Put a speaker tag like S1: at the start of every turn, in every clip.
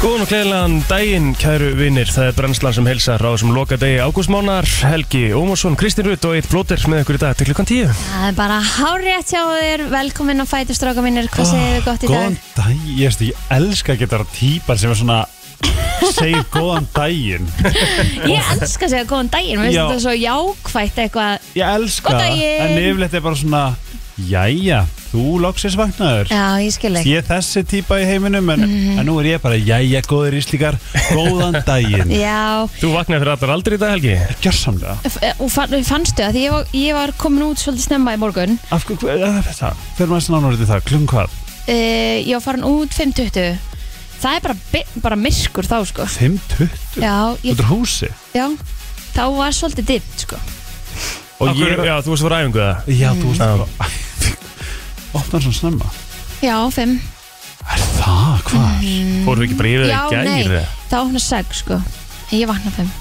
S1: Góðan og gleðilegan daginn, kæru vinnir. Það er brennslan sem heilsar á þessum loka degi ágústmánar. Helgi Ómarsson, Kristinn Rutt og Eitt Blóter með ykkur í dag til klukkan tíu.
S2: Það er bara hárétt hjá þér, velkomin á Fætur stráka mínir, hvað segir þið gott í dag?
S3: Ah, Góðan dag, ég, veist, ég elska að geta típar sem er svona segir góðan daginn
S2: Ég elska að segja góðan daginn, mér finnst
S3: Já.
S2: þetta svo jákvætt eitthvað
S3: Ég elska
S2: Góðan
S3: það,
S2: daginn.
S3: en yfirleitt er bara svona Jæja, þú loksis vagnaður
S2: Já, Mhm. ég skil ekki
S3: Ég er þessi típa í heiminum en, en nú er ég bara, jæja, góðir íslíkar Góðan daginn
S2: Já,
S1: Þú vaknaði fyrir allar aldrei í dag, Helgi.
S3: Gjörsamlega
S2: F- eh, og fann, fannstu að því ég var, ég var komin út svolítið snemma í morgun
S3: Af hverju, hver, eh, það, fyrir maður svona ánúrið það, klum hvað
S2: uh, Ég var farin út 5.20 Það er bara, bi- bara myrkur þá sko
S3: 5.20,
S2: Já, ég,
S3: þú ert húsi
S2: já þá var svolítið dimmt sko
S3: Og
S1: Af hverju-
S3: ég,
S1: Já, þú varst fyrir æfingu það.
S3: já, þú veist
S1: Já.
S3: bara Opnar svona snemma
S2: Já, 5
S3: Er það, hvað?
S2: Mhm.
S1: Fórum við ekki bara yfir
S2: Já,
S1: það í
S2: nei,
S1: gæri?
S2: það opnar 6 sko En Ég vakna 5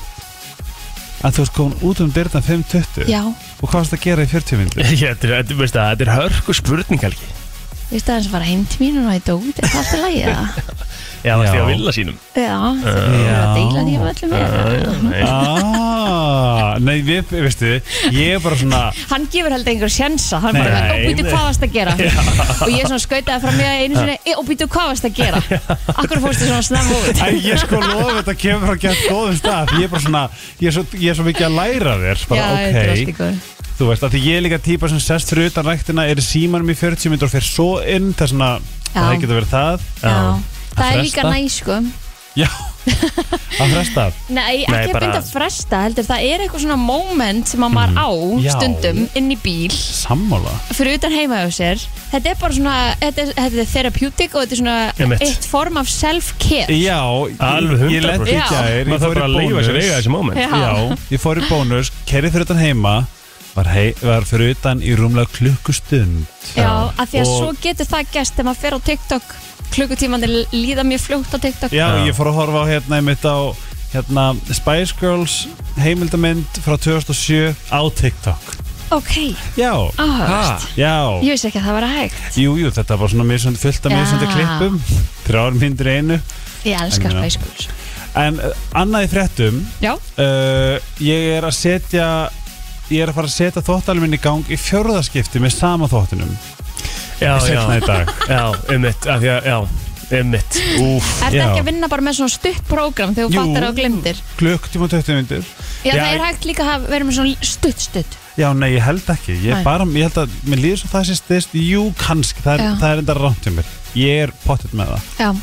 S3: að þú ert komin út um dyrna 5.20
S2: Já,
S3: og hvað varst að gera í 40 minnir?
S1: Ég, þetta er- þetta- veistu það, þetta er hörku spurning, Helgi.
S2: ég staði aðeins að fara heim til mín og hætta út Er það alltaf lægið það?
S1: Já, það er
S3: Já.
S1: að vilja sínum.
S2: Já, það er að deila því af öllum með
S1: Nei.
S3: Ah, nei, við, veistu, ég er bara svona
S2: Hann gefur heldur einhver sjensa Hann
S3: Nei,
S2: bara, og býtu
S1: nei.
S2: hvað varst að gera Og ég svona skautaði fram mér einu sinni "Eh, Og býtu hvað varst að gera Akkur fórstu svona snemma út
S3: Æ, ég sko lofa þetta kemur frá gett góðum stað Ég er bara svona, ég er svo, ég er svo mikið að læra af þér
S2: Já,
S3: bara,
S2: þetta er allt í
S3: ok,
S2: góðu.
S3: þú veist, að því ég er líka típa sem sest fyrir utan ræktina, er í símanum í 40 minnir og fer svo inn, það er svona
S2: Já.
S3: það getur verið það
S2: Já, það er
S3: fresta?
S2: líka næ sko
S3: Já, að fresta
S2: Nei, ekki
S1: Nei,
S2: að
S1: bara-
S2: binda fresta heldur Það er eitthvað svona moment sem að maður á
S3: Já.
S2: stundum inn í bíl
S3: Sammála
S2: fyrir utan heima hjá sér Þetta er bara svona, þetta er, þetta er therapeutic og þetta er svona
S1: Einmitt.
S2: eitt form af self-care
S3: Já,
S1: Alveg
S3: ég
S1: 100%.
S3: lenti í
S2: Já.
S3: gær
S1: Maður
S3: ég
S1: þarf
S3: fór í
S1: bara að leifa sér
S3: bónus.
S1: eiga þessi moment.
S2: Já.
S3: Já, ég fór í bónus, kerið fyrir utan heima var, hei, var fyrir utan í rúmlega klukkustund
S2: Já, af því að
S3: Og-
S2: svo getur það gæst þegar maður fer á TikTok klukkutímandi líða mjög fljótt á TikTok
S3: Já,
S1: Já.
S3: ég fór að horfa á hérna einmitt á hérna, Spice Girls heimildamynd frá 2007 á TikTok
S2: Ok,
S3: Já,
S2: áhörst
S3: já,
S2: Ég vissi ekki að það var hægt
S3: jú, jú, þetta var svona misund, fullt af
S2: Já.
S3: misandi klippum þrjár myndir í einu
S2: Ég elska
S3: En, já.
S2: Spice Girls
S3: En uh, annað í fréttum
S2: Já,
S3: uh, ég er að setja ég er að fara að setja þvottalminn í gang í fjörðaskipti með sama þvottinum
S1: Já,
S3: setna
S1: já,
S3: í dag
S1: já, einmitt, af því að, já, einmitt.
S3: Úf,
S2: er þetta ekki að vinna bara með svona stutt prógram þegar þú
S3: Jú.
S2: fattar og glemdir
S3: Klukktíma og 20 myndir
S2: Já,
S1: Já,
S2: það
S1: ég-
S2: er hægt líka að vera með svona stutt stutt
S3: Já, nei, ég held ekki Ég,
S2: Nei.
S3: bara, ég held að, mér líður svo það sem styrst Jú, kannski, það
S2: Já.
S3: er, það er enda rámt hjá mér Ég er pottet með það
S2: Já,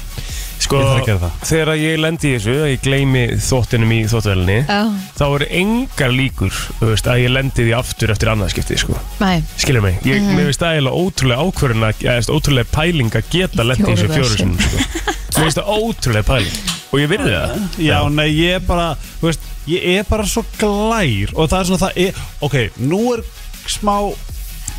S1: Sko,
S3: Ég þarf að gera það.
S1: þegar að ég lendi í þessu, að ég gleymi þóttinum í þóttvelinni,
S2: já,
S1: þá eru engar líkur þú veist, að ég lendi því aftur eftir annað skipti sko.
S2: næ
S1: skilur mig, ég,
S2: Mhm.
S1: mér finnst það eiginlega ótrúlega ákvörðin að, eða þú veist, ótrúlega pæling að geta
S2: Í
S1: lendi í þessu
S2: fjórða
S1: fjóru
S2: sinn.
S1: sinum sko. mér finnst það ótrúlega pæling og ég virði það
S3: Já, nei, ég er bara, þú veist Ég er bara svo glær Og það er svona, það er, ok, nú er smá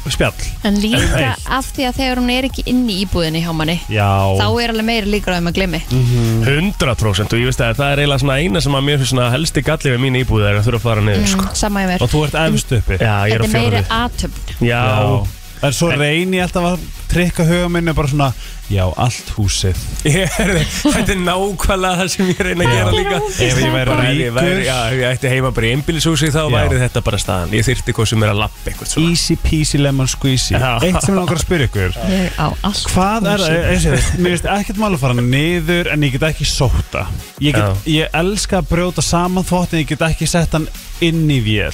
S3: spjall
S2: En líka
S1: Nei.
S2: af því að þegar hún er ekki inni í íbúðinni hjá manni
S3: Já
S2: þá er alveg meira líkur á þeim að glemmi
S1: 100% og ég veist að það er eiginlega svona eina sem að mér finnst svona helsti galli við mín íbúð er að þurfa að fara niður sko.
S2: Sama ég mér
S3: Og þú ert efst uppi
S1: já, ég er
S2: Mm.
S1: á
S2: Þetta er meira
S1: fjóru
S2: aðtöfn
S1: já,
S3: Já. En svo reyni ég alltaf að trikka huga minni bara svona, já, allt húsið
S1: Ég er, þetta er nákvæmlega það sem ég reyna að
S3: Já.
S1: gera
S2: Þetta er
S1: líka
S2: ógeðslega Ef ég væri
S1: Bara ef ég væri-
S3: ríkur.
S1: já, ef ég ætti heima bara í einbílisúsi þá
S3: Já.
S1: væri þetta bara staðan ég þyrfti hvað sem er að lappa eitthvað svona.
S3: Easy peasy lemon squeezy
S1: Já.
S3: Eitt sem ég langar að spyrja ykkur
S2: Ég á allt
S3: Hvað er það,
S2: húsið.
S3: eins og þetta, mér finnst ekkert mál að fara niður en ég get ekki sóta Ég, get, ég elska að brjóta saman þvott en ég get ekki sett hann inn í vél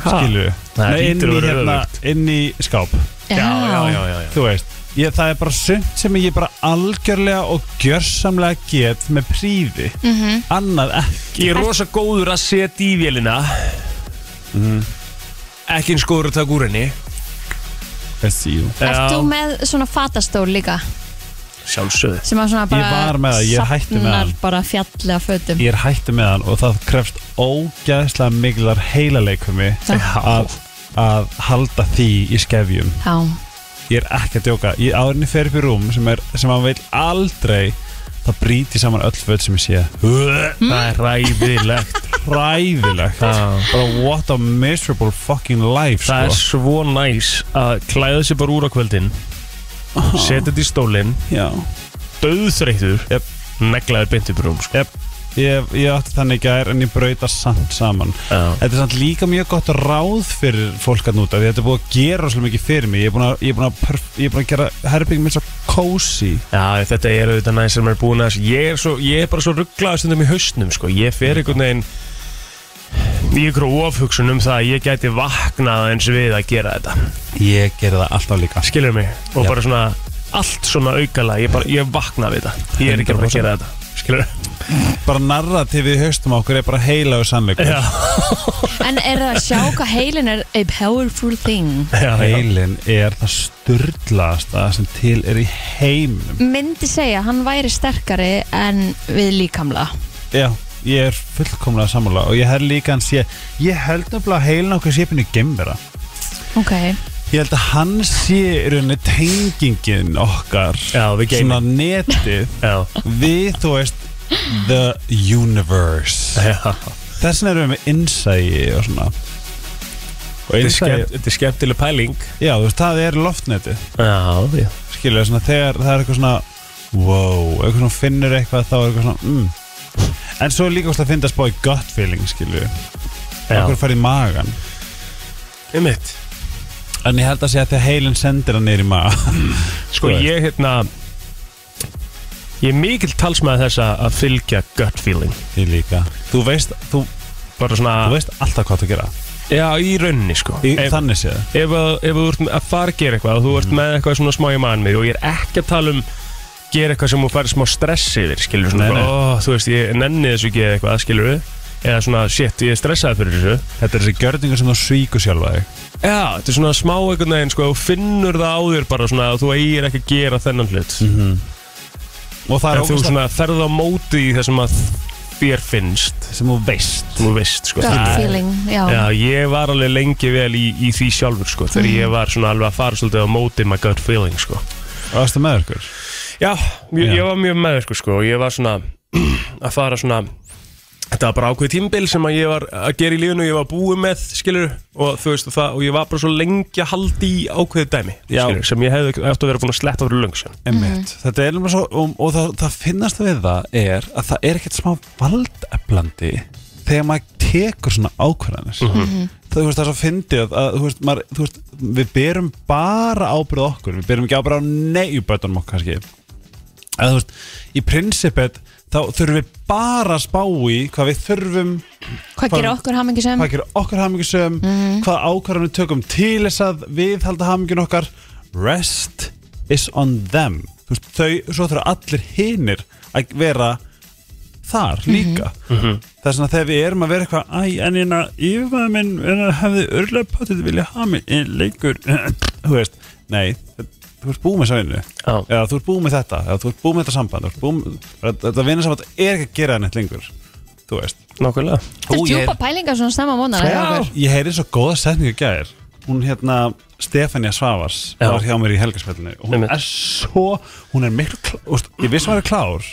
S3: Skilu
S1: Það
S3: Nei, inn
S1: hlýtur
S3: í,
S1: að vera
S3: hérna, inn í skáp
S1: já, já, já, já, já.
S3: Þú veist, ég, það er bara sumt sem ég bara algjörlega og gjörsamlega get með príði -hmm. Annað ekki
S1: Ég er rosa góður að setja í vélina Ekki eins góður að taka úr henni
S2: Ert þú með svona fatastól líka
S1: Sjálfsögðu
S2: sem að svona bara
S3: var með það, ég hætti með
S2: safnar
S3: hann.
S2: bara fjalli af fötum
S3: Ég er hætti með hann og það krefst ógæðslega miklar heilaleikum
S2: Já.
S3: um að, að halda því í skefjum
S2: Já,
S3: ég er ekki að djóka ég árinni fer upp í rúm sem, er, sem hann vil aldrei það bríti saman öll föt sem ég sé
S1: Það er ræðilegt
S3: hræðilegt
S1: Já.
S3: bara what a miserable fucking life
S1: Það er
S3: sko.
S1: svo næs að klæða sér bara úr á kvöldin Setja þetta í stólinn
S3: já,
S1: Döðþreytur
S3: Jep.
S1: neglaður beint upp í rúm sko.
S3: Jep, ég, ég átti þannig í gær en ég brauta samt saman
S1: Já.
S3: Þetta er samt líka mjög gott ráð fyrir fólk að núta Þetta er búið að gera rosalega mikið fyrir mig Ég er búin að, ég er búin að, perf- ég er búin að gera herbyggum minn svo cozy
S1: Já, þetta er auðvitað næst sem er búin að ég er, svo, ég er bara svo rugglaður stundum í hausnum sko. ég fer einhvern veginn í ykkur ofhugsun um það að ég gæti vaknað eins við að gera þetta
S3: Ég gera það alltaf líka
S1: skilur mig og
S3: Já.
S1: bara svona allt svona aukala ég, bara, ég vakna við þetta ég er ekki að fara að gera þetta skilur
S3: Bara narratífið í haustum á okkur er bara heila og sannleikur
S1: já,
S2: En er það að sjá hvað heilin er a powerful thing?
S1: já, já.
S3: Heilin er það sturdlaðasta sem til er í heiminum
S2: Myndi segja að hann væri sterkari en við líkamla
S3: Já, ég er fullkomlega sammála og ég held líka hans ég, ég held nefnilega að heilin okkur sé pínu gemvera
S2: Ok
S3: Ég held að hann sé í rauninni tengingin okkar
S1: Já, við geiminn.
S3: Svona netið
S1: Já,
S3: Við, þú veist, the universe
S1: já.
S3: Þess vegna erum við með innsæi og svona Og
S1: Þetta er
S3: innsæi
S1: skemmt- þetta er skemmtileg pæling
S3: Já, þú veist, það er loftnetið
S1: Já, já
S3: Skilja, svona þegar það er eitthvað svona Wow, eitthvað svona finnur eitthvað þá er eitthvað svona mm. En svo er líka óslega að finna að spá í gut feeling, skilju Okkur
S1: Já,
S3: farið í magan
S1: um mitt
S3: En ég held að segja að þegar heilin sendir hann neyri maður
S1: Sko
S3: Þú veist.
S1: ég hérna Ég er mikill talsmaði þess að að fylgja gut feeling
S3: Ég líka Ah. Þú veist, þú,
S1: Bara
S3: þú
S1: svona
S3: veist alltaf hvað þú að gera
S1: Já, í rauninni sko
S3: í,
S1: Ef,
S3: Þannig séð
S1: ef, að- ef þú ert að fara að gera eitthvað og þú
S3: Mm.
S1: ert með eitthvað svona smá í mannmið og ég er ekki að tala um gera eitthvað sem þú færi smá stress yfir skilur svona,
S3: Nei, nei.
S1: Ó, þú veist, ég nenni þessu ekki eða eitthvað skilur eða svona, shit, ég er stressaði fyrir þessu
S3: Þetta er þessi gjörningur sem þú svíkur sjálfa þig
S1: Já, þetta er svona smá einhvern veginn sko, þú finnur það á þér bara svona að þú eigir ekki að gera þennan hlut
S3: Mhm. Og það er
S1: en þú
S3: ógust
S1: svona ferð á móti í það sem að þér finnst
S3: sem þú veist
S1: sem þú veist sko
S2: Gut
S1: Það-
S2: feeling, já,
S1: Já, ég var alveg lengi vel í, í því sjálfur sko þegar
S2: Mhm.
S1: ég var svona alveg að fara svolítið á móti my gut feeling sko
S3: Og það er með ykkur
S1: Já, ég,
S3: Já.
S1: ég var mjög með sko, sko og ég var svona að fara svona Þetta var bara ákveð tímbil sem að ég var að gera í lífinu og ég var búið með, skilur og þú veist það, og ég var bara svo lengi að haldi í ákveðið dæmi,
S3: Já.
S1: skilur sem ég hefði eftir að vera búin að sleppa fyrir löngsjön
S3: Einmitt. Þetta er alveg svo Og, og það, það finnast við það er að það er ekkert smá valdeflandi þegar maður tekur svona ákvarðanir Það, þú veist, það er svo fyndið að, að þú, veist, maður, þú veist, við berum bara ábyrð á okkur, við berum ekki ábyrð á neyjubötunum okkar kannski að þú veist, í prinsipet þá þurfum við bara að spá í hvað við þurfum,
S2: Hvað gerir okkur hamingisem?
S3: hvað gerir okkur hamingjusum hvað ákvarðan við tökum til þess að við halda hamingjun okkar rest is on them þú veist, þau, svo þurfa allir hinir að vera þar líka það er svona þegar við erum að vera eitthvað æ, en ég yfirmaður minn hérna, hefði örlega potið vilja hafa mig í leikur þú veist, nei þú ert búið með sæðinu
S1: Já.
S3: eða þú ert búið með þetta, eða þú ert búið með þetta samband þú ert búið með, þetta vinnasamband er ekki að gera neitt lengur, þú veist
S1: Nákvæmlega
S2: Þetta er
S3: Ó, ég er-
S2: djúpa pælingar svona snemma mónar
S3: Já, ég heyri svo góða setningu í gær Hún hérna, Stefania Svavars
S1: Já.
S3: var hjá mér í helgarsfellinu og Hún
S1: Einmitt.
S3: er svo, hún er miklu klár úst, Ég vissi hún er klár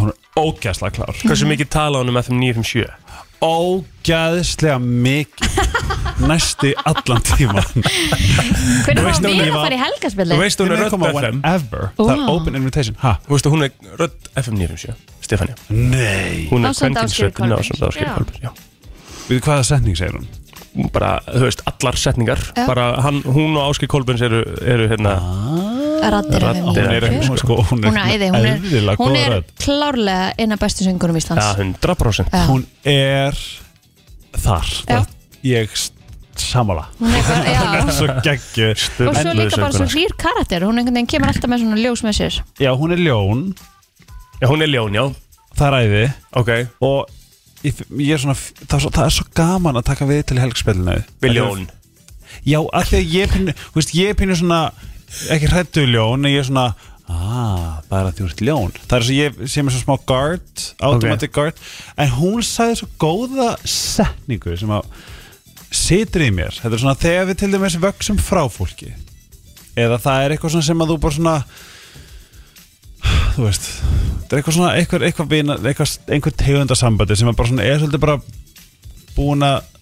S3: Hún er ógæðslega klár
S1: Hversu mikið tala hún um FM 957?
S3: Ógæðslega mikið Næsti allan tíman
S2: Hvernig
S1: veist
S2: var
S1: hún
S2: við
S1: ég
S2: að
S1: var-
S2: fara í
S1: Þú
S2: helgaspilli?
S1: veist hún er
S3: Þið megið
S1: rödd
S3: koma
S1: FM
S3: whenever Það er
S2: Wow.
S3: open invitation ha?
S1: Þú veist að hún er rödd FM 957 Stefania
S3: Nei
S1: Hún er
S2: Ásamt
S1: kvenkinsröddin
S2: Ásgeiri Kolbeins.
S1: ásand áskil
S2: Já.
S1: Kolbjörn Já
S3: Við hvaða setning segir hún?
S1: Bara, þú veist, allar setningar
S2: Já.
S1: Bara hann, hún og Áskil Kolbjörns eru, eru hérna
S2: Raddir
S1: Raddir er
S2: FM
S3: Hún er,
S1: FM.
S2: 957.
S3: hún, sko, hún
S2: Hún er æði, hún er,
S3: eðlilega
S2: hún
S3: góð
S2: er
S3: rödd
S2: klárlega eina bestu söngunum
S1: Já,
S2: Íslands
S1: 100%
S2: Já.
S3: Hún er þar
S2: Já.
S3: Ég samála
S2: Hún er bara- já.
S3: Svo geggju
S2: Og svo líka bara svo
S1: sönguna.
S2: hlýr karakter Hún einhvern veginn kemur alltaf með svona ljós með sér
S3: Já, hún er ljón
S1: Já, hún er ljón, já
S3: Það er æði
S1: Ok
S3: Og ég, ég er svona, það, er svo, það er svo gaman að taka við til helgspilinu
S1: Við ljón
S3: Já, af því að ég pínu, þú veist, ég pínu svona Ekki hrættu ljón, en ég er svona Ah, það er að þú ert ljón Það er svo ég sem er svo smá guard Automatic guard En hún sagði svo góða setningu Sem að situr í mér Þetta er svona þegar við til dæmis vöksum frá fólki Eða það er eitthvað svona sem að þú bara svona þú veist það er eitthvað svona, eitthvað, eitthvað, vina, eitthvað einhver tegundasambandi sem er bara svona, er svolítið bara búin að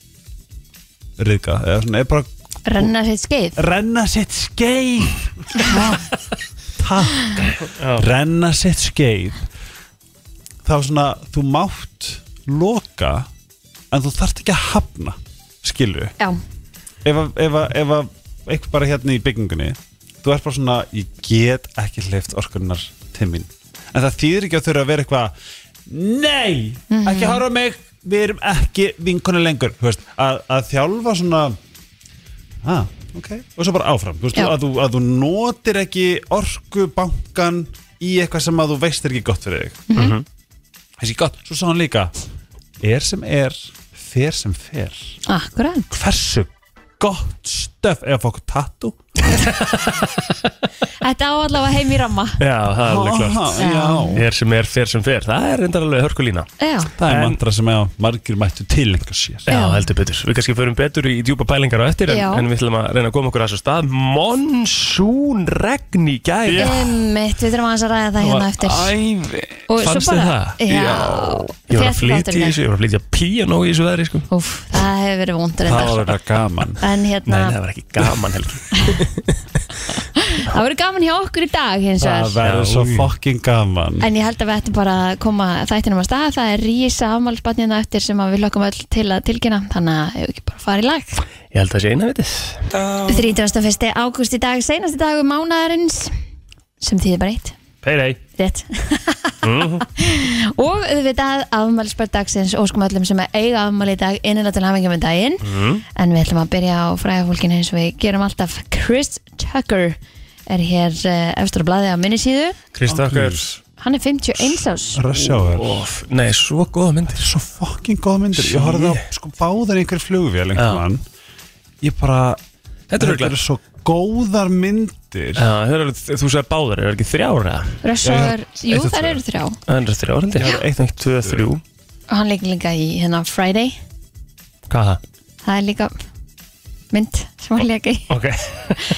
S3: riðka, eða svona, er bara
S2: Renna sitt skeið
S3: renna sitt skeið Ha, takk
S1: Já.
S3: renna sitt skeið það var svona, þú mátt loka en þú þarft ekki að hafna skilur
S2: já,
S3: ef, að- ef, að- ef að eitthvað bara hérna í byggingunni þú ert bara svona, ég get ekki hleyft orkunnar til mín en það þýðir ekki að þurfa að vera eitthvað nei, ekki horfa á mig við erum ekki vinkonu lengur Þú veist, að, að þjálfa svona ah, ok og svo bara áfram, þú veist,
S2: Já.
S3: að, þú, að þú notir ekki orkubankan í eitthvað sem að þú veist er ekki gott fyrir þig mm þessi gott, svo sá hann líka er sem er, fer sem fer
S2: akkurat
S3: hversu gott stöf eða fokk tattu
S2: Þetta á allavega heim í ramma
S1: Já, það er alveg klart
S3: já
S1: Er sem er, fer sem fer, það er reyndar alveg hörkulína
S2: Já,
S3: það er
S1: En-
S3: mantra sem eða margir mættu tilengja sér
S1: Já, heldur betur Við kannski förum betur í djúpa pælingar á eftir en,
S2: Já.
S1: en við ætlum að reyna að koma okkur að þessu stað Monsoon regn í gæð
S2: Einmitt, við þurfum aðeins að ræða það hérna eftir
S1: Ævi
S2: Og svo
S1: Fannst þið
S2: bara-
S1: það?
S2: Já.
S1: Ég var að
S2: Þétt
S1: flytja
S2: þátturinn
S1: í
S2: er.
S1: þessu, ég var að flytja píanó í þessu veðri sko.
S2: Úf, það hefur verið vondur
S3: það var
S2: endar
S3: þetta gaman
S2: En
S1: Nei,
S2: hérna,
S1: það var ekki gaman helgi
S2: það verið gaman hjá okkur í dag hins
S3: það
S2: vegar
S3: verður
S1: Já,
S3: svo
S1: oj.
S3: fokkin gaman
S2: En ég held að við ættum bara að koma þættinum að stað Það er rísa afmálsbarnina eftir sem að við hlokkum öll til að tilkynna Þannig að hefur ekki bara farið í lag
S1: Ég held að það sé eina vitið
S2: 31. ágúst í dag, seinasti dagur mánaðarins sem þýðir bara eitt,
S1: Payday
S2: rétt og auðvitað afmælspart dagsins óskum öllum sem eiga afmæli í dag innilega til hafingjum um daginn
S3: Mhm.
S2: en við ætlum að byrja á fræðafólkinu eins og við gerum alltaf Chris Tucker er hér uh, efstur á blaði á minnisíðu
S1: Kristakkar
S2: hann er 51 árs
S3: rössjáður
S1: Nei, svo góða myndir
S3: svo fokkin góð myndir ég horfði á sko báðar í einhver flugvél
S1: Já.
S3: einhvern mann ég bara
S1: Þetta er
S3: eru svo góðar myndir
S1: Það eru, þú segir báðar, eru ekki þrjára
S2: Rössogar,
S3: eitt
S2: jú
S3: og
S2: þær
S3: tvö.
S2: eru þrjá
S1: Það eru þrjára heldur
S3: Já.
S1: Eitt, eitt, tvö, þrjú
S2: og hann leikur líka í hérna Friday
S1: Hvað það?
S2: það er líka mynd sem hann leikur í
S1: Ok,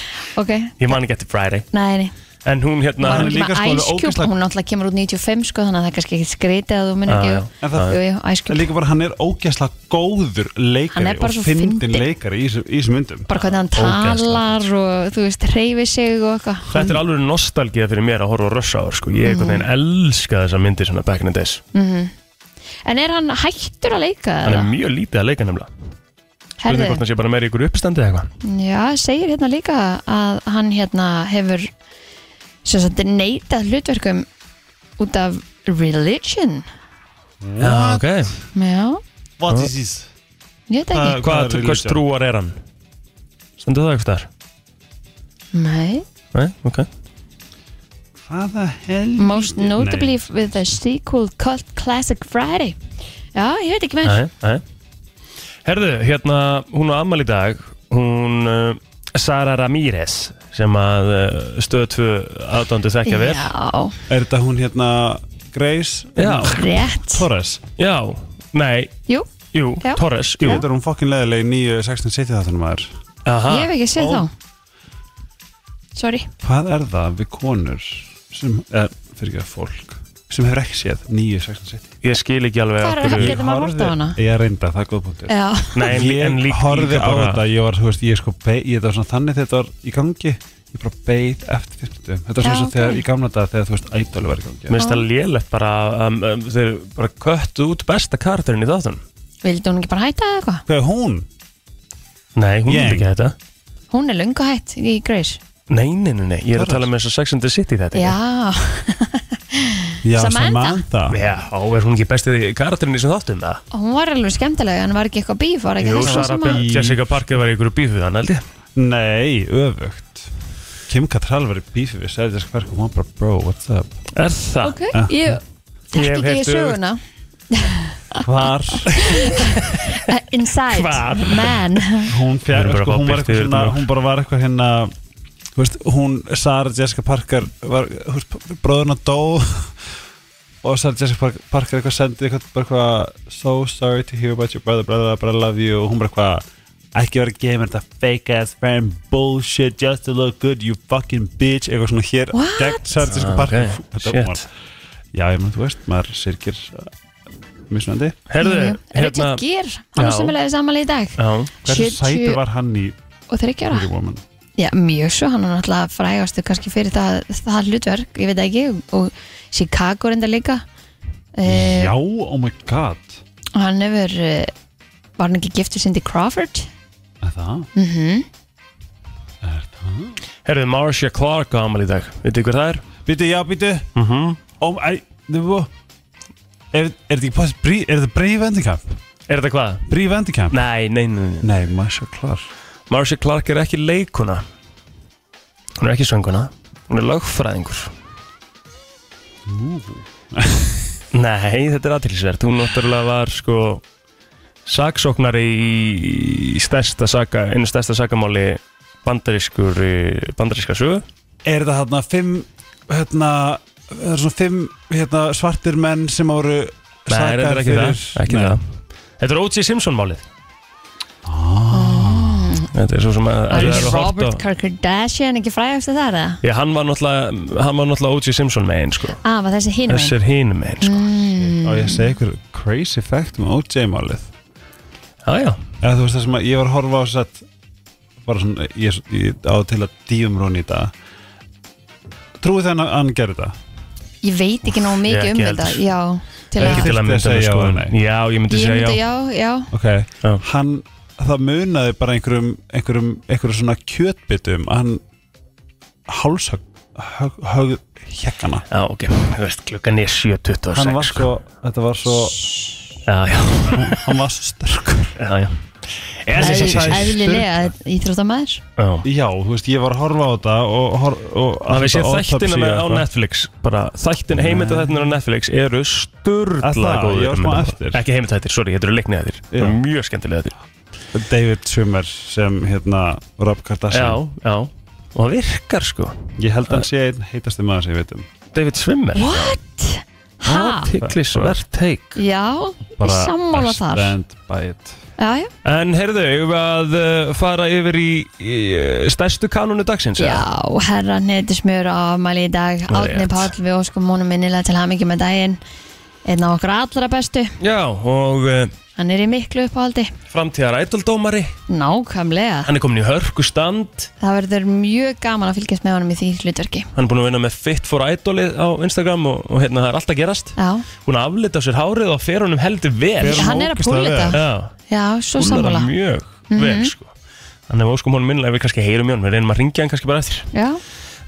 S2: ok,
S1: ég man ekki eftir Friday
S2: næ, nei
S1: En hún hérna
S2: Var hún
S3: er
S2: ekki
S3: líka
S2: með
S3: sko alveg
S2: Ice Cube,
S3: ógeðslega-
S2: hún náttúrulega kemur út 95 sko, þannig að það er kannski ekki skrítið að þú minnir
S1: Já,
S2: ekki
S1: já.
S3: En það-
S2: jú, jú, Ice
S3: en
S2: Cube,
S3: líka bara hann er ógæslega góður
S2: Hann er
S3: leikari
S2: bara
S3: og
S2: svo
S3: fyndin
S2: fyndinn.
S3: leikari í þessu- í þessum myndum
S2: bara hvernig hann
S1: Ógeðslegt.
S2: talar og þú veist, reyfi sig og eitthvað
S1: Þetta er alveg nostalgíða fyrir mér að horfa á rössáður sko. Ég einhvern veginn elska þessa myndir svona back in the days
S2: En er hann hættur að leika
S1: Hann er
S2: það?
S1: mjög lítið að leika nefnilega Spurning hvort
S2: Herðu,
S1: hann sé bara meira í ykkur uppstandi eða eitthvað
S2: já, segir hérna líka að hann hérna hefur sem sagt neitað hlutverkum út af religion
S1: Já, ok
S2: Já,
S3: what is this
S2: ég veit ekki
S3: Hvað er
S1: Hvað, hvers
S3: religion?
S1: trúar er hann? Stendur það eitthvað þar?
S2: Nei,
S1: Nei, ok
S3: hvaða hel
S2: most notably with the sequel cult classic Friday Já, ég veit ekki meir
S1: Nei, nei Herðu, hérna, hún á afmæli í dag Hún, uh, Sara Ramírez sem að uh, stöðu tvö aðdóndu þekkja vel
S2: Já,
S3: Er þetta hún hérna Grace
S1: Já.
S2: rétt
S3: Torres?
S1: Já, nei,
S2: Jú,
S1: jú,
S2: Já.
S1: Torres, jú
S3: Þetta er hún fokkin leðileg í nýju 1670 þáttunum maður
S1: Aha.
S2: Ég hef ekki
S1: Ó.
S2: séð þá Sorry
S3: Hvað er það við konur sem, eða fyrir ekki að fólk sem hefur ekki séð nýju 1670
S1: Ég skil ekki alveg
S2: Hvar
S1: af
S2: er-
S1: hverju-
S2: Getur maður hort á hana? Eh.
S3: Ég reynda, það er góð punktur
S2: Já,
S1: Nei, en, en
S3: Ég
S1: líka,
S3: horfði
S1: líka
S3: á
S1: bara
S3: þetta, ég var, þú veist, ég sko be, ég, þetta var svona þannig þegar þetta var í gangi ég bara beið eftir 50 Þetta var
S2: Já,
S3: svona svo
S2: ok.
S3: þegar í gamla dag þegar þú veist ædol var í gangi
S1: Mér finnst það lélegt bara um, um, Þeir bara köttu út besta karakterinn í þáttunum
S2: vildi hún ekki bara hætta eða eitthvað?
S3: Hvað er hún?
S1: Nei, hún
S3: Yang.
S1: er ekki þetta
S2: Hún er löngu hætt í Grace
S1: Nei, nei, nei, nei, ég er að tala með þess að Sex and the City þetta
S2: Já,
S3: Já,
S2: Samantha.
S3: Samantha
S1: Já, er hún ekki bestið karakterinn í sem þáttum það?
S2: hún var alveg skemmtileg en var ekki eitthvað bíf var ekki
S1: Jú,
S2: það
S1: Sara
S2: sem
S1: Björn,
S2: að-
S1: Jessica Parker var í ykkur bífið hann, held ég
S3: Nei, öfugt Kim Cattrall var í bífi við Sarah Jessica Parker og hún bara bro, what's up
S1: Er það?
S2: Ok, ég
S1: Ég hef
S2: Þekki ekki
S1: heyrt um-
S2: í söguna
S3: Hvar?
S2: Eh, Inside
S1: Hvar?
S2: Man
S3: Hún fjær,
S1: Við erum bara að
S3: sko,
S1: fá
S3: hún var
S1: birtu
S3: eitthvað
S1: yfir
S3: svona
S1: þetta nú.
S3: Hún bara var eitthvað hérna Þú veist, hún, Sarah Jessica Parker var, þú veist, bróðurna dó og Sarah Jessica Parker, Parker eitthvað sendið eitthvað, bara eitthvað so sorry to hear about your brother, brother, brother, love you og hún bara eitthvað, ekki verið að gefa mér þetta fake ass friend, bullshit just to look good, you fucking bitch eitthvað svona hér,
S2: What?
S3: gegn Sarah Jessica
S1: Ah,
S3: Parker
S1: ok,
S3: Þetta var-
S1: shit.
S3: Já, ég menn, þú veist, maður sirkir mismunandi
S1: Herðu,
S2: Richard
S1: hérna
S2: Gere, hann
S1: Já.
S2: er semilegði samanlega í dag
S1: Já,
S3: Hversu
S2: 70
S3: sæti var hann í
S2: og þryggja ára
S3: Pretty Woman?
S2: Já, mjög svo, hann er náttúrulega frægastu kannski fyrir það, það hlutverk, ég veit ekki og Chicago reynda líka Eh,
S3: Já, oh my god
S2: Hann hefur eh, Var hann ekki giftur Cindy Crawford?
S3: Er það?
S2: Mm
S3: Er það?
S1: Herðu, Marcia Clark á amal í dag Vitið þið hver það er?
S3: Býtu, já, býtu
S1: Mm
S3: oh, æ, nefnum, Er, er þetta ekki pás, brí, er þetta Brí Vendikamp?
S1: Er þetta hvað?
S3: Brí Vendikamp?
S1: Nei, nei, nei, nei
S3: Nei, maður svo klar
S1: Marcia Clark er ekki leikuna Hún er ekki sönguna Hún er lögfræðingur Nei, þetta er aðtilsvert Hún náttúrulega var sko saksóknari í stærsta saka, einu stærsta sakamáli bandarískur bandaríska sögu
S3: Er þetta hérna fimm hérna, það er svona fimm hérna, svartir menn sem voru
S1: Nei, þetta er ekki það, ekki það. Þetta er O.J. Simpson málið Ah.
S2: Oh.
S1: Þetta er svo sem að,
S2: Var
S1: að, að,
S2: hann
S1: að,
S2: Robert
S1: að
S2: Kardashian ekki frægast að það? eða?
S1: Já, hann var náttúrulega hann var náttúrulega O.J. Simpson með einn sko
S2: Ah, var þessi hinn Mm.
S1: Þessi er hinn með einn sko
S3: Á ég að segja ykkur crazy fact um OJ-málið
S1: Já, já,
S3: eða þú veist það sem að ég var að horfa á sett bara svona, ég, ég á til að dýfum rún í dag trúið þannig að hann gerði það
S2: Ég veit ekki nóg mikið
S1: ég
S2: um
S1: ekki
S2: þetta
S1: heldur.
S2: Já, til
S1: ekki til
S2: að
S1: að
S3: Þurfti að
S1: mynda
S3: segja
S1: með
S3: já
S1: sko
S3: eða nei?
S1: Já, ég myndi
S2: Ég
S1: segja já
S2: myndi já, já
S3: ok,
S1: Já.
S3: hann það munaði bara einhverjum einhverjum, einhverjum svona kjötbitum að hann hálshögg högg, högg hekkana
S1: Já, ok, þú veist, klukkan er 7.26
S3: hann var svo, þetta var svo
S1: sko. Já, já,
S3: hann var svo sterkur
S1: já, já Já,
S2: Eðl-
S1: sí, sí, sí, sí.
S3: það er-
S2: Eðlilega íþróttamæður
S1: Já.
S3: já, þú veist, ég var að horfa á þetta og, hor- og
S1: Það við séð þættina
S3: alltaf autopsy
S1: með á
S3: eitthvað.
S1: Netflix bara þættin, heimildathættinir á Netflix eru
S3: Að
S1: sturla
S3: það,
S1: góður
S3: ég var smá
S1: um þetta.
S3: eftir.
S1: Ekki heimildathættir, sorry, þetta eru leikniðættir
S3: Já.
S1: Þetta eru mjög skemmtilega þættir
S3: David Summer sem hérna Rob Kardashian
S1: Já, já Og það virkar sko
S3: Ég held að hann sé einn heitasti maður sem ég veit um
S1: David Swimmer
S2: What? Ha?
S1: Athyglisvert take
S2: Já, ég sammála þar
S3: stand by it
S2: Já, já,
S1: En heyrðu, eigum við að uh, fara yfir í, í uh, stærstu kanunu dagsins
S2: já,
S1: eða?
S2: herra neytur smjör á afmæli í dag
S1: Það er
S2: Átni
S1: rétt.
S2: Páll, við óskum honum minnilega til hamingi með daginn Einn af okkur allra bestu
S1: já og uh,
S2: Hann er í miklu uppáhaldi
S1: framtíðar ædaldómari
S2: Nákvæmlega
S1: Hann er komin í hörkustand
S2: Það verður mjög gaman að fylgjast með honum í því hlutverki
S1: Hann er búin að vinna með Fit for Idolið á Instagram og, og hérna það er alltaf gerast
S2: Já,
S1: Hún að aflita á sér hárið og fer honum heldur vel
S3: Fer honum
S2: hann er að
S3: ógeðslega Mhm.
S2: púla þetta
S1: Já,
S2: Já, svo
S1: hún er
S2: sammála
S1: það mjög vel sko Þannig að við óskum honum minnilega við kannski heyrum í honum Við reynum að ringja hann kannski bara eftir
S2: Já,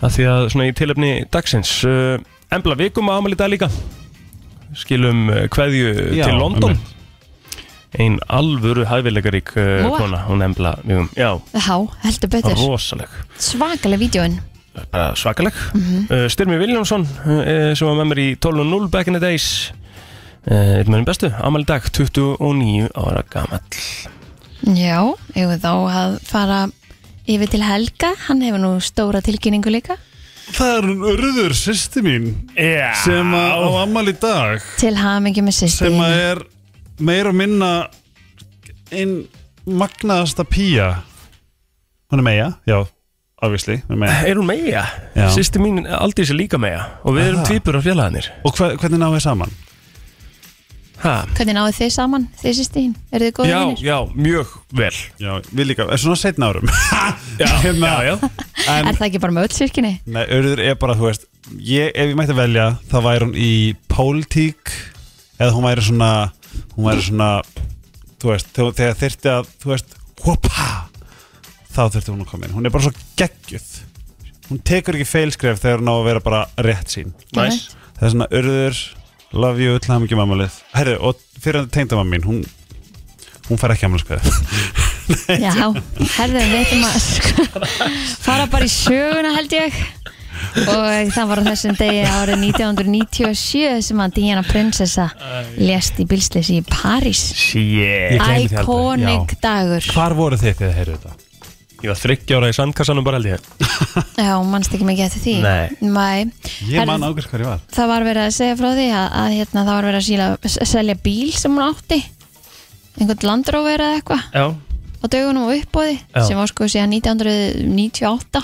S1: að því að svona í tilefni dagsins uh, Embla vikum á amal í dag líka skilum uh, kveðju
S3: Já,
S1: til London
S3: einmitt.
S1: ein alvöru hæfileikarík uh,
S2: Móa.
S1: kona, hún Embla vikum já,
S2: já, heldur betur
S1: rosaleg
S2: Svakalega vídjóin
S1: bara svakaleg uh, Styrmi Viljámsson uh, sem var með mér í 12.0 back in the days uh, einn með einn bestu, amal í dag 29 ára gamall
S2: Já, eigum við þá að fara yfir til Helga Hann hefur nú stóra tilkynningu líka
S3: Það er hún Urður, sýsti mín
S1: yeah.
S3: sem að á ammali í dag
S2: Til hamingi með sýsti
S3: sem að er meira og minna einn magnaðasta pía Hún er meja, já, obviously hún er meja.
S1: er hún meja?
S3: Já.
S1: sýsti mín Aldís er líka meja og við erum
S3: Aha.
S1: tvíbur á félagarnir
S3: Og hva, hvernig náðu þið saman?
S1: ha?
S2: Hvernig náðu þið saman, þið sýsti hinn? Eru þið góðið
S1: já,
S2: vinnir?
S1: já, mjög vel
S3: Já, við líka, er svona setna árum
S1: já,
S3: Hérna.
S1: já, já.
S2: Er
S3: En
S2: það ekki bara með öll svirkinni?
S3: nei, Urður er bara, þú veist ég, Ef ég mætti velja, þá væri hún í pólitík eða hún væri svona hún væri svona, þú veist þegar, þegar þyrfti að, þú veist hopa, þá þyrfti hún að koma inn Hún er bara svo geggjuð Hún tekur ekki feilskref þegar hún á að vera bara rétt sín
S1: Næs.
S3: Það er svona Urður, love you, til hamingjum ammalið Herðu, og fyrir að tengdama mín hún, hún fær ekki ammalið
S2: Já, herðu við veitum að sko, fara bara í söguna held ég og það var á þessum degi árið 1997 sem að Diana Prinsessa lést í bilsleysi í París
S1: Shit
S3: Ég gleymi því aldrei.
S2: Iconic dagur
S3: Hvar voru þið þegar þið heyrðu þetta?
S1: Ég var 30 ára í sandkassanum bara held ég
S2: Já, mannst ekki mikið eftir því
S1: Nei.
S2: Nei.
S3: Ég
S2: Herðu,
S3: man ákveðs hvað ég var
S2: Það var verið að segja frá því að, að hérna, það var verið að síla, s- selja bíl sem hún átti einhvern landróver eða eitthvað
S1: Já
S2: á dögunum og uppbóði
S1: Já.
S2: sem var sko síðan 1998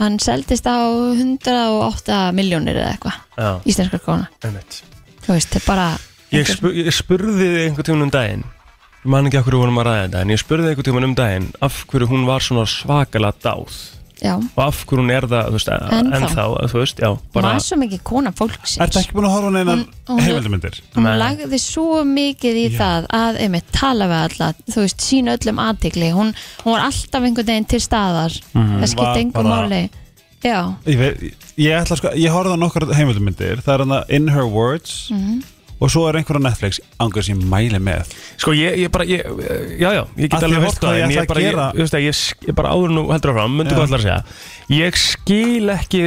S2: hann seldist á 108 miljónir eða eitthvað
S1: Já,
S2: íslenskar kona
S1: einmitt
S2: þú veist, þetta er bara
S1: Ég, spu, ég spurði þig einhvern tímann um daginn Ég man ekki af hverju vorum að ræða þetta En ég spurði þig einhvern tímann um daginn Af hverju hún var svona svakalega dáð
S2: já,
S1: og af hverju hún er það, þú veist,
S2: Ennþá.
S1: ennþá, þú veist, já,
S2: bara,
S1: bara,
S2: var svo mikið kona fólksins
S3: Er þetta ekki búin að horfa á neinar
S2: Hún- hún-
S3: heimildamöndir?
S2: hún
S1: Nei.
S2: lagði svo mikið í það að einmitt tala við alla þú veist, sína öllum aðtikli hún, hún var alltaf einhvern veginn til staðar það
S3: Var
S2: skipti engum
S3: bara-
S2: máli já,
S3: Ég, veit- ég, ætla sko, ég horfði á nokkar heimildamöndir Það er hann að In Her Words
S2: Mhm.
S3: Og svo er einhver á Netflix Angur sem ég mæli með
S1: sko, ég, ég bara, ég, já, já, ég
S3: Af
S1: get
S3: því
S1: alveg
S3: veist
S1: hort á
S3: hvað
S1: það,
S3: ég
S1: en
S3: ætla
S1: ég
S3: að
S1: bara, ég,
S3: gera?
S1: þú veist, að ég, sk- ég bara áður nú heldur áfram, myndu
S3: Já.
S1: hvað ætlar að segja ég skil ekki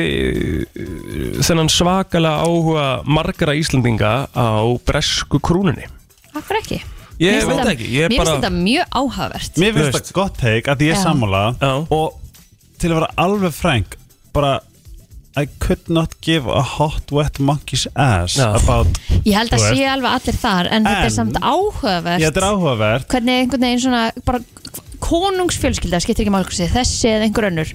S1: uh, þennan svakalega áhuga margara Íslandinga á bresku krúnunni
S2: akkur ekki
S1: Ég
S2: Mér finnst
S1: veit
S2: þetta-
S1: ekki, ég er
S2: mér finnst
S1: bara-
S2: þetta mjög áhugavert
S3: Mér
S1: Þú
S3: finnst
S1: veist.
S3: það gott teik að ég er
S2: Já.
S3: sammála
S1: Já.
S3: Og til að vera alveg frænk Bara I could not give a hot wet monkey's ass
S1: Já.
S3: About
S2: ég held
S3: Þú
S2: að
S3: veist.
S2: sé alveg allir þar en þetta
S3: En-
S2: er samt áhugavert
S3: Ég þetta er áhugavert
S2: hvernig einhvern veginn svona bara konungsfjölskylda skiptir ekki málkursi þessi eða einhver önnur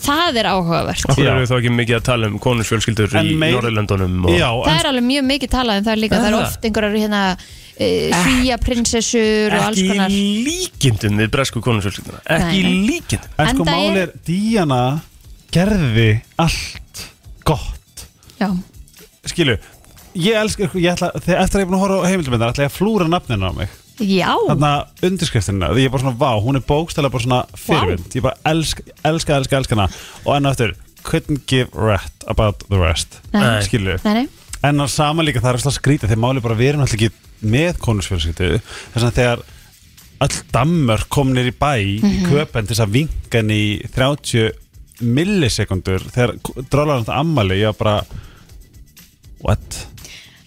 S2: það er áhugavert
S1: Af hverju
S3: Já.
S1: erum við þá ekki mikið að tala um konusfjölskyldur
S3: En
S1: í
S3: meir-
S1: Norðurlöndunum og...
S3: Já,
S2: það er alveg mjög mikið talað um það líka
S1: Er
S2: það eru
S1: það?
S2: oft einhverjar hérna e, svíja prinsessur og alls
S1: ekki
S2: konar
S1: í líkindum við bresku konusfjölskylduna ekki í
S2: Nei, nei.
S1: líkindum
S3: En sko
S2: Enda er-
S3: máli er Díana gerði allt gott
S2: já,
S3: Skilu Ég elska, ég ætla, þegar eftir að ég er búin að horfa á heimildumindar ætla ég að flúra nafninu á mig
S2: já.
S3: Þarna undirskriftina, því ég er bara svona vá, hún er bókstælega bara svona fyrirvind Ég bara elska, elska, elska, elska hana Og enn og eftir, couldn't give rat about the rest
S2: Nei.
S3: Skilu
S2: Nei, nei.
S3: En á sama líka það er svona skrítið þegar máli bara við erum alltaf ekki með konusfjölskyldu þess að þegar all dammör kom nýr í bæ í köpen til þess að vinka henni í 30 millisekundur þegar drálar hann það ammali ég var bara what?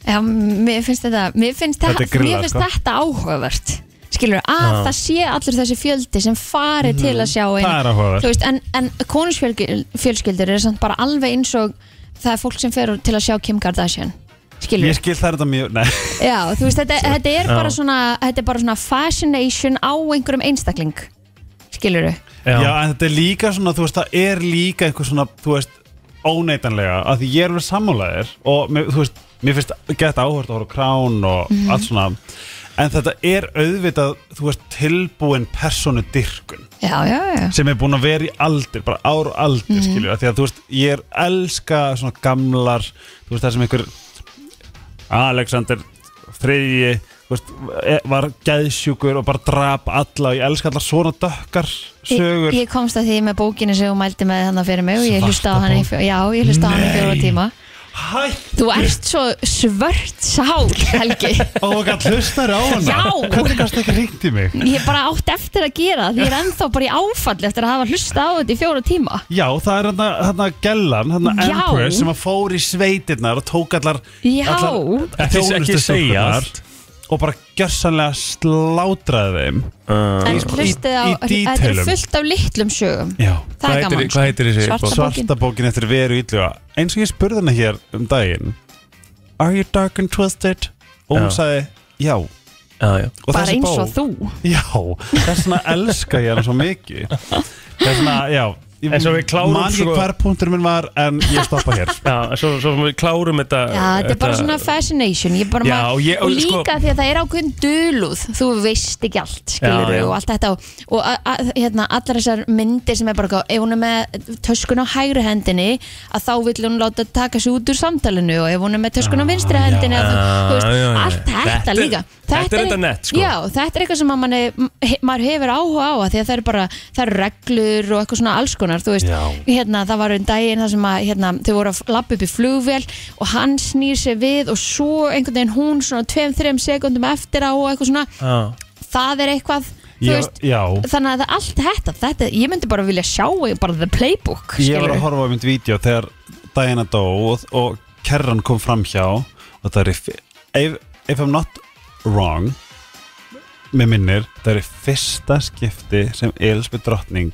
S2: Já, mér finnst þetta mér finnst,
S3: Þetta
S2: þetta,
S3: er grillað,
S2: mér finnst
S3: sko.
S2: þetta áhugavert skilur að það sé allur þessi fjöldi sem fari til að sjá einu-
S3: Mhm. Það er áhugavert.
S2: Þú veist, en, en konusfjölskyldur er samt bara alveg eins og það er fólk sem fer til að sjá Kim Kardashian skilur
S3: Ég skil það er þetta mjög nei,
S2: Já, þú veist, þetta, þetta, er bara
S1: Já.
S2: svona, þetta er bara svona fascination á einhverjum einstakling skilur
S3: já. en þetta er líka svona, þú veist, það er líka eitthvað svona, þú veist, óneitanlega að því ég er alveg sammálaðir og mér, þú veist, mér finnst gett áhört að horfa á krán og
S2: Mhm.
S3: allt svona en þetta er auðvitað, þú veist, tilbúin personu dyrkun
S2: Já, já, já
S3: sem er búin að vera í aldir, bara ár og aldir
S2: Mhm.
S3: mm. skilju, því að þú veist, ég er elska svona gamlar, þú veist það sem einhver Alexander þriðji, þú veist e- var gæðsjúkur og bara drap alla og ég elska allar svona dökkar sögur,
S2: Ég, ég komst að því með bókinu sem hún mældi með þannig fyrir mig og ég
S3: Svarta
S2: hlusta á hann í,
S3: bók.
S2: fjó- já, ég hlusta á hann í
S3: Nei.
S2: fjóra tíma
S3: hæ
S2: Þú ert svo svört sál, Helgi
S3: og hvað hlustar á hana
S2: Já.
S3: hvernig kannst það ekki ringt í mig
S2: Ég bara átt eftir að gera það því ég er ennþá bara í áfall eftir að hafa hlusta á þetta í fjóra tíma
S3: Já, það er hérna, hérna gellan, hérna
S2: Já.
S3: Empress sem að fór í sveitirnar og tók allar,
S2: Já.
S1: Ekki-
S3: allar
S1: ekki segja
S3: þjónustustúlkurnar
S1: allt.
S3: og bara gjörsanlega slátraði þeim
S2: En
S3: Í-
S2: hlustið á,
S3: í
S2: þetta er
S3: detailum.
S2: fullt af litlum sögum
S3: Já
S2: Það
S1: Hvað
S2: er
S1: heitir-
S2: gaman
S1: hvað heitir þessi
S2: Svarta,
S1: bók?
S2: bókin?
S3: Svarta bókin eftir veru ylluga Eins og ég spurði hana hér um daginn Are you dark and twisted? Og hún
S1: Já.
S3: sagði já og
S1: já, já.
S2: Bara
S3: þessi
S2: eins og
S3: bók-
S2: þú
S3: Já, þess vegna elska ég hana svo mikið Þess vegna, já ég-
S1: En svo við klárum
S3: Man ég
S1: sko-
S3: hvar punktur minn var en ég stoppa hér
S1: Já, svo, svo við klárum þetta
S2: Já, þetta er bara svona fascination ég bara
S1: Já,
S2: maður-
S1: ég-
S2: og
S1: sko-
S2: líka því að það er ákveðin duluð þú veist ekki allt, skilur
S1: Já, já.
S2: og allt þetta og, og a, a, hérna, allar þessar myndir sem er bara, eitthvað, ef hún er með töskun á hægri hendinni að þá vill hún láta taka sig út úr samtalinu og ef hún er með töskun á vinstri hendinni að þú, þú veist,
S1: Ah, já, já, já.
S2: allt þetta,
S1: Þetta er-
S2: líka
S1: þetta er þetta nett, sko.
S2: Já, þetta er eitthvað sem að manni, he- maður hefur áhuga á að því að það er bara, það er reglur og eitthvað svona alls konar, þú veist
S3: Já.
S2: hérna, það var um daginn þar sem að hérna, þau voru að lappa upp í flugvél og hann snýr sér við og svo einhvern veginn hún svona 2-3 sekundum eftir á og eitthvað svona,
S1: Já.
S2: það er eitthvað þú
S3: Já,
S2: veist,
S3: já.
S2: þannig að það allt þetta, þetta, ég myndi bara vilja sjá bara the playbook,
S3: Ég var
S2: skilur
S3: að horfa á mynd vídeo þegar Diana dó og, og kerran kom fram hjá og það er í fi- if, if I'm not wrong með minnir, það er í fyrsta skipti sem Elisabeth drottning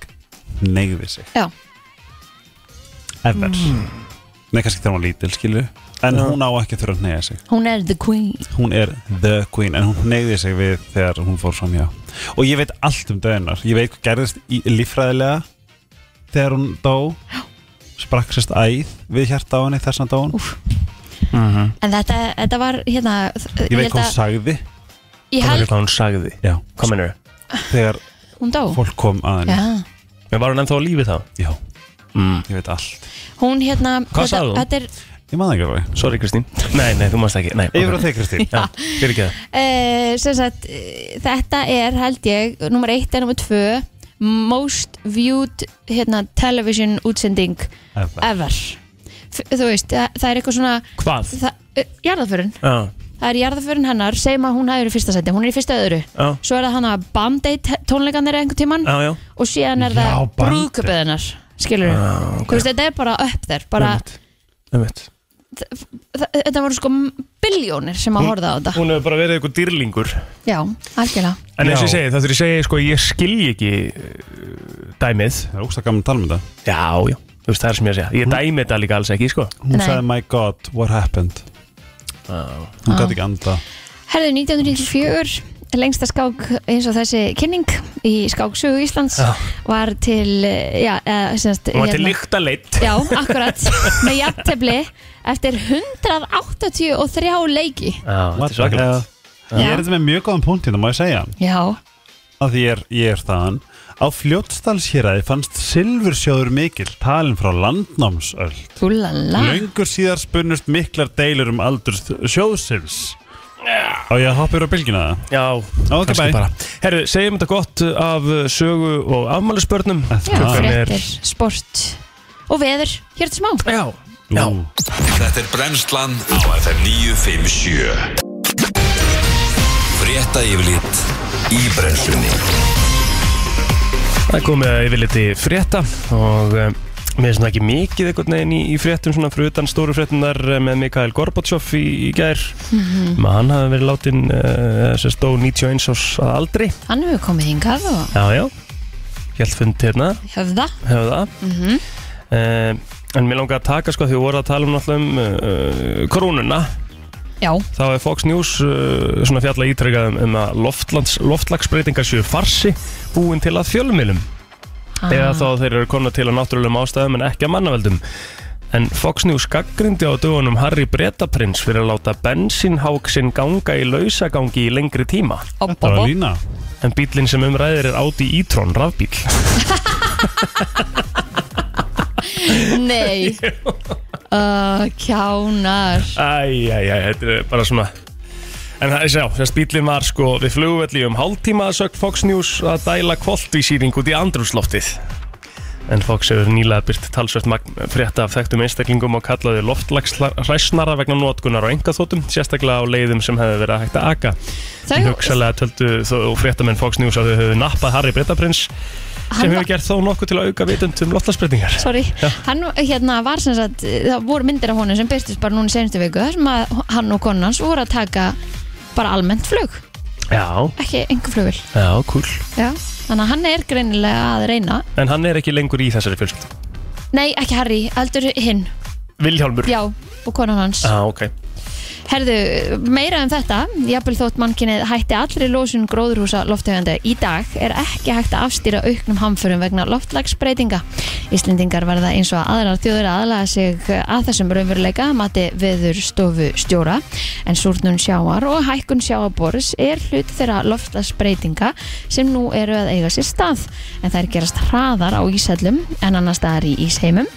S3: neyði sig
S2: Já,
S3: ever Nei, kannski þegar hún var lítil, skilu en
S1: Hmm. Já.
S3: hún á ekki að þurfa að neyða sig
S2: hún er the queen
S3: hún er the queen en hún neyði sig við þegar hún fór fram hjá og ég veit allt um döðunar ég veit hvað gerðist í líffræðilega þegar hún dó sprakk sérst æð við hjarta á henni þessan dón
S2: Úff.
S3: Mhm.
S2: en þetta, þetta var hérna,
S3: ég veit hvað hún
S2: að,
S3: sagði
S2: ég
S1: Það er
S2: held,
S1: hvað hún sagði
S3: já.
S1: Hvað mennur?
S3: þegar
S2: hún dó
S3: fólk kom að henni
S2: Já,
S1: Var hún ennþá á lífi þá?
S3: já. mm. ég veit allt
S2: Hún hérna
S1: Hvað
S2: þetta-
S1: sagði hún?
S2: Þetta er
S3: ég maður ekki alveg
S1: Sorry Kristín Nei, nei, þú mást ekki nei,
S3: yfir á
S1: ok.
S3: þig Kristín
S1: Já, fyrir ekki það
S2: Eh, sem sagt, eh, þetta er held ég, nummer eitt er nummer tvö most viewed hérna, television útsending
S3: Ever.
S2: ever F þú veist, það, það er eitthvað svona
S1: Hvað?
S2: það, uh, jarðaförin,
S1: Já,
S2: það er jarðaförin hennar segjum að hún hafi verið í fyrsta seti, hún er í fyrsta öðru
S1: já,
S2: svo er það hann að bandeit tónleikanir einhvern tíman
S1: já, já
S2: og síðan er
S3: Já,
S2: það
S3: Band Aid.
S2: brúðköpið hennar skilur við,
S1: Já, ok.
S2: þú veist, þetta er bara upp þér bara,
S1: Einmitt. Einmitt.
S2: það, þetta voru sko biljónir sem að horfa á þetta
S1: Hún hefur bara verið eitthvað dýrlingur
S2: já, algjörlega
S1: En eins og ég
S3: Já.
S1: segi, það þurfið að segja, sko, ég skilji ekki uh, dæmið
S3: það er ógst gaman að tala um þetta
S1: Já, já, þú veist, það er sem ég að segja Ég dæmi þetta líka alls ekki, sko
S3: hún
S2: Nei.
S3: sagði my god what happened
S2: Ah.
S3: hún gæti ekki anda
S2: Herðu 1994 lengsta skák eins og þessi kynning í skáksögu Íslands
S1: Já.
S2: var til eh, já, eða, semast,
S1: Hún var
S3: hérna-
S1: til líkta leitt
S2: Já, akkurat, með jafntefli eftir 183 leiki
S1: Já, þetta
S3: What
S1: er
S3: the hell?
S1: svakalegt
S3: ég er þetta með mjög góðan punkt hérna, má ég segja hann
S2: Já,
S3: að því ég er, ég er þaðan á fljótsdalshýraði fannst silfursjóður mikill talin frá landnámsöld
S1: Ah.
S2: húlala
S3: Löngur síðar spunnust miklar deilur um aldur sjóðsins Og ég hoppir á bylgina það
S1: Já,
S3: Ok, bye.
S1: Herru, segjum þetta gott af uh, sögu og afmælisbörnum
S2: Já,
S1: Klukkan er-
S2: fréttir, sport og veður, hér til smá
S1: Já, já
S4: Þetta er brennslan á FM 957 Frétta yfirlit í brennslunni
S1: Það er komið að yfirliti frétta og um, mér er svona ekki mikið einhvern veginn í, í fréttum svona fyrir utan stóru fréttunar með Mikael Gorbatsjov í, í gær mm hann hafði verið látin uh, sem stó 91 árs að aldri
S2: Hann hefur komið hingað og
S1: Já, já, hjælt fund hérna
S2: höfða
S1: höfða mm en mér langar að taka sko því við vorum að tala um náttúrulega um uh, korúnuna
S2: Já,
S1: þá er Fox News uh, svona fjalla ítrekað um, um að loftlands, loftlagsbreytingar séu farsi búin til að fjölmiðlum eða þá þeir eru komna til að náttúrulegum ástæðum en ekki að mannaveldum. En Fox News gaggrindi á dögunum Harry Bretaprins fyrir að láta bensínhák sinn ganga í lausagangi í lengri tíma.
S2: op,
S3: Það
S2: op,
S3: var
S2: op.
S3: lína
S1: En bílinn sem umræðir er Audi e-tron rafbíl.
S2: Nei uh, Kjánar
S1: Æj, æj, æj, þetta er bara svona... En það er sjá, þess bílinn var sko við flugvelli um hálftíma að sögn Fox News að dæla kvoltvísýring út í andrúnsloftið. En Fox hefur nýlega byrt talsvert magn frétta af þekktum einstaklingum og kallaði loftlagsræsnara vegna notkunar á engaþótum, sérstaklega á leiðum sem hefði verið hægt að aka. En
S2: Þau,
S1: hugsalega töldu þó fréttamenn Fox News að þau hefðu nappað Harry Bretaprins sem
S2: Hann-
S1: hefur gert þó nokkuð til að auka vitund um loftlagsbreytingar.
S2: Sorry, hann hérna var sem sagt það voru myndir af honum sem byrstist bara núna í senstu viku þar sem að hann og konan hans voru að taka bara almennt flug
S1: Já,
S2: ekki engu flugul
S1: já, cool.
S2: Já. þannig að hann er greinilega að reyna
S1: En hann er ekki lengur í þessari fjölskyld.
S2: nei ekki Harry, eldur hinn
S1: Vilhjálmur.
S2: já, og konan hans
S1: Já, ok.
S2: Herðu, meira um þetta, jafnvel þótt mannkinnið hætti allri lósun gróðurhúsa loftegönda í dag er ekki hægt að afstýra auknum hamförum vegna loftlagsbreytinga. Íslendingar verða eins og aðrar þjóður að aðlaga sig að þessum raunveruleika mati veður stofu stjóra en súrnun sjáar og hækkun sjáabors er hlut þeirra loftlagsbreytinga sem nú eru að eiga sér stað en þær gerast hraðar á ísællum en annars staðar í ísheimum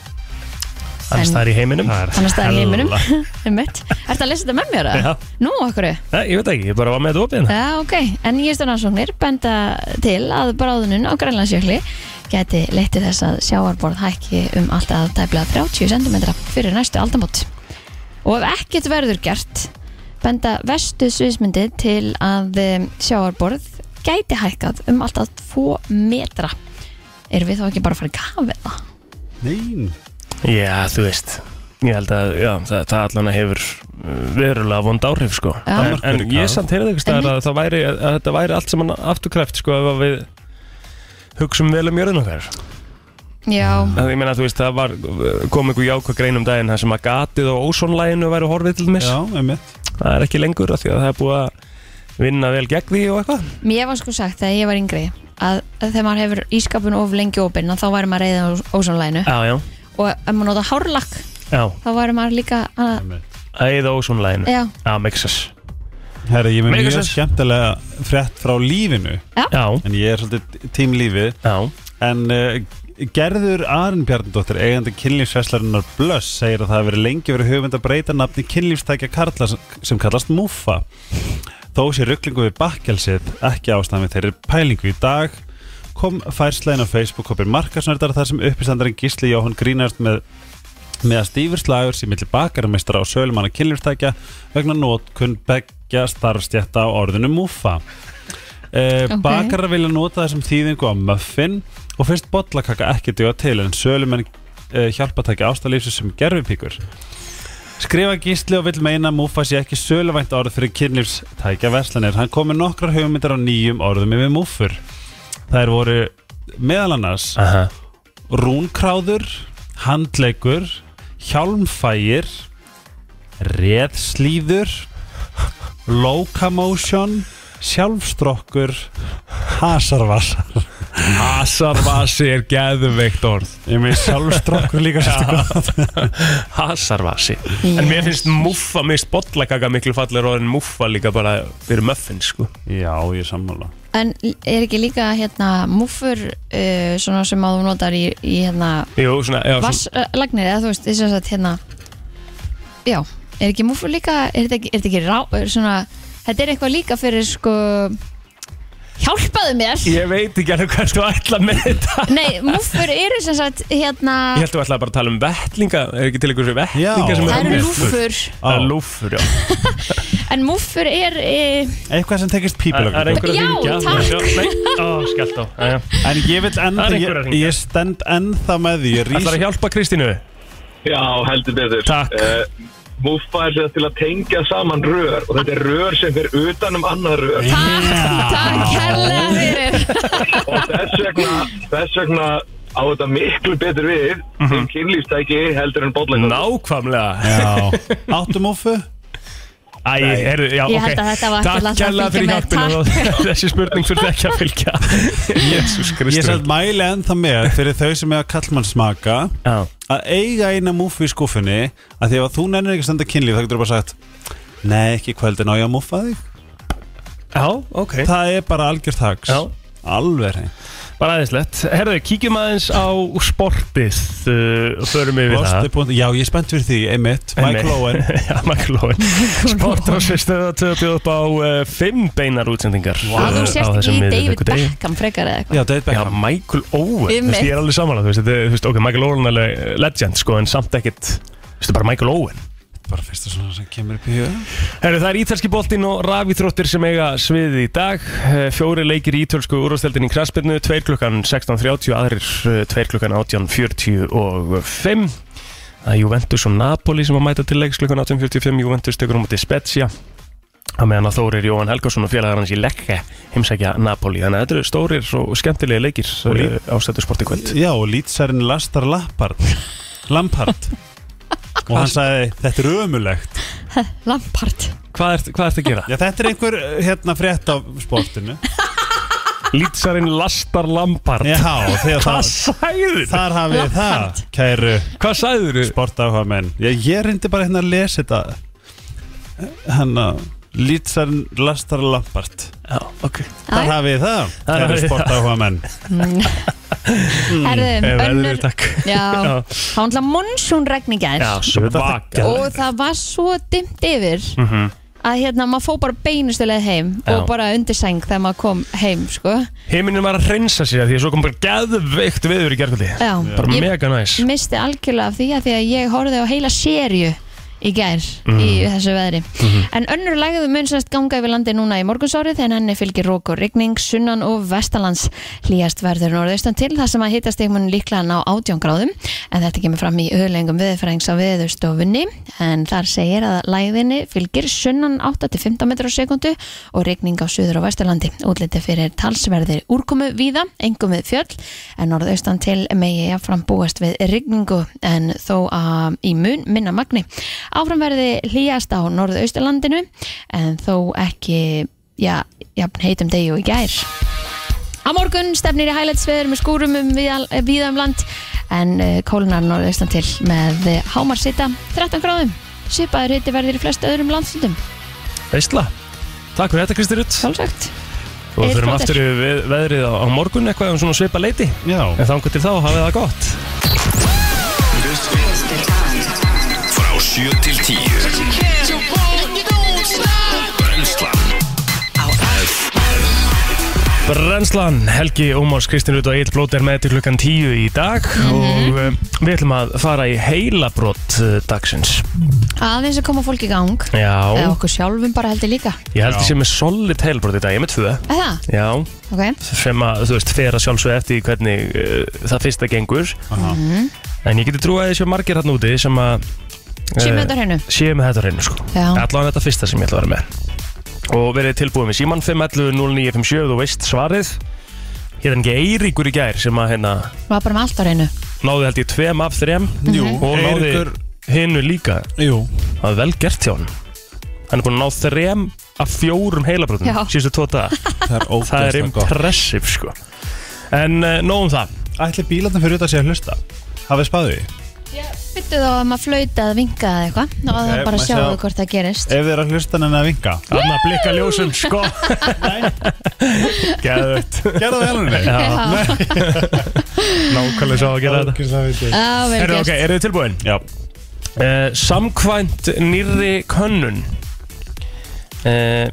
S1: Annars
S2: En-
S1: það er í heiminum.
S3: Það er
S2: annars staðar í heiminum.
S3: hella.
S2: Einmitt. Ertu að lesa þetta með mér? eða? Nú, okkur?
S1: Nei, ég veit ekki, ég bara var með þetta opið hérna.
S2: Já, ok, en nýjastu rannsóknir benda til að bráðunun á Grænlandsjökli geti leitt til þess að sjáarborð hækki um alltaf tæplega 30 cm fyrir næstu aldamót. Og ef ekkert verður gert, benda vestu sviðsmyndi til að um, sjáarborð gæti hækkað um alltaf 2 metra. Erum við þá ekki bara að fara í kafið það?
S3: Nein
S1: Já, þú veist. Ég held að, já, það, það allan hefur uh, verulega vond áhrif, sko.
S2: Já.
S1: En, en ég samt heyrði eitthvað staðar
S2: Einmitt.
S1: að, það væri, að þetta væri allt saman afturkræft, sko, ef að við hugsum vel um jörðin okkar.
S2: Já,
S1: Það, ég meina, þú veist, það var, uh, kom einhver jákvæð grein um daginn þar sem að gatið og ósónlæginu væri horfið til mér.
S3: Já, einmitt
S1: Það er ekki lengur af því að það er búið að vinna vel gegn því og eitthvað.
S2: mér var sko sagt þegar ég var yngri að, að þegar maður hefur ískapun of lengi opinn þá væri maður reyðið á ósónlæginu
S1: Já, já.
S2: og ef maður nota hárlakk
S1: Já,
S2: þá væri maður líka að,
S1: æða ósónlæginu.
S2: já,
S1: Já, mixas.
S3: Herra, ég er með
S1: Mega
S3: mjög
S1: sens.
S3: skemmtilega frétt frá lífinu
S1: Já,
S3: En ég er svolítið tím lífið
S1: já.
S3: En uh, Gerður Arn Bjarnadóttir, eigandi kynlífsveslarinnar Blöss, segir að það hafi verið lengi verið hugmynd að breyta nafni kynlífstækja karla sem- sem kallast Múfa. Þó sé rugglingu við bakkelsið ekki ástæðan við þeirri pælingu í dag kom færslegin á Facebook hópir markasnördar þar sem uppistandarinn Gísli Jóhann grínast með með að stífur slagur sem milli bakarmeistra og sölumanna kynlífstækja vegna nótkunn beggja starfstjætta á orðinu múfa. Eh,
S2: Ok.
S3: Bakarar vilja nota þessum þýðingu á muffin og finnst bollakaka ekki duga til en sölumenn eh, hjálpa að taka ástalífsir sem gerfipíkur. Skrifa gísli og vill meina að múfa sé ekki söluvænt orð fyrir kynlífstækja verslanir. Hann kom með nokkrar hugmyndir á nýjum orðum yfir múfur. Þær voru meðal annars
S1: Aha.
S3: rúnkráður, handleikur, hjálmfægir, reðslíður, locomotion, sjálfstrokkur, hasarvasa.
S1: Hasarvasi er geðveikt orð
S3: Ég með sjálfstrokkur líka svolítið gott.
S1: Hasarvasi En mér finnst muffa, mér finnst bollakaka miklu fallir orðin muffa líka bara fyrir muffin sko
S3: Já, ég er sammála.
S2: En er ekki líka hérna múfur uh, svona sem að þú notar í, í hérna
S1: Jú, svona, já, svona
S2: vasslagnir eða þú veist, þess að hérna já, er ekki múfur líka er þetta ekki, er þetta ekki rá, er svona þetta er eitthvað líka fyrir sko hjálpaðu mér
S1: Ég veit ekki alveg hvað þú ætla með þetta
S2: nei, múfur eru sem sagt hérna,
S1: Ég held að þú ætlaði bara að tala um vettlinga Er ekki til ykkur sem vettlinga
S3: Já.
S1: sem
S2: það
S1: eru
S2: eru
S1: múffur?
S2: lúfur
S1: Það eru lúfur, já
S2: en múfur er e,
S3: Eitthvað sem tekist
S1: Það er
S3: pípilögn.
S1: einhver að
S2: Já,
S1: hringja.
S2: takk.
S1: Já, Nei, ó, skellt á Jæja.
S3: En ég vil ennþá,
S1: Það er einhver að
S3: ég,
S1: hringja.
S3: ég stend ennþá með því. Ég rís,
S1: Ætlarðu að hjálpa Kristínu?
S5: Já, heldur betur
S1: Takk.
S5: uh, Múffa er sér til að tengja saman rör og þetta er rör sem fer utan um annað rör
S2: takk, takk herrlega fyrir
S5: og þess vegna, þess vegna á þetta miklu betur við mm -hmm. kynlífstæki heldur en bollakaka
S1: Nákvæmlega
S3: Já. Áttu múfu?
S1: Æ, heyrðu, já,
S2: Ég
S1: ok
S2: held að þetta var ekki
S1: Takk
S2: langt að
S1: kærlega fyrir
S2: fylgja með.
S1: hjálpina Þessi spurning fyrir ekki að fylgja Jésús
S3: Ég
S1: Kristur
S3: sætt mæli ennþá með fyrir þau sem hefa kallmannsmaka
S1: Já.
S3: að eiga eina múfu í skúfunni að því ef að þú nennir ekki að standa kynlíf þá getur þú bara sagt Nei, ekki í kvöld en á ég að múfa þig
S1: Já, ok
S3: Það er bara algjör þags
S1: Já.
S3: Alveg hreint
S1: Bara aðeinslegt Herðu, kíkjum aðeins á sportið uh, og förum yfir það
S3: Losti.- Já, ég er spennt fyrir því, einmitt Michael Owen
S1: Já, Michael Owen Sportrási stöða töfbið upp á uh, fimm beinar útsendingar
S2: að
S1: uh,
S2: þú
S1: á
S2: sést
S1: þessum
S2: ekki í David
S1: miðvikudegi.
S2: Beckham frekar eða eitthvað
S3: Já, David
S1: Já,
S3: Beckham
S1: Michael Owen, þú
S2: Einmitt.
S1: veist, ég er alveg samanlega, þú veist, þetta er, þú veist, ok, Michael Owen er alveg eh, legend, sko, en samt ekkit, þú veist, bara Michael Owen.
S3: Bara fyrst og svona sem kemur upp í huga
S1: Herru, það er ítalski boltinn og rafíþróttir sem eiga sviðið í dag. Eh, Fjóri leikir í ítölsku úrvasteldin í kraspirnu, 2 klukkan 16.30, aðrir 2 klukkan 18.45. Það er Juventus og Napoli sem að mæta til leiks klukkan 18.45, Juventus tekur um út í Spezia. Það meðan að Þórir Jóhann Helgason og félagar hans í Lekka heimsækja Napoli. Þannig að þetta eru stórir og skemmtilegi leikir eh, á stættu sporti kvöld.
S3: Já, og lýtsærin Lastar Lampard Lampard Og hann sagði, þetta er ömulegt
S2: Lampard
S1: Hvað ert, hvað ert að gera?
S3: Já, þetta er einhver hérna frétt af sportinu
S1: Lýtsarinn Lastar Lampard.
S3: Já, þegar
S1: Hvað
S3: það
S1: sagður?
S3: Þar hafið þið það, kæru
S1: Hvað sagður?
S3: sportáhuga menn ég, ég reyndi bara hérna að lesa þetta hérna Lítsarn Lastar Lampart
S1: Já, ok.
S2: Æ.
S3: Þar hafið þið
S1: Þar
S3: það, það
S1: hafið
S3: eru
S1: þið
S3: sportáhuga menn
S2: Herðum,
S1: Eh, veðrið
S2: Mm. önnur
S1: Hmm. takk
S2: Já, það var náttúrulega monsunregn í gær
S1: Já, svaka
S2: og það var svo dimmt yfir að hérna maður fó bara beinustilega heim
S1: Mhm. Já.
S2: og bara undir seng þegar maður kom heim sko.
S1: Heiminin var að hreinsa sér því að svo kom bara geðveikt viður í gerkvöldi
S2: Já,
S1: Bara
S2: ég
S1: mega næs
S2: misti algjörlega af því að því að ég horfði á heila sériu í gær í þessu veðri en önnur lagðu mun semst ganga yfir landi núna í morgunsárið en henni fylgir rók og rigning sunnan og vestanlands hlýjast verður norðaustan til þar sem að hittast mun líklega ná 18 gráðum en þetta kemur fram í auðlengum viðfræðings á viðurstofunni en þar segir að læðinni fylgir sunnan 8-15 metrar á sekundu og rigning á suður og vesturlandi útliti fyrir talsverðir úrkomu víða, engum við fjöll en norðaustan til megi að frambúast við rigningu en þó að í mun minna magni. Áfram verði hlýjast á norðausturlandinu en þó ekki já, jafn heitum degi og í gær. Á morgun stefnir í hælætsveður með skúrum um víða- víða um land en eh, kólnar norðaustan til með eh, hámarsita 13 gráðum. Svipaður hitti verðir í flest öðrum landslundum,
S1: Veistla Takk fyrir þetta Kristi Rutt
S2: sjálfsagt.
S1: Og við
S2: Egill
S1: þurfum
S2: Blöndal.
S1: aftur yfir við- veðrið á, á morgun eitthvað um svona svipa leiti
S3: Já.
S1: En þangur til þá hafið það gott
S4: Frá 7 til 10 Brennslan Á
S1: Brennslan, Helgi Ómars, Kristinn Rut og Egil Blót er með til klukkan 10 í dag og um, við ætlum að fara í heilabrótt uh, dagsins
S2: Aðeins að koma fólk í gang Eða
S1: Já,
S2: okkur sjálfum bara heldur líka
S1: ég held ég sé með solid heilabrótt í dag, ég er með tvö
S2: Er Það,
S1: Já,
S2: ok
S1: sem að, þú veist, fer að sjálfsög eftir því hvernig uh, það fyrsta gengur Mhm. En ég geti trúið að þessi margir hann úti sem að
S2: Sjö
S1: eh,
S2: mínútur hennu
S1: séu með þetta á hreinu sko
S2: Já.
S1: allan þetta fyrsta sem ég ætla að vera með og verið tilbúið með síman 511 0957 þú veist svarið hér er ekki Eiríkur í gær sem að hérna
S2: Var bara með allt á hreinu
S1: náði held ég tveim af þrem
S3: Jú,
S1: og náði
S3: Eiríkur-
S1: hinnu líka
S3: Jú,
S1: það er vel gert hjá hann hann er búin að ná þrem af fjórum heilabrotum
S2: Já.
S1: síðustu tvo daga
S3: það er
S1: það er
S3: ógæðslega gott
S1: impressive sko en uh, nóg um það
S3: Ætli bílarnir fyrir utan sé að hlusta Hafið spáðið því?
S2: Byttu þá að maður flauta að vinka eða eitthvað
S1: Eh,
S2: og okay,
S3: Ok,
S2: bara
S3: maður
S2: sjáu
S3: sjá.
S2: hvort það gerist
S3: Ef þið er að hlusta en að vinka
S1: Anna blikka ljósum sko Gæðvögt
S3: Gerðu það hérna
S1: Já. Nákvæmlega sá að gera þetta
S3: henni
S2: Á, vel
S1: Eru
S2: gert
S1: okay, eru þið tilbúin?
S3: Já,
S1: Uh, samkvæmt nýrri könnun uh,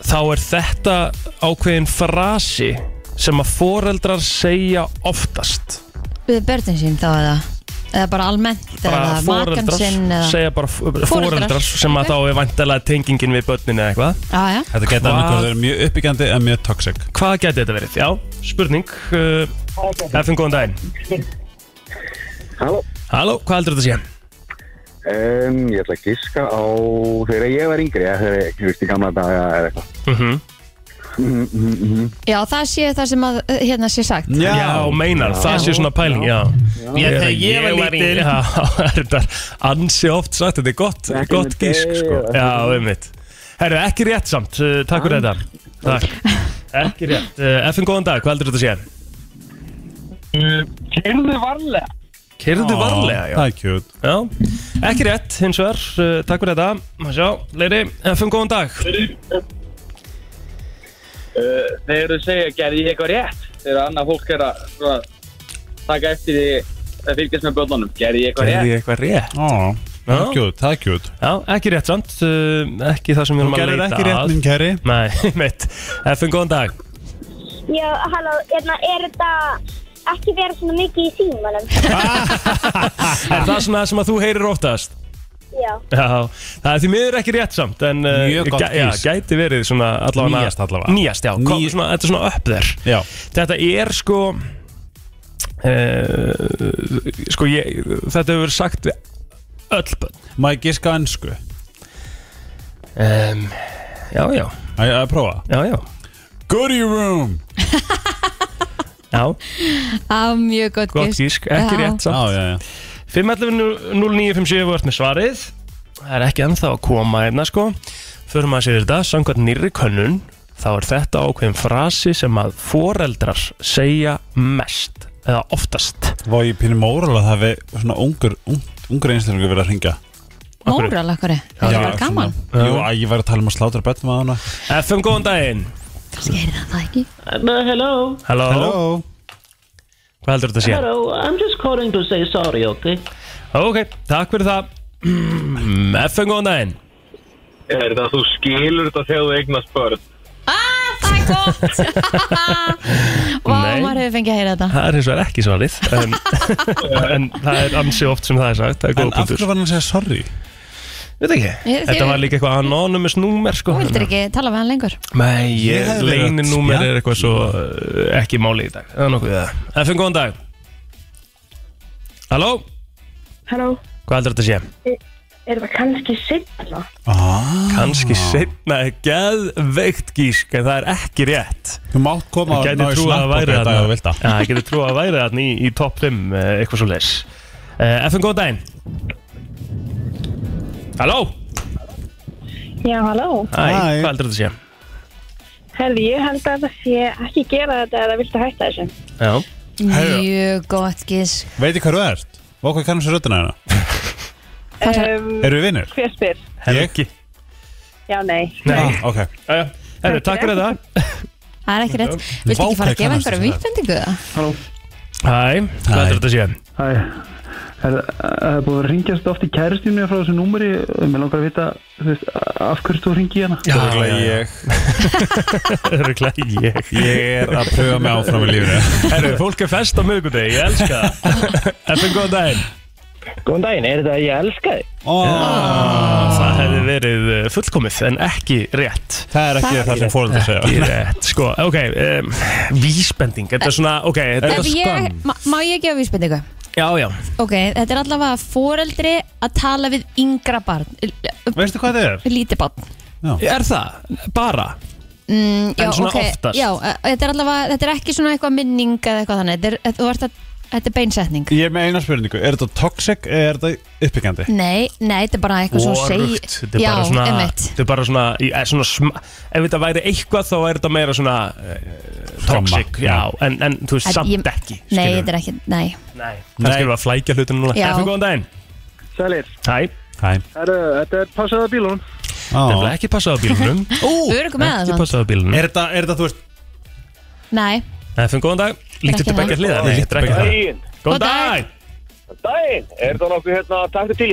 S1: þá er þetta ákveðin frasi sem að foreldrar segja oftast
S2: Við börnin sín þá eða eða bara almennt eða makan sinn eða
S1: segja bara foreldrar, foreldrar sem að
S2: ok.
S1: þá er vantalega tengingin við börninu eða eitthvað
S2: Já, já,
S3: þetta
S1: Hvað?
S3: geta annað hvað er mjög uppbyggjandi en mjög toxic
S1: Hvað geti þetta verið? Já, spurning uh, FN, góðan daginn
S6: Halló,
S1: Halló, hvað heldur þetta sé?
S6: um, ég ætla að giska á þegar ég var yngri, eða þegar ég, þú veist, í gamla daga eða eitthvað.
S1: Mm
S2: já, það sé það sem að eh, hérna sé sagt
S1: Já, meinar, það sé svona pæling Já,
S7: Já, þegar ég var lítil.
S1: Já, það er þetta ansi oft sagt Þetta er gott,
S6: Back in
S1: gott
S6: the day,
S1: gísk sko.
S6: og-
S1: Já, einmitt Herru, ekki rétt samt, uh, takk fyrir þetta Takk Ekki rétt uh, FN, góðan dag, hvað heldur þetta sé?
S5: Kyrðu varlega
S1: Kyrðu varlega, já
S3: Það er cute
S1: Já, ekki rétt, hins vegar, uh, takk fyrir þetta Má Sjá, Leiri, FM, góðan dag
S5: Þegar þú segja, gerði ég eitthvað rétt? Þegar annað fólk er að svona, taka eftir því að fylgjast með börnunum Gerði ég eitthvað rétt?
S1: ég eitthvað rétt?
S3: Ó, Það er cute, það er cute
S1: Já, ekki rétt samt, uh, ekki það sem við erum að
S3: Gerður
S1: leita
S3: ekki rétt
S1: að.
S3: minn kæri
S1: Nei, mitt, FN, góðan dag
S8: Já, halló, hérna, er þetta ekki vera svona mikið í símanum?
S1: Er það svona sem að þú heyrir oftast?
S8: Já.
S1: Já, það er því miður ekki rétt samt En uh,
S3: Mjög gott
S1: já,
S3: gís.
S1: gæti verið svona allavega
S3: Nýjast allavega.
S1: Nýjast, já, kom,
S3: Ný-
S1: svona, þetta er svona upp þér
S3: Já,
S1: Þetta er sko uh, Sko ég, þetta hefur verið sagt við öll bönn
S3: má ég giska á ensku?
S1: um, Já, já,
S3: Æ, Að prófa
S1: já, já
S3: Goody room
S1: Já,
S2: Á, Ah, mjög gott
S1: gott
S2: gísk.
S1: gísk, ekki
S2: Já.
S1: rétt
S3: Já,
S1: samt
S3: já, já
S1: 5.11.09.57 við vart með svarið Það er ekki ennþá að koma einna sko Förum að sér þetta, samkvæmt nýrri könnun Þá er þetta ákveðin frasi sem að foreldrar segja mest Eða oftast
S3: Vá ég pínir móral að það við svona ungur, ung- ungur einstaklingur verið að ringja
S2: Móral okkur Það er bara gaman
S3: Jú, að ég var að tala um að slátra bönnum að hana
S1: FM, góðan daginn
S2: Kannski er það það ekki
S9: Uh, hello,
S1: Halló,
S3: Hello
S1: hvað heldur þetta að sé?
S9: hello. I'm just calling to say sorry, okay?
S1: Ok, takk fyrir það Mm, FM, góðan daginn
S5: Er það að þú skilur þetta þegar þú eignast börn?
S2: Ah, það er gott Vá,
S1: Nei.
S2: maður hefur fengið að heyra þetta
S1: Það er hins vegar ekki svarið En, en það er ansi oft sem það er sagt Það er
S3: En
S1: góð
S3: af hverju
S1: punktur
S3: var hann að segja sorry?
S1: Veit ekki,
S2: Ég-
S1: þetta var líka eitthvað anonymous númer sko
S2: Þú vildir ekki tala við hann lengur
S1: Nei,
S3: Ég
S1: ég,
S3: hefði verið að
S1: leyninúmer
S3: spjalla. um
S1: er eitthvað svo uh, ekki máli í dag Það er nokkuð við það FM, góðan dag Halló,
S8: Halló,
S1: hvað heldur þetta sé?
S8: er þetta kannski sitla?
S3: Ah,
S1: Kanski setna geðveikt gísk En það er ekki rétt
S3: Þú mátt koma
S1: Ég
S3: og ná
S1: gæti
S3: í
S1: trú að
S3: snapp
S1: væri
S3: okkar dag og vilt
S1: þarna
S3: að
S1: Já, ég gæti trú að væri þarna í, í topp 5 eh, Eitthvað svo leis FM, góðan daginn Halló
S8: Já, halló.
S1: Æ,
S3: Hæ.
S1: hvað heldur þetta sé?
S8: Herði, ég held að það sé ekki gera þetta eða viltu hætta þessu.
S1: Já
S3: Heyrðu.
S2: Mjög gott gís
S3: Veit ég hvað þú ert? Og hvað kannum sér röddina hérna?
S8: Um,
S3: Eru við vinnir?
S8: hver spyr?
S1: Helgi
S8: Já, nei.
S1: Nei,
S3: Ah, Ok
S1: Jæja. Herru, takk fyrir þetta
S2: það er ekki rétt Viltu ekki fara að gefa einhverju vísbendingu það?
S1: Hæ, hvað heldur þetta að sé?
S10: Hæ, er, er búið að ringja svo oft í kæristinu frá þessu númeri Mér langar að vita, þú veist, af hverju þú ringi hana
S1: Já, já, já. Örugglega ég
S3: Ég er að pröfa mig áfram í lífinu.
S1: Herru, fólk er fest á miðugudegi, ég elska það Eftir góðan daginn
S11: Góðan daginn, er þetta ég elska þig?
S3: Ah.
S1: oh. Það hefði verið eh, fullkomið en ekki rétt
S3: Það er ekki Það- það sem foreldrar segja.
S1: Ekki rétt, sko, ok um, Vísbending, þetta er svona, ok þetta
S2: Ef ég, má, má ég gefa vísbendingu?
S1: Já, já
S2: Ok, þetta er allavega foreldri að tala við yngra barn
S3: Veistu hvað það er?
S2: Lítið barn
S1: Er það? Bara?
S2: mm, já,
S1: En svona
S2: ok,
S1: oftast.
S2: Já, eh, þetta er allavega, þetta er ekki svona eitthvað minning eða eitthvað þannig Þetta er, þú ert að, þetta er beinsetning
S3: Ég er með eina spurningu, er þetta toxic eða er þetta uppbyggjandi?
S2: Nei, nei, þetta er bara eitthvað svo segi
S1: Vorugt, þetta er bara svona, þetta er bara svona, í- eh, svona sma, ef þetta væri eitthvað þá er þetta meira svona uh, toxic, já, en, en þú veist samt ekki
S2: Nei,
S1: skilurðu.
S2: þetta er ekki, nei
S1: Nei kannski erum við að flækja hlutinu núna
S2: Já.
S1: Efum góðan daginn
S10: Sælir,
S1: Hæ Hæ
S10: Herru, þetta er passaða bílunum
S1: Nefnilega ekki passað á bílunum
S2: Við erum með það
S1: Ekki
S2: samt.
S1: passað á bílunum Er þetta, er þetta þú veist
S2: Nei,
S1: Efum góðan dag Lítið
S2: Ekki
S1: til begja
S2: það.
S1: hliðar
S2: Nei,
S1: Nei, þetta er ekki það
S12: Daginn,
S1: Góðan dag
S12: daginn, er það nokkuð hérna taktu til í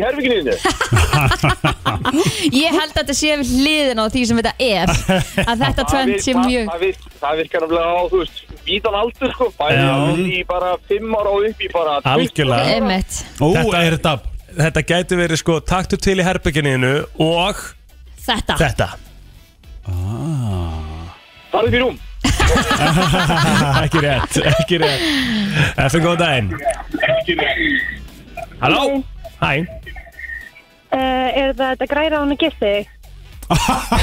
S12: herfinginu þínu?
S2: ég held að þetta sé við hliðin á því sem þetta er Að þetta tvend sé mjög
S12: Það, vir, það virkar náttúrulega á, þú veist, vítan aldur sko, bæði
S1: Já.
S12: á í bara 5 ára og upp í bara 20 ára.
S1: Algjörlega
S2: Einmitt.
S1: Ó, þetta, er þetta Þetta gæti verið sko Taktu til í herbygginu Og
S2: Þetta
S1: Þetta
S12: Það er upp í rúm
S1: Ekki rétt Ekki rétt Efum góðan daginn Halló Hæ
S13: Eh,
S8: er það þetta græra hún að gifta þig?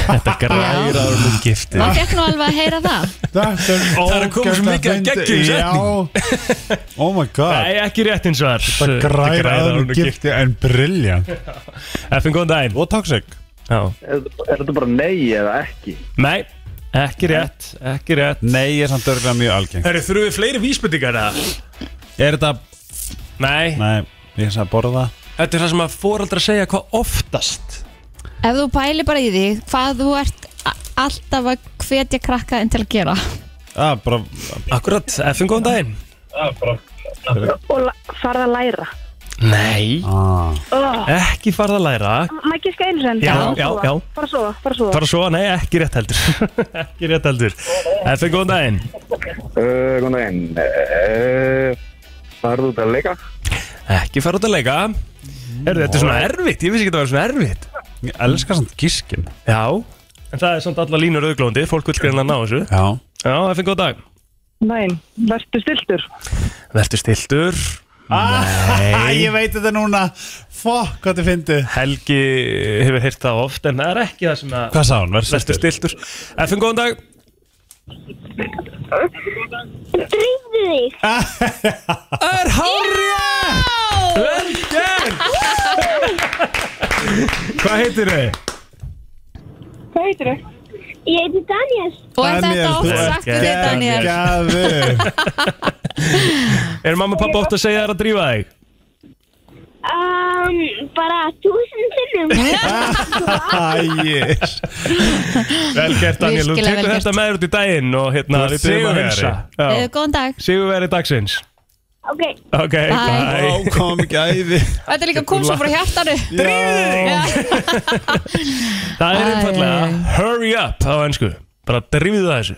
S1: Þetta græra um gifti
S2: Maður fekk nú alveg að heyra það
S1: Það er að koma svo mikið að geggjum setning
S3: Oh my god
S1: Nei, ekki rétt eins og þar
S3: Þetta græra
S1: um
S3: aðrum gifti en brilljant
S1: Efum góðan daginn
S3: Og toxic
S1: Já
S10: Er, er þetta bara nei eða ekki?
S1: Nei, ekki rétt, ekki rétt
S3: Nei, ég er samt örgulega mjög algeng
S1: Herru, þurfum við fleiri vísbendingar að
S3: Er þetta
S1: Nei,
S3: Nei, ég er samt að borða
S1: þetta er það sem að foreldra segja hvað oftast
S2: Ef þú pæli bara í því hvað þú ert a- alltaf að hvetja krakka inn til að gera
S3: ah, bara...
S1: Akkurat, FN góðan daginn
S8: Og farða að læra
S1: Nei,
S3: ah.
S8: oh,
S1: ekki farð að læra
S8: Maður gíska einu sem
S1: Já, já, já.
S8: Fara að sofa, fara að sofa
S1: Fara svo, nei, ekki rétt heldur Ekki rétt heldur FN góðan daginn
S6: Uh, Góðan daginn uh, Farðu út að leika
S1: Ekki fara út að leika Herru, þetta er svona erfitt, ég vissi ekki að það var svona erfitt
S3: Ég elskar samt gískin
S1: Já, en það er samt alla línur auðglóðandi Fólk vil greina að ná þessu
S3: Já
S1: Já, FN góðan dag
S10: Nein, verður stiltur
S1: Vertu stiltur
S3: ah, Ég veit þetta núna Fuck, hvað þið fyndi
S1: Helgi hefur heyrt það oft en það er ekki það sem að
S3: Hvað sá hún? Verður
S1: Vertu stiltur FN, góðan dag
S8: Drífðu þig
S1: Er hárið Vel gert Hvað heitir þið?
S8: Hvað heitir þau? Ég heiti Daniel
S2: Og er þetta oft sagt við þig, Daniel
S3: Gæður
S1: Er mamma og pappa oft að segja þér að drífa þig?
S8: um, Bara túsund sinnum
S3: Æjir
S1: Vel gert Daniel, þú
S2: Virkilega
S1: tekur
S2: vel
S1: þetta með þér út í daginn og hérna
S3: Þú
S1: við
S3: ert
S1: byrjum að
S3: sigurvegari.
S1: hinsa
S2: Eh, Góðan dag
S1: Sigurveri dagsins
S8: Ok,
S1: Ok,
S2: Bye.
S1: bye
S3: kom gæði
S2: Þetta líka kom svo frá hjartanu
S1: Það er
S2: Æ, æ,
S1: einfallega
S2: æ.
S1: hurry up á ennsku Bara drífðu það þessu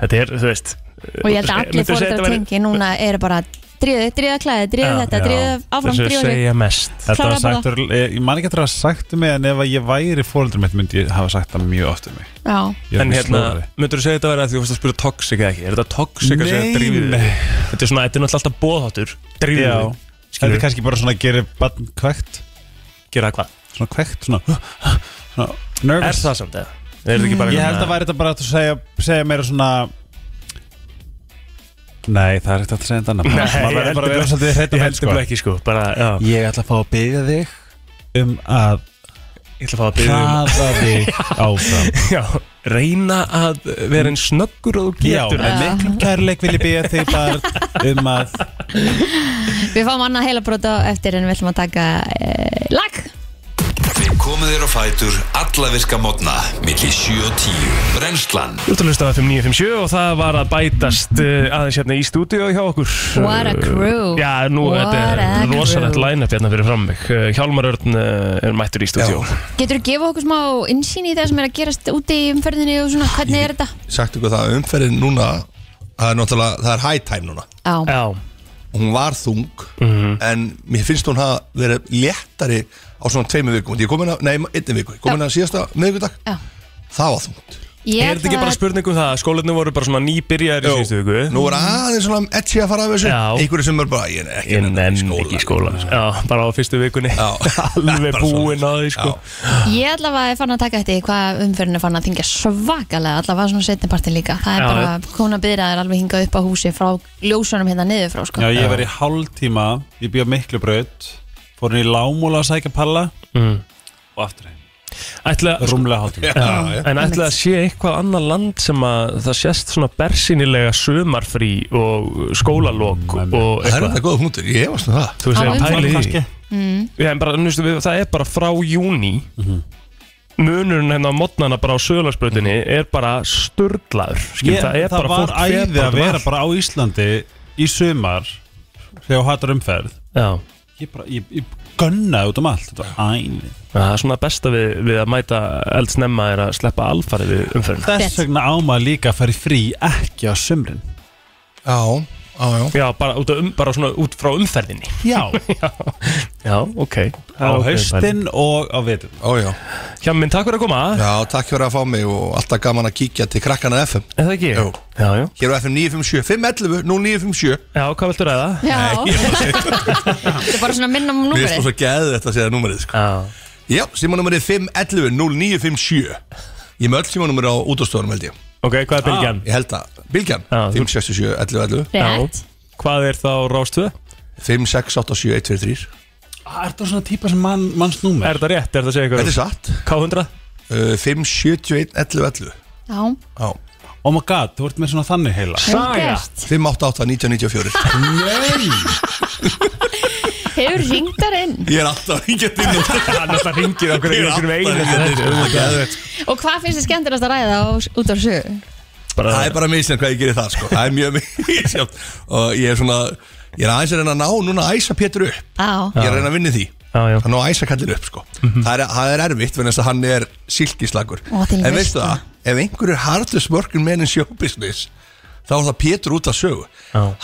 S1: Þetta er, þú veist
S2: Og ég held að allir
S1: Myndu segja
S2: fóruð
S1: þetta
S2: að
S1: væri-
S2: tengi núna eru bara dríðu, dríðu að klæði, dríðu þetta, dríðu áfram,
S1: Þessu
S2: dríðu þig
S1: segja mest
S3: Þetta var
S2: Klára
S3: sagt, ég, ég man ekki eftir að hafa sagt um mig en ef að ég væri fóröldur mitt myndi ég hafa sagt það mjög oft um mig
S2: Já,
S3: Ég er
S1: En
S3: mjög
S1: hérna,
S3: slóðari.
S1: myndur þú segja þetta verið að því þú fyrst að spyrja toxic eða ekki? Er þetta toxic að segja
S3: Nei,
S1: drífið
S3: nei.
S1: þig? Þetta er svona, þetta er náttúrulega alltaf bóðháttur Drífið
S3: Já.
S1: þig,
S3: Þetta
S1: skilur
S3: er kannski bara svona að gera bann kvekt
S1: gera það hvað?
S3: Svona kvekt, svona,
S1: Er
S3: svona
S1: Mm,
S3: Nervous
S1: það samt eða? Er þetta ekki bara
S3: Ég held að væri þetta bara að segja, segja meira svona Nei, það er ekkert að segja þetta annað
S1: Nei,
S3: Maður
S1: ég
S3: verður bara að vera
S1: heldur Ég held
S3: svolítið hreinn um henn
S1: þetta ekki sko, bara, já
S3: Ég ætla að fá að byggja þig um að
S1: Ég ætla að fá að byrja um
S3: hraða þig áfram
S1: Já, reyna að vera einn snöggur og þú
S3: Já,
S1: getur
S3: með miklum kærleik vil ég byggja þig bara um að
S2: við fáum annað heilabrót á eftir en við ætlum að taka eh, lag
S4: Við komum þér á fætur alla virka mótna millir 7 og 10 Brennslan
S1: Þú ert að hlusta á FM 957 og það var að bætast uh, aðeins hérna í stúdíu hjá okkur
S2: What a crew.
S1: Uh, Já, nú,
S2: What
S1: þetta
S2: a
S1: er
S2: crew.
S1: rosalegt line-up hérna fyrir fram mig uh, Hjálmar Örn uh, er mættur í stúdíu
S2: Getur þú gefa okkur smá innsýn í það sem er að gerast úti í umferðinni og svona, hvernig er þetta?
S14: sagt ykkur það að umferðin núna það er náttúrulega, það er high time núna
S2: Já.
S14: og hún var þung en mér finnst hún hafa verið léttari á svona tveimu vikum ég kom inn að, nei, einni viku, ég kom inn að síðasta miðvikudag, það var þungt
S2: Ég
S1: Er þetta ekki bara spurning um það að skólarnir voru bara svona nýbyrjaðir í
S14: Jó,
S1: síðustu viku?
S14: nú er aðeins svona etsi að fara af þessu
S1: Já.
S14: einhverju sem er bara, ég er ekki hérna
S1: Ég nenn ekki sko. í skóla Já, bara á fyrstu vikunni Alveg búinn á því sko
S2: Ég allavega er fann að taka eftir því hvað umferðin er fann að þingja svakalega allavega svona setnipartin líka það er
S3: Já,
S2: bara, hún að byrja er alveg hingað upp á húsi frá ljósunum hérna niður frá sko.
S3: Já, ég var í hálftíma, ég býð á miklu braut Fór hann í lámúla að sækja palla
S1: Mm.
S3: Og aftur heim
S1: Ætla,
S3: Rúmlega hálftíma
S1: En ætla að sé eitthvað annað land sem að það sést svona bersýnilega sumarfrí og skólalok og
S14: Það er þetta góð punktur, ég hefast með það
S1: Þú veist,
S14: Á
S1: ég pæli
S14: umferð
S1: í því
S14: kannski.
S2: Mm.
S1: Já, en bara, nýstu, við, það er bara frá júni Munurinn hérna á modnana bara á sögulagsbröðinni er bara sturdlaður Skil,
S3: Ég-
S1: það er bara
S3: var
S1: fólk fer
S3: æði að
S1: bara
S3: vera bara á Íslandi í sumar þegar þú hattar umferð
S1: Já.
S3: ég bara, ég, ég gunnaði út um allt þetta var æði
S1: Ja, Það er svona besta við, við að mæta eldsnemma er að sleppa alfarið við umferðina
S3: þess vegna á maður líka að fara í frí ekki á sumrin
S14: já, já, já
S1: Já, bara, út, af um, bara svona út frá umferðinni
S3: Já.
S1: Já, já ok
S3: á haustin og á vetur
S14: Ó, já.
S1: Hjá minn, takk fyrir að koma
S14: Já, takk fyrir að fá mig og alltaf gaman að kíkja til krakkana FM
S1: Er það ekki?
S14: Jú.
S1: Já, já
S14: Hér á FM 957, 511, nú 957
S1: Já, hvað viltu ræða?
S2: Já, þetta er bara svona minna um
S14: Mér er
S2: númerið
S14: svo gæðið þetta að segja númerið sko. Já, símanúmerið 511 0957 Ég er með öll símanúmerið á útastofunum held ég
S1: Ok, hvað er bylgjan?
S14: Ég held að, bylgjan, 567 1111
S1: Rétt. Hvað er þá rástuð?
S14: 56871 123
S3: er þetta svona típa sem mann, manns númer
S1: Er þetta rétt? Er þetta að segja ykkur?
S14: Þetta er satt
S1: K100
S14: uh, 571 1111
S2: Já,
S14: Já
S3: Oh my god, þú ert með svona þannig heila
S2: Saga. Vel gert.
S14: 588 1994 Nei
S2: hefur ringdar inn
S14: Ég er alltaf hringjast inn
S1: Hann er alltaf hringir okkur
S14: Ég er
S1: einhverjum
S14: alltaf
S1: einum
S14: hringjast inn
S1: þetta er ógeðveikt.
S2: og hvað finnst þið skemmtilegast að ræða á, út á sögu?
S14: Það er bara misjant hvað ég gerir það sko. Það er mjög misjant Og ég er svona Ég er aðeins að reyna að ná núna að æsa Pétur upp
S2: Já,
S14: Ég er að reyna að vinna í því
S1: Já, já. Mhm.
S14: Að ná að æsa kallir upp sko. það, er, það er erfitt Þannig að hann er silkislagur
S2: Ó, til
S14: En veistu
S2: veisla.
S14: það Ef einhver er hardur smörkun menn en sjóbusiness Þá er það Pétur út að sögu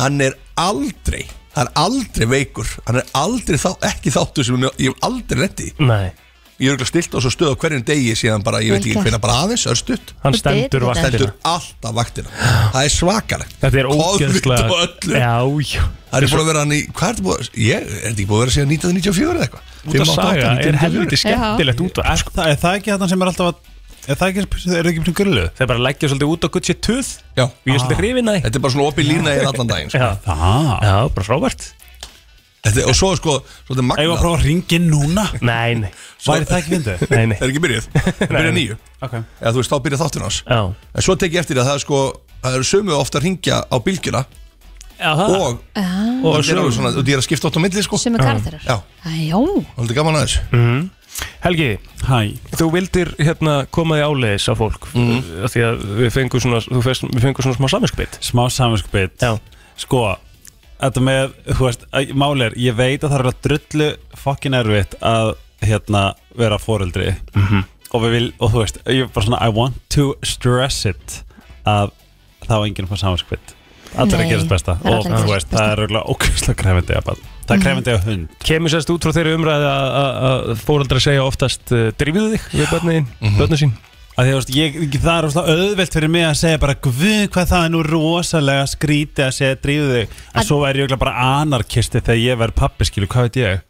S14: Hann er aldrei Hann er aldrei veikur Hann er aldrei þá, ekki þáttur sem ég hef aldrei lendi
S1: Nei
S14: Ég er ekki stilt á svo stöð á hverjum degi síðan bara, ég veit
S1: Vel
S14: ekki
S1: gert.
S14: hvernig bara aðeins, örstutt
S1: Hann stendur vaktina.
S14: Stendur alltaf vaktina Það er svakalegt
S1: Þetta er
S14: Koðvitt
S1: ógeðslega
S14: og öllu
S1: Já, já
S14: Það er búin að vera hann í, hvað er þetta búin að Ég er þetta ekki búin að vera síðan 1994 eða eitthvað
S1: Út að saga er
S14: 588,
S1: helviti
S14: 1994.
S1: skemmtilegt út
S14: Sko.
S3: er, sko- það, er það ekki þetta sem er alltaf að er það ekki, er það ekki pínu grillu
S1: Þeir bara leggja svolítið út á gutt sér tuð
S14: Já
S1: Og ég er svolítið hrifin að því
S14: Ah. Þetta er bara svona opið lína í þér allan daginn sko.
S1: Já, já bara frábært
S14: Þetta, Og svo er sko, svolítið magna
S3: Eigum við að prófa að ringi núna?
S1: Nei, nei
S3: Væri það ekki fyndið?
S1: Nei, nei
S14: Það er ekki byrjuð Það byrja nýju
S3: Ok.
S14: Eða þú veist, þá byrja þáttun hans
S1: Já
S14: En svo tek ég eftir að það er sko Það eru sömu ofta að ringja á bylgjuna
S1: Já, það
S14: Og
S1: Ah. Og
S14: þetta er alveg
S1: sömu.
S14: svona- og Ég er að skipta átt á milli sko
S2: Sömu karakterar.
S14: Já,
S2: Æjó,
S14: haldið gaman aðeins
S1: mm. Helgi
S3: Hæ
S1: Þú vildir hérna koma því áleiðis á fólk mm.
S14: Mhm.
S1: Því að við fengum svona þú fest, Við fengum svona smá saminskbytt
S3: smá saminskbytt sko, þetta með þú veist, að- mál er, ég veit að það er að drullu fokkin erfitt að hérna, vera foreldri
S1: Mhm.
S3: og við vil, og þú veist, ég er bara svona I want to stress it að það var enginn að fá saminskbytt allir
S1: Nei,
S3: að gerast besta
S1: það er
S3: og
S1: allir að
S3: þú
S1: gerast
S3: veist, það er auðvitað ókvæmslega krefandi að barn. það er
S1: Mhm.
S3: krefandi að hund
S1: Kemur sérst út frá þeirri umræði að- að að fóröldra segja oftast uh, Drífðu þig við börnin,
S14: Mhm.
S1: börnin sín
S3: að því, þú veist, ég, það er óslega auðvelt fyrir mig að segja bara guð hvað það er nú rosalega skríti að segja drífu þig en svo er ég örugglega bara anarkisti þegar ég verð pappi skilu, hvað veit ég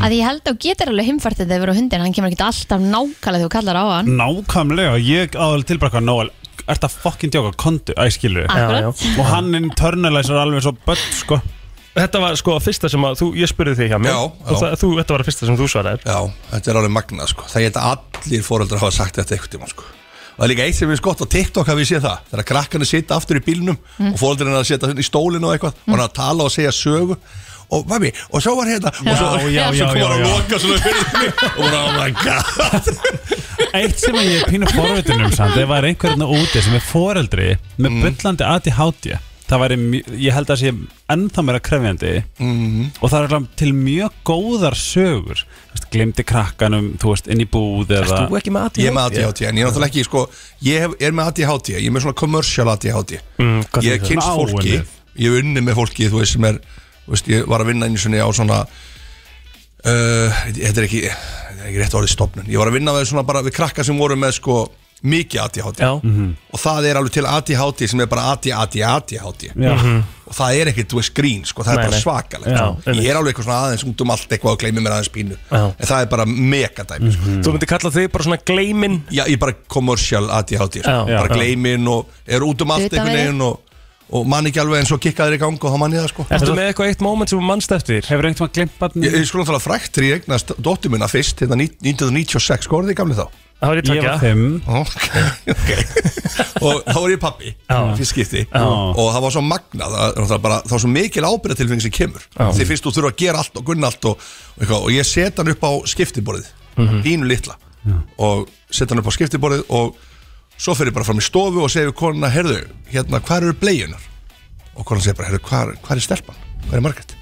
S2: að ég held að þú getur alveg himfært þegar þið verður á hundin, hann kemur ekki alltaf nákvæmlega þegar þú kallar á hann
S3: nákvæmlega, ég áður til bara hvað Nóel, ert það fokkin djóka kontu, æ skilu
S2: Akkurat. Já,
S14: Ah.
S2: já.
S3: og hann internalisar alveg svo börn sko
S1: Þetta var sko að fyrsta sem að þú, ég spurði þig hjá mér
S14: Já, já.
S1: Og það, þú, þetta var að fyrsta sem þú svaraðir
S14: Já, þetta er alveg magna sko. Það geta allir fóreldrar hafa sagt þetta eitthvað tíma sko. það er líka eitt sem er skott á TikTok hafið séð það þegar krakkarnir sitja aftur í bílnum
S2: Mm.
S14: og fóldurinn að setja í stólinu og
S3: Mm.
S14: eitthvað og hann að tala og segja sögu og mami, og svo var hérna og svo,
S3: Já, já, já,
S14: svo kom
S3: já,
S14: hann að
S3: já.
S14: loka svona fyrir mig og bara, oh my god
S3: Eitt sem að ég er pínu forvitin um samt Ef það er einhverjum úti sem er foreldri Með bullandi ADHD Það væri, mjö- ég held að sé ennþá meira krefjandi Og það er alveg til mjög góðar sögur Þú veist, Glemdi krakkanum, þú veist, inn í búð eða...
S14: Ég er með ADHD, en ég er náttúrulega ekki, sko Ég hef, er með ADHD, ég er með svona commercial ADHD
S3: Mm, hvað
S14: Ég
S3: þýðir
S14: hef
S3: það?
S14: kynst
S3: Svona
S14: fólki
S3: áunnið.
S14: Ég hef unni með fólki, þú veist, sem er þú veist, Ég var að vinna einu svona á svona uh, Þetta er ekki Þetta er ekki rétt orðið stopnun Ég var að vinna með svona bara við krakka sem voru með, sko Mikið ADHD
S3: Mhm.
S14: Og það er alveg til ADHD sem er bara ADHD, ADHD
S3: Já. Mhm.
S14: Og það er ekkert, þú veist, grín, sko Það er
S3: Nei,
S14: bara
S3: nei.
S14: svakalegt
S3: Já,
S14: sko. Ég er alveg eitthvað svona aðeins út um allt eitthvað og gleymi mér aðeins pínu
S1: Já.
S14: En það er bara megadæmi, sko
S1: Þú myndir kalla þig bara svona gleimin
S14: Já, ég er bara commercial ADHD sko.
S1: Já, já,
S14: bara
S1: já.
S14: gleimin og er út um allt
S1: Utan
S14: einhvern
S1: við
S14: veginn og, og mann ekki alveg en svo kikkaður í gang og þá mann ég það sko
S1: Ertu með eitthvað eitt moment sem þú mannst eftir?
S3: Hefur einhvern veginn glimt barni?
S14: Ég, ég sko náttúrulega frækt þegar ég eignast dóttir minna fyrst hérna ní- 1996, sko voru þið gamli þá?
S1: Það var ég tveggja. Ég var fimm.
S14: Ok, ok Og þá var ég pappi, fyrst skipti Og það var svo magnað, það, er náttúrulega bara, það var svo mikil ábyrðatilfeng sem kemur
S1: Já.
S14: Þegar fyrst þú þurfa að gera allt og gunna allt og, og, eitthvað, og ég set hann upp á skiptiborðið
S1: Mhm.
S14: Pínu litla og setja hann upp á skiptiborðið og svo fer ég bara fram í stofu og segir við konuna, herðu, hérna, hvað eru blejunar? Og konan segir bara, herðu, hvað, hvað er stelpan? Hvað er margætt?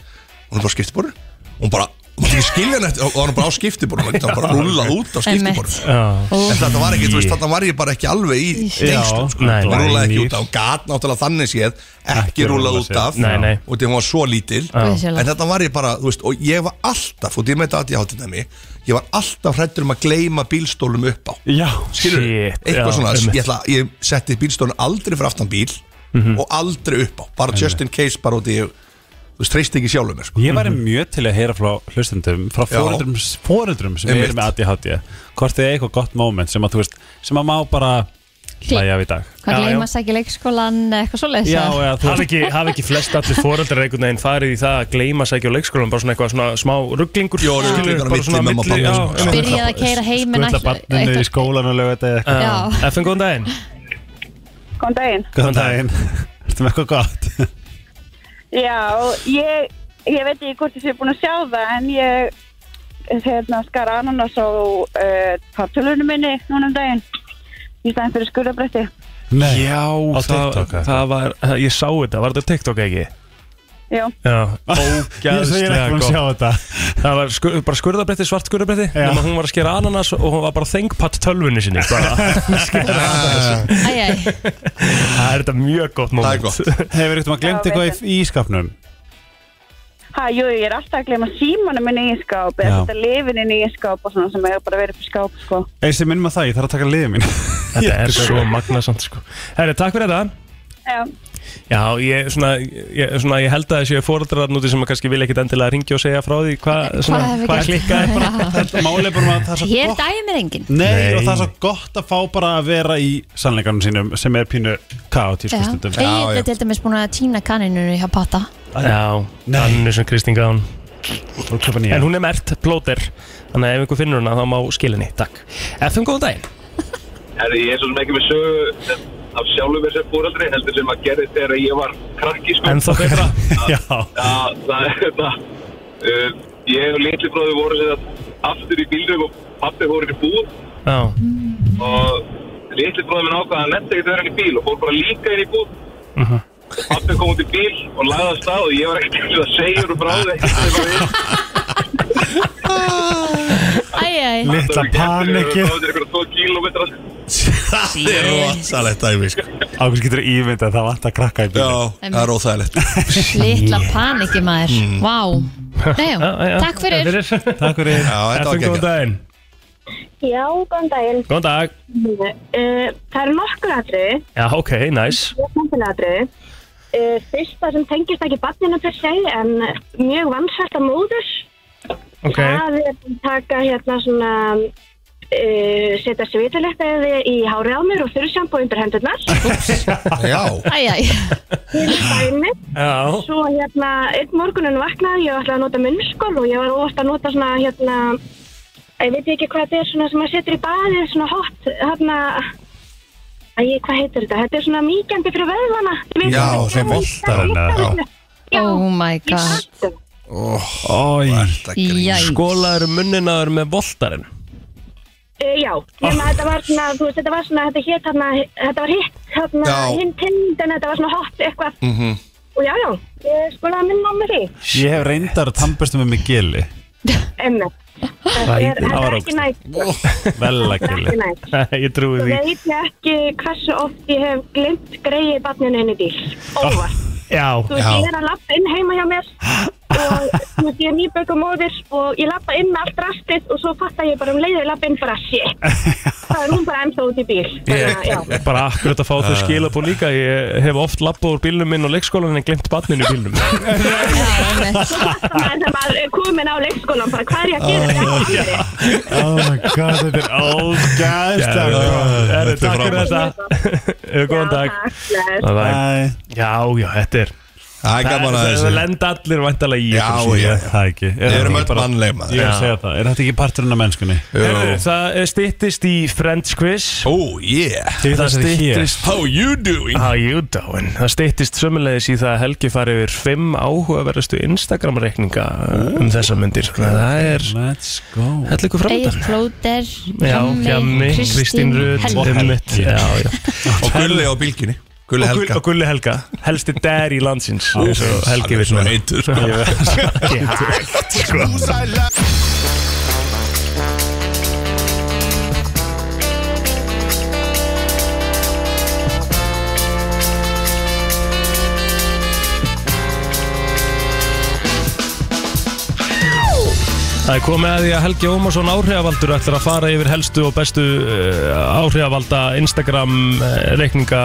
S14: Hún er bara á skiptiborðið og hún bara, hún mátti ekki skilja hann eftir og hún er bara á skiptiborðið, hún er bara rúlað út á skiptiborðið
S1: Einmitt.
S14: en þetta var ekki, þú veist,
S1: Í.
S14: þetta var ég bara ekki alveg í
S1: Já,
S14: tengslum, sko,
S1: nei,
S14: hún
S1: nei.
S14: rúlaði ekki
S1: Nýr.
S14: út af hún gat náttúrulega þannig séð ekki
S1: Ekki
S14: rúlað
S1: rúllað
S14: út
S1: sér.
S14: af
S1: Nei, nei.
S14: og því hún var svo lítil
S1: Guð sé lof.
S14: en þetta var ég bara, þú veist, og ég var alltaf og því með þetta að ég hátti næmi ég var alltaf hrættur um að gleyma bílstólum upp á
S3: Já,
S14: skilur,
S1: Shit,
S14: eitthvað
S1: já,
S14: svona
S1: einmitt.
S14: ég, ætla, ég setti bílstólun aldrei fyrir aftan bíl
S1: Mhm.
S14: og aldrei upp á bara just in case, bara út í ég, þú veist, treyst ekki sjálfum mér, sko
S3: Ég væri mjög til að heyra frá hlustendum frá
S14: Já.
S3: foreldrum, foreldrum sem
S14: Einmitt.
S3: eru með ADHD hvort þið er eitthvað gott moment sem að þú veist sem að má bara hlæja af í dag
S2: Hvað gleyma sækja leikskólan eða eitthvað svoleiðis? eða?
S1: Haf ekki, haf ekki flest allir foreldrar einhvern veginn farið í það að gleyma sækja á leikskólan bara svona eitthvað svona smá rugglingur
S14: Jó, rugglingur á milli mamma og pabba, sko.
S2: Byrjað að keyra heim en ætla- eitthvað-
S3: skólan og lög þetta
S2: Já.
S1: FN, góðan daginn
S13: Góðan daginn.
S3: Góðan daginn Ertu með eitthvað gott?
S13: Já, ég, ég veit ekki hvort þið séu búin að sjá það en ég hérna, skar ananas á uh, tartölunum minni núna um daginn í staðin fyrir skurðabretti.
S3: Nei,
S1: Já, það, það var, ég sá þetta, var þetta TikTok ekki?
S13: Já,
S1: Já,
S3: Ég segir
S1: ógæðslega
S3: ekki um að sjá þetta
S1: Það var skur, bara skurðabretti, svart skurðabretti
S3: Já.
S1: Nefnum hún var að skera ananas og hún var bara þengpatt tölvunni sinni bara.
S2: Æj, æj.
S1: Það er þetta mjög gott moment
S14: Það er gott
S3: Hefur eitthvað glemt
S13: Já,
S3: eitthvað í ískapnum?
S13: ha, jú, ég er alltaf að glema símanum minni í skáp eða
S3: Já.
S13: þetta lifin inn í skáp og svona sem hefur bara verið upp í skáp, sko.
S3: Eins sem minnum að það, ég þarf að taka liðið mín
S1: Þetta er svo magnasamt sko Herri, takk fyrir þetta
S13: Já,
S1: Já, ég, svona, ég, svona, ég held að þessi fóreldrar núti sem að kannski vilja ekkit endilega ringja og segja frá því hvað hva,
S2: hefur
S1: hva
S2: gerst?
S1: klikkaði bara
S2: Já.
S3: Þetta máli er bara að það er svo
S2: Hér
S3: gott
S2: dæmi er engin
S3: Nei, og það er svo gott að fá bara að vera í sannleikanum sínum sem er pínu kaotísku stundum
S2: Egil er til dæmis búin að týna kaninunni hjá Patta
S1: Já, hann er svona Kristín Gán En hún er mert plóter Þannig að ef einhver finnur hana þá má skilinni Takk FM góðan daginn
S12: Herri, ég er svo sem ekki með sögu af sjálfum mér sem fóraldri, heldur sem að gerði þegar ég var krakki, sko.
S1: En þá betra
S3: Já,
S12: Já, það er þetta. Uh, ég og litli bróði voru sér aftur í bílnum og pappi voru í búð
S1: Já
S12: og litli bróði minn ákvaða að netta ekki þegar hann í bíl og fór bara líka inn í búð.
S3: Mhm.
S12: og Pappi kom út í bíl og lagði af stað og ég var ekkert eins og það segjur og bráði ekkert þegar bara við.
S2: Æj, æj
S3: Litla panikið
S12: Það er eitthvað 2 kílómetrar.
S14: það er rosalegt dæmi, sko
S3: Ákveðs getur ímyndað að það vant að krakka í bíl
S14: Já, það er óþægilegt
S2: Litla paniki maður Vá Nei, já. Takk fyrir
S3: Takk fyrir
S14: Já, þetta var
S1: FM góðan
S14: geggjað
S1: daginn
S15: Já, góðan daginn.
S1: Góðan dag
S15: Uh, það eru nokkur atriði,
S1: Já, ok, næs
S15: mjög samfélag atriði. Uh, fyrsta sem tengist ekki barninu per se, en mjög vansælt að móður.
S1: Ok
S15: Það er að taka hérna svona, uh, setja svitalettiði í hárið á mér og þurrsjampo undir hendurnar.
S14: Já
S2: Æj, æj
S15: Til dæmi.
S1: Já
S15: Svo hérna, einn morgunin vaknaði, ég ætlaði að nota munnskól og ég var óvart að nota svona hérna, ég veit ekki hvað þetta er svona sem maður setur í baðið, svona hot, hérna, Æ, hvað heitir þetta? Þetta er svona mýkjandi fyrir vöðvana.
S14: Já, þeim voltar hennar
S2: Oh my god
S1: Ói
S2: Jæks.
S1: Skólaður munninaður með voltarinn
S15: Uh, já, nema þetta var svona, þú veist, þetta var svona, þetta hétt hérna, þetta var hitt hérna,
S1: Já.
S15: hinn tind, en þetta var svona hot eitthvað.
S3: mm
S14: Mhm.
S3: -hmm.
S15: Og já, já, ég skolaði minna á mér því,
S3: Ég hef reyndar að tampast með mig gili
S15: emni. Þetta
S3: Æ,
S15: er, þetta
S3: það var
S15: er ekki næst.
S3: Vel að
S15: Þetta er
S3: gili
S15: ekki næst.
S1: Ég trúi
S15: Þú veit ég ekki hversu oft ég hef glimt greið barninu inn í bíl. Óvart.
S7: Já,
S15: Þú veist, ég er að lappa inn heima hjá mér og þú veist, ég er nýböku móðir og ég lappa inn með allt rastið og svo fattar ég bara um leiðið lappa inn bara, shit. Það er hún bara ennþá út í bíl. Þannig að, já.
S1: Bara akkurat að fá þau
S3: Ah.
S1: skilabú líka Ég hef oft labbað úr bílnum minn og leikskólan en glemt barninu í bílnum
S15: maður sem að komin á leikskólan bara hvað er ég að gera þetta oh, yeah.
S3: Oh my god, þetta er ógæðslega
S1: Herru,
S3: Þetta
S1: Takk fyrir þetta Hefur góðan dag Bye bye. Já, já, þetta er
S14: Það er gaman að þessu.
S1: Það lenda allir vantalega í
S14: Já,
S1: ykkur,
S14: já.
S1: sé.
S3: Það ekki
S14: Við erum öll mannleg maður.
S3: Ég er að segja það, er þetta ekki parturinn af mennskunni?
S1: Herru, Það stýttist í Friends quiz
S14: Oh yeah
S3: Til
S1: Það
S3: þess að þið hér.
S1: stýttist
S14: How you doing?
S1: How you doing? Það stýttist sömulegis í það að Helgi fari yfir fimm áhugaverðastu Instagram reikninga um þessa myndir Þannig að Það er
S3: Let's go
S1: Hellu ykkur
S2: Egil
S1: framöndan
S2: Plóter
S1: Já, Hjami, Kristín Rut Helgi Já, já
S14: Og Gulli á bylginni Gulli
S1: Og Gull-
S14: Helga
S1: Og Gulli Helga, helsti dær í landsins
S14: Úff,
S1: eins og
S14: hann
S1: Helgi
S14: er
S1: vill
S14: svona
S1: meina.
S14: heitur, sko.
S1: Ég veit Ekki hægt, sko. Það er komið að því að Helgi Ómarsson áhrifavaldur ætlar að fara yfir helstu og bestu uh, áhrifavalda Instagram uh, reikninga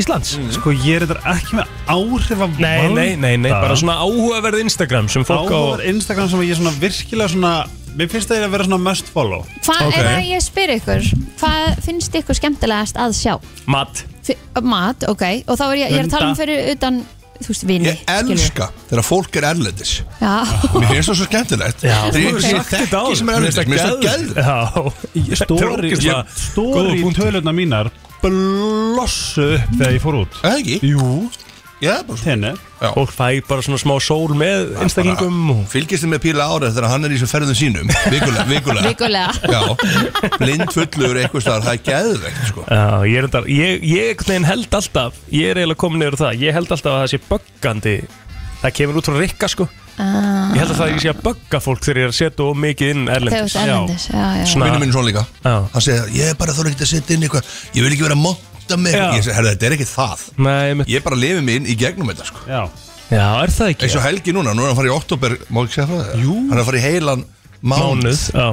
S1: Íslands
S14: Mm.
S3: Sko ég er þetta ekki með áhrifavald
S1: Nei, nei, nei, nei,
S14: Ah.
S1: bara svona áhugaverð Instagram sem fólk
S3: Áhugaverð
S1: á
S3: Instagram sem ég svona virkilega svona Mér finnst það eiginlega að vera svona must follow
S2: Hvað okay. er að ég spyr ykkur Hvað finnst ykkur skemmtilegast að sjá?
S1: Mat
S2: F uh, mat, ok Og þá er ég, ég er að tala um
S14: Hunda.
S2: fyrir utan Þú veist, vini
S14: Ég Ah. elska þegar fólk er erlendis
S2: Já,
S14: Mér finnst það svo skemmtilegt
S1: Já,
S14: Þegar
S1: þú hefur
S14: ég
S1: sagt þetta áður.
S14: þekki sem er
S1: Mér finnst
S14: erlendis Mér
S1: það
S14: finnst það
S1: geðveikt.
S14: gæður
S1: Já,
S3: Stóri,
S1: ógeðslega
S3: ég, stóri í tölurnar mínar Blossu upp þegar ég fór út
S14: Það ekki?
S3: Jú
S14: Já, bara
S3: Þenni
S1: Fólk fæ bara svona smá sól með einstaklingum og...
S14: Fylgist þið með Píla Ára þegar hann er í þessum ferðum sínum Vikulega, vikulega
S2: vikulega
S14: Já, blind fullur eitthvað staðar, það er geðvegt sko.
S1: Já, ég er þetta, ég, ég einhvern veginn held alltaf, ég er eiginlega komin yfir það, ég held alltaf að það sé böggandi, það kemur út frá rikka sko,
S2: Ah.
S1: ég held að það sé að bögga fólk þegar ég er að setja of mikið inn
S2: Þegar
S1: erlendis.
S2: þú ert erlendis, já, já, já.
S14: Svona Vinnum minn svona líka
S1: Já.
S14: Hann segja, ég er bara þóra ekki að setja inn eitthvað Ég vil ekki vera að monta mig
S1: Já.
S14: Ég segi, herra, þetta er ekki það
S1: Nei, mitt.
S14: Ég bara lifi mig inn í gegnum þetta sko.
S3: Já
S1: Já, er það ekki?
S14: Eins og Helgi núna, nú er hann farið í oktober Má ekki segja frá það? Jú Hann er að fara í heilan mánuð
S1: Mánuð, já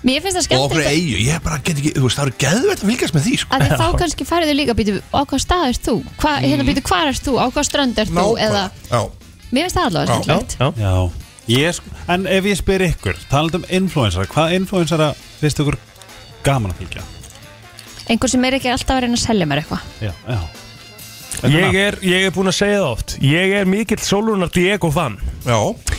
S2: Mér finnst það
S14: Og okkur
S2: skemmtilegt
S14: eigu, ég bara get ekki, þú veist, það eru geðvegt að fylgjast með því sko.
S2: að því þá kannski færðu líka býtu á hvað stað ert þú, hva, hérna býtu hvar ert þú á hvað strönd ert þú
S14: Nákvæmlega.
S2: eða,
S14: Já,
S2: mér finnst það allavega skemmtilegt
S1: Já,
S3: já. Ég, sko- En ef ég spyr ykkur, talað um influensara Hvaða influensara finnst ykkur gaman að fylgja?
S2: einhver sem er ekki alltaf að reyna að selja mér eitthvað
S3: Já, já
S14: hérna-
S1: Ég er, ég er búin að segja það oft, ég er mikill sólunar Diego fan
S14: já,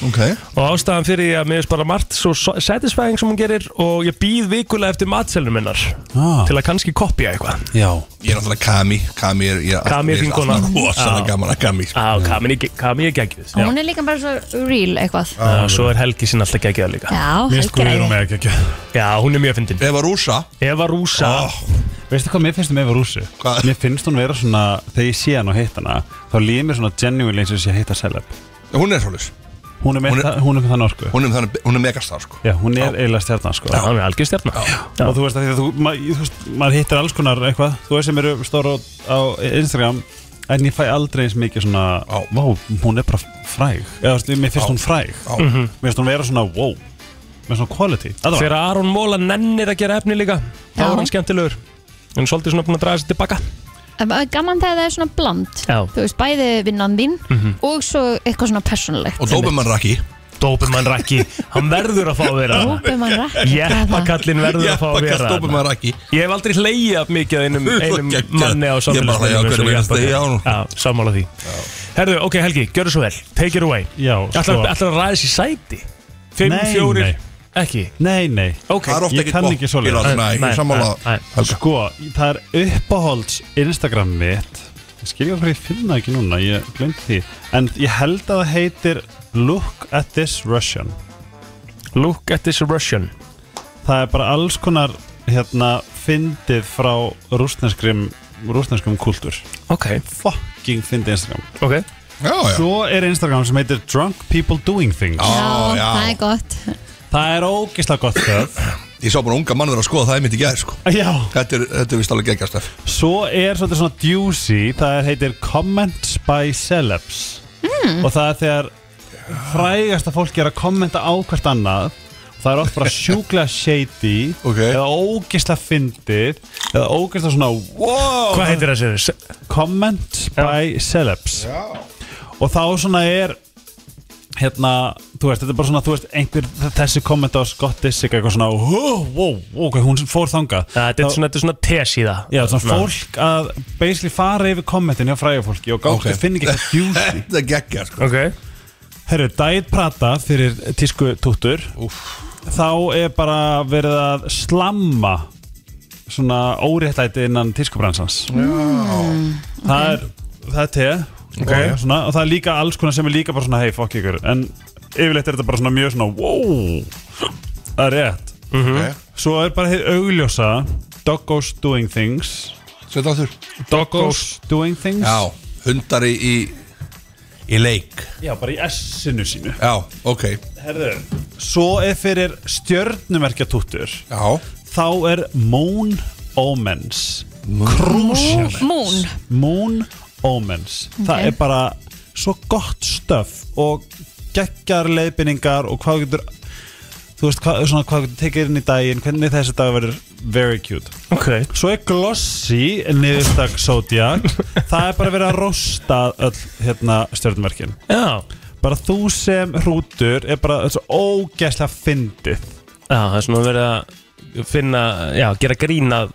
S14: ok
S1: og ástæðan fyrir því að mér finnst bara margt svo so- satisfying sem hún gerir og ég býð vikulega eftir matselnum minnar
S3: ah.
S1: til að kannski kopja eitthvað.
S3: Já
S14: Ég er náttúrulega Kami Kami er, ég,
S1: Kami er
S14: mér finnst
S1: þín kona.
S14: alltaf Rosalega
S1: Já.
S14: gaman að Kami sko.
S1: Já, Kami er- Kami er geggjuð.
S2: og hún er líka bara svo real eitthvað
S1: Já, svo er Helgi sín alltaf geggjaða líka
S2: já, helgi æði
S3: með ekki ekki
S1: Já, hún er mjög fyndin
S14: Eva Rúsa
S1: Eva Rúsa
S3: Veistu hvað mér finnst um Eva Rússu?
S14: Hvað?
S3: Mér finnst hún vera svona, þegar ég sé hann og hitt hana þá líður mér svona genuinely eins og ég sé að hitta celeb
S14: Hún er svolítið
S3: Hún er með,
S14: Hún er-
S3: það- hún er með þann orku
S14: Hún er, þannig- hún er megastar sko.
S3: Já, hún er eiginlega stjarnan sko
S1: Já, hann er algjörstjarn
S3: Og þú veist að því að þú, ma- þú veist, maður hittir alls konar eitthvað Þú veist sem eru stóra á, á Instagram En ég fæ aldrei eins mikið svona Vá, hún er bara fræg Eða þú veist, mér finnst hún fræg
S14: Já.
S3: Mér finnst hún vera svona, wow Með svona quality Alla
S1: Þegar
S3: vega.
S1: Aron Móla nennir að gera efni líka þá er hann skemmtilegur En svolítið svona búin að draga sér tilbaka
S2: gaman þegar það er svona bland
S1: Já.
S2: þú veist, bæði vinnan þín
S3: Mhm.
S2: og svo eitthvað svona personlegt
S14: Og Doberman Raki
S1: Dópumann Raki, hann verður að fá að vera það.
S2: Dópumann Raki, hvað er það?
S1: Jeppakallinn verður að fá að vera
S14: Jeppakall
S1: það.
S14: Doberman Raki
S1: Ég hef aldrei hleyjað mikið að einum,
S14: Þú ert
S1: einum
S14: geggjað.
S1: manni á
S14: Ég bara hlæja á
S1: samfélagsmiðlum eins og
S14: hverjum einasta degi á honum.
S1: Já, sammála því Herðu, ok Helgi, gjör það svo vel Take it away
S3: Já,
S1: Ætlar
S3: sko
S1: ætlar að ræða sér sæti 5,
S3: Nei,
S1: 4,
S3: nei.
S1: Ekki?
S3: Nei, nei
S1: okay.
S14: Það er ofta
S3: Ég
S14: ekkert
S3: kann
S14: gott
S3: ekki
S14: í
S3: svoleiðis.
S14: ráðum, nei,
S3: Nei,
S14: ég er sammála
S3: nei, nei. Sko, það er uppáhalds Instagram mitt Ég skilja hvað ég finna ekki núna, ég glemt því En ég held að það heitir Look at this Russian
S1: Look at this Russian
S3: Það er bara alls konar hérna fyndið frá rústneskrim rústneskum kultúr
S1: Ok
S3: Fucking fyndið Instagram
S1: Ok
S14: já.
S3: Svo er Instagram sem heitir Drunk People Doing Things
S2: Já, það er gott
S3: Það er ógislega gott stöð
S14: Ég sá bara unga mann vera að skoða það einmitt í gæð sko.
S3: Já
S14: Þetta er, þetta er vist alveg geggjast stöð
S3: Svo er svolítið svona juicy Það er, heitir Comments by Celebs Og það er þegar frægasta fólk er að kommenta á hvert annað Það er oft bara sjúklega shady okay. Eða ógislega fyndið Eða ógislega svona wow,
S1: Hvað heitir það sér?
S3: Comments by Celebs Já. Og þá svona er hérna, þú veist, þetta er bara svona, þú veist, einhver þessi komment á Scottish eitthvað svona, wow, wow, ok, hún fór þangað.
S1: Þetta er svona, þetta er svona tes í það
S3: Já, svona fólk að basically fara yfir kommentin hjá fræja fólki og gátt,
S14: Ok.
S3: okay. finn ekki hvað djúsi
S14: Þetta er geggja sko.
S1: okay.
S3: Herru, Diet Prata fyrir tísku túttur Þá er bara verið að slamma svona óréttlæti innan tískubransans Það er, það er te
S1: Ok.
S3: og, svona, og það er líka alls konar sem er líka bara svona hei, fokk ykkur En yfirleitt er þetta bara svona mjög svona wow, það er rétt
S14: Ok.
S3: Svo er bara hér augljósa Doggos doing things
S14: Sveit áþur
S3: Doggos doing things
S14: Já, hundar í, í, í leik
S3: Já, bara í S-inu sínu
S14: Já, ok
S3: Herðu Svo er fyrir stjörnumerkja túttur
S14: Já
S3: Þá er Moon Omens Crucial
S2: Moon
S3: Moon Omens
S2: Ok.
S3: Það er bara svo gott stöf og geggar leiðbynningar og hvað getur þú veist hvað, svona, hvað getur tekið inn í daginn hvernig þessi dag verður very cute
S1: okay.
S3: Svo er Glossy niðurstak Zodiac Það er bara verið að rosta öll hérna, stjörnmerkin
S1: Já
S3: Bara þú sem hrútur er bara þessu ógæslega fyndið
S1: Já, það er svona verið að finna, já, gera grín að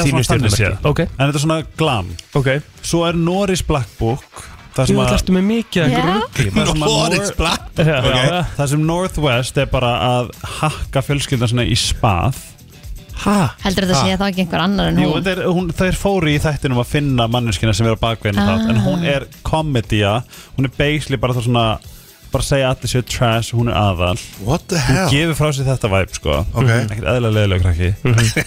S1: þínu
S3: svona þannig
S1: stjórnumerki
S3: séð. En þetta er svona glam
S1: okay.
S3: Svo er Norris Black Book Það
S1: Jú, það ertu með mikið af einhverju rugli.
S3: Það sem að
S1: Norris
S3: Nor-
S1: Black Book,
S3: Já,
S1: ok.
S3: já. Það sem Northwest er bara að hakka fjölskyldan svona í spað
S1: Ha?
S2: Heldur þetta að segja þá ekki einhver annar en
S3: Jú,
S2: hún
S3: þetta er, hún, þeir fóru í þættinum að finna manneskina sem er á bakveginu
S2: Ah.
S3: þátt En hún er komedia, hún er basically bara það svona Bara að segja að allir séu trash og hún er aðal
S14: What the
S3: Hún
S14: hell?
S3: gefur frá sér þetta væp sko
S14: Ok.
S3: Ekkert eðlilega leðilega krakki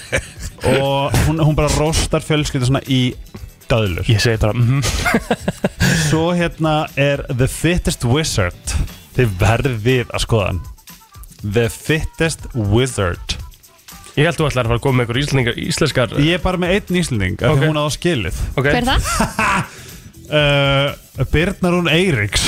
S3: Og hún, hún bara rostar fjölskyldu svona í döðlur
S1: Ég segi bara mhm.
S3: Svo hérna er The Fittest Wizard Þið verðið að skoða hann The Fittest Wizard
S1: Ég held þú ætlar að fara að koma með einhver íslendingar, íslenskar
S3: Ég er bara með einn íslending af
S1: Ok.
S3: því hún á það skilið
S1: okay.
S2: Hver er það?
S3: Uh, Birnarún Eiríks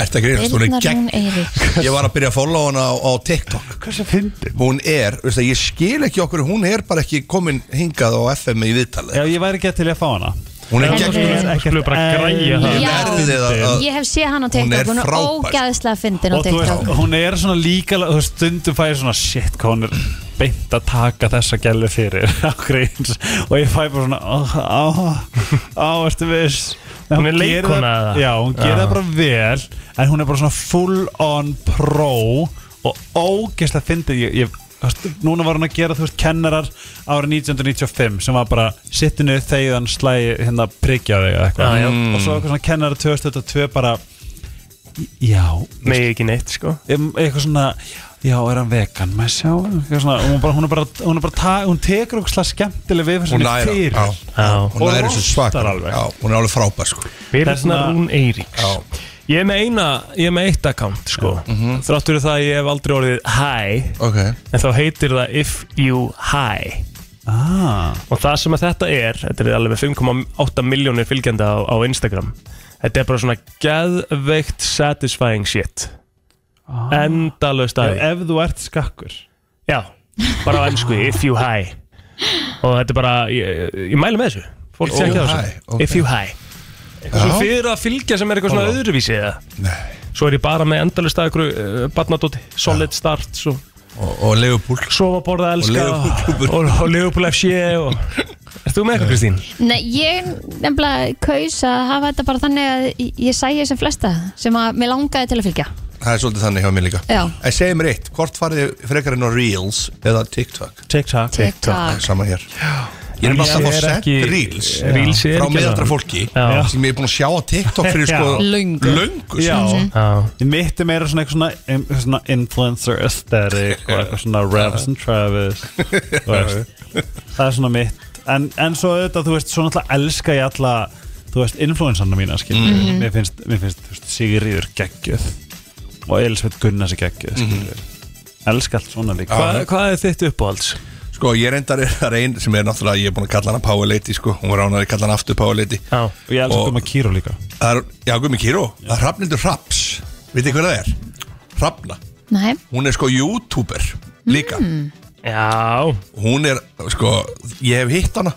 S14: Ertu að grínast, hún er gegg
S2: Birna Rún Eirík
S14: Ég var að byrja að follow hana á, á TikTok
S3: Hversu fyndi?
S14: Hún er, veist það, ég skil ekki okkur Hún er bara ekki komin hingað á FM í viðtalið
S3: Já, ég væri ekki til í að fá hana
S14: Hún er
S2: Herðu.
S14: gegn
S2: Hún
S1: er ekkert bara græja það.
S2: Já.
S14: Verðið að- að-
S2: Ég hef séð hann
S14: Hún
S2: á
S14: er
S2: TikTok Hún er
S14: frábær.
S2: ógæðslega fyndin á
S3: Og þú veist,
S2: TikTok
S3: hún er svona líka Þú veist, stundum fæði svona shit hvað hún er beint að taka þessa gælu fyrir á greins og ég fæ bara svona á, á, á, ertu viss En
S1: Hún er
S3: gerir það-
S1: leikkona eða?
S3: Já, hún gerir
S1: Já.
S3: það bara vel en hún er bara svona full on pro og ógeðslega fyndið ég, ég þú veist, Núna var hún að gera, þú veist, kennarar árið 1995 sem var bara sittinu þegðan slægi hérna priggja á þig eða
S1: Já, já.
S3: eitthvað og svo eitthvað svona kennarar 2022 bara Já,
S1: Megi ekki neitt, sko
S3: Em- eitthvað svona já, er hann vegan, maður sjá eitthvað svona, og hún, bara, hún er bara, hún er bara ta, hún tekur okkur slag skemmtileg við
S14: Hún næra,
S3: fyrir
S14: já,
S1: Já.
S14: hún
S3: Og
S14: næri þessu svakar
S3: rostar alveg.
S14: Já, hún er alveg frábær sko
S1: Birna
S3: Þessna-
S1: Rún Eiríks Ég er með eina, ég er með eitt account, sko Þrátt fyrir það að ég hef aldrei orðið hi
S14: Ok,
S1: En þá heitir það If You Hi
S3: ah,
S1: Og það sem að þetta er, þetta er alveg 5,8 miljónir fylgjandi á, á Instagram Þetta er bara svona geðveikt satisfying shit ah. Endalaust
S3: ef,
S1: aðeins
S3: ef þú ert skakkur
S1: Já, bara á ennsku, if you high Og þetta er bara, ég, ég mæli með þessu Fólk
S14: If
S1: tekja
S14: you
S1: þessu,
S14: high, ok.
S1: if you high Eitthvað
S14: Já.
S1: svona fyrir að fylgja sem er eitthvað svona öðruvísi eða
S14: Nei.
S1: Svo er ég bara með endalist að ykkur uh, barnadóti Solid start, svo
S14: og, og Leopold
S1: sofa, borða, elska
S14: Og Liverpool klúbbur.
S1: og, og Liverpool FC og Ert þú með eitthvað, Kristín?
S2: Nei, ég nefnilega kaus að hafa þetta bara þannig að ég sæi sem flesta sem að mér langaði til að fylgja
S14: það er svolítið þannig hjá mér líka
S2: Já.
S14: En segjum mér eitt, hvort farið þið frekar inn á Reels eða TikTok?
S3: TikTok
S2: TikTok.
S14: Það er sama hér Ég er
S3: Reels
S14: alltaf að
S3: er
S14: fá sett
S3: ekki-
S14: Reels
S3: Já. Reels er
S14: frá
S3: ekki
S14: miðaldra
S3: það.
S14: fólki
S3: Já.
S14: sem ég er búin að sjá á TikTok fyrir sko
S2: Löngu.
S14: löngu
S3: Já,
S14: sko.
S3: mitt er meira svona eitthvað svona, eitthvað svona influencer aesthetic og eitthvað svona Ravs and Travis þú veist. það er svona mitt en, en svo auðvitað, þú veist, svo náttúrulega elska ég alla, þú veist, influencerna mína skil,
S14: Mhm.
S3: mér finnst, mér finnst þú veist, Sigurður geggjöð og Elisabeth Gunnars er geggjöð skil, elska allt svona líka
S14: hvað er þitt uppáhalds? Sko, ég reyndar er það ein sem er náttúrulega, ég er búin að kalla hana Power Lady, sko, hún var ránaði að kalla hana aftur Power Lady. Já, og
S3: ég elska Gumma um Kíró líka.
S14: Er, já, Gummi Kíró, það er Hrafnildur Hraps, veitir hver það er? Hrafna,
S2: Nei
S14: hún er sko YouTuber líka.
S2: Mm.
S14: Já. Hún er, sko, ég hef hitt hana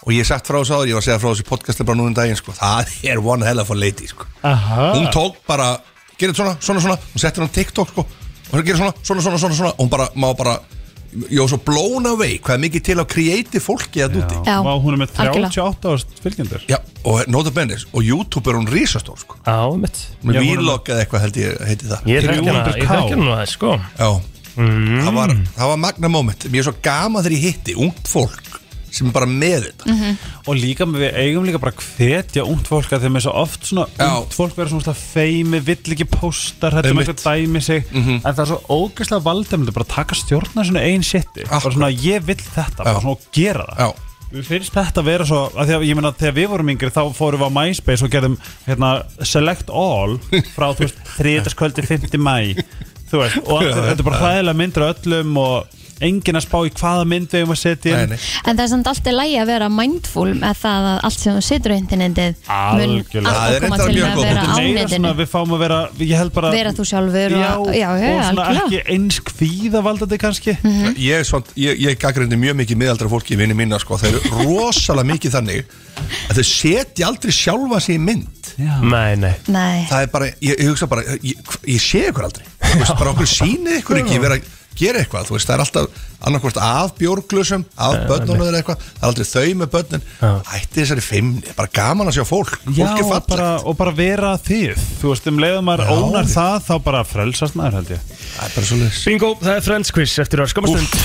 S14: og ég hef sagt frá þessu áður, ég var að segja frá þessu podcasti bara núna um daginn, sko, það er one hell of a lady, sko.
S3: Aha.
S14: Hún tók bara, gerir svona, svona, svona Hún settir hún á TikTok sko Og hún gerir svona, svona, svona, svona, svona Og hún bara, má bara Ég var svo blown away Hvað er mikið til að create fólki að úti
S3: Já, Vá, hún er með
S14: algjörlega.
S3: 38 ást fylgjendur
S14: Já, og nota bennis Og YouTube er hún risastór sko Já, mitt Með
S3: Já, hún er-
S14: vlog eða eitthvað held ég heiti það
S1: Ég þekki hana- ég þekki hana nú aðeins, sko.
S14: Já það, var, það var magna moment Mér er svo gama þegar ég hitti Ungt fólk Sem er bara með þetta
S3: Mhm. og líka við eigum líka bara að hvetja ungt fólk að þeim er svo oft svona ungt fólk verður svona ógeðslega feimi, vill ekki pósta hættum
S14: Einmitt. Mhm.
S3: ekki að dæmi sig en það er svo ógeðslega valdæmandi bara að taka stjórna svona einn sétti, bara svona ég vill þetta bara svona og gera það
S14: Já.
S3: Mér finnst þetta að vera svo, að því að ég meina þegar við vorum yngri þá fórum við á MySpace og gerðum hérna, select all frá þú veist þriðtaskvöldi 5. mæ þú veist, og allt,
S14: Já,
S3: þetta er bara
S14: já.
S3: hræðilega myndir af öllum og enginn að spá í hvaða mynd við erum að setja inn
S2: En það er samt alltaf lægi að vera mindful með það að allt sem þú setur á internetið mun alltaf koma til með að vera á
S3: Meira svona
S2: netinu
S3: Við fáum að vera, ég held bara
S2: vera þú sjálfur
S3: Já,
S2: og, já, já,
S3: og svona
S2: algjörlega Mm.
S3: ekki eins kvíða valdandi kannski
S14: Mhm. ég, er svont, ég, ég gaggrindi mjög mikið miðaldra fólki í vinni mína sko, þau eru rosalega mikið þannig að þau setja aldrei sjálfa sig í mynd
S1: Nei, nei
S2: Nei.
S14: það er bara, ég, ég hugsa bara ég, ég sé ykkur aldrei, þú veist, bara okkur sýnið ykkur ekki vera að gera eitthvað, þú veist, það er alltaf annarkvort af bjórglusum af
S1: Já,
S14: börnunum eða eitthvað, það er aldrei þau með börnin ætti þessari fimm, bara gaman að sjá fólk
S3: Já,
S14: fólk er
S3: og
S14: fallegt
S3: bara, og bara vera þið Þú veist, um leiðum maður
S14: Já.
S3: ónar það þá bara frelsast maður held ég
S14: Það er bara svo leiðis
S1: Bingo, það er Friends quiz eftir að um. skamastund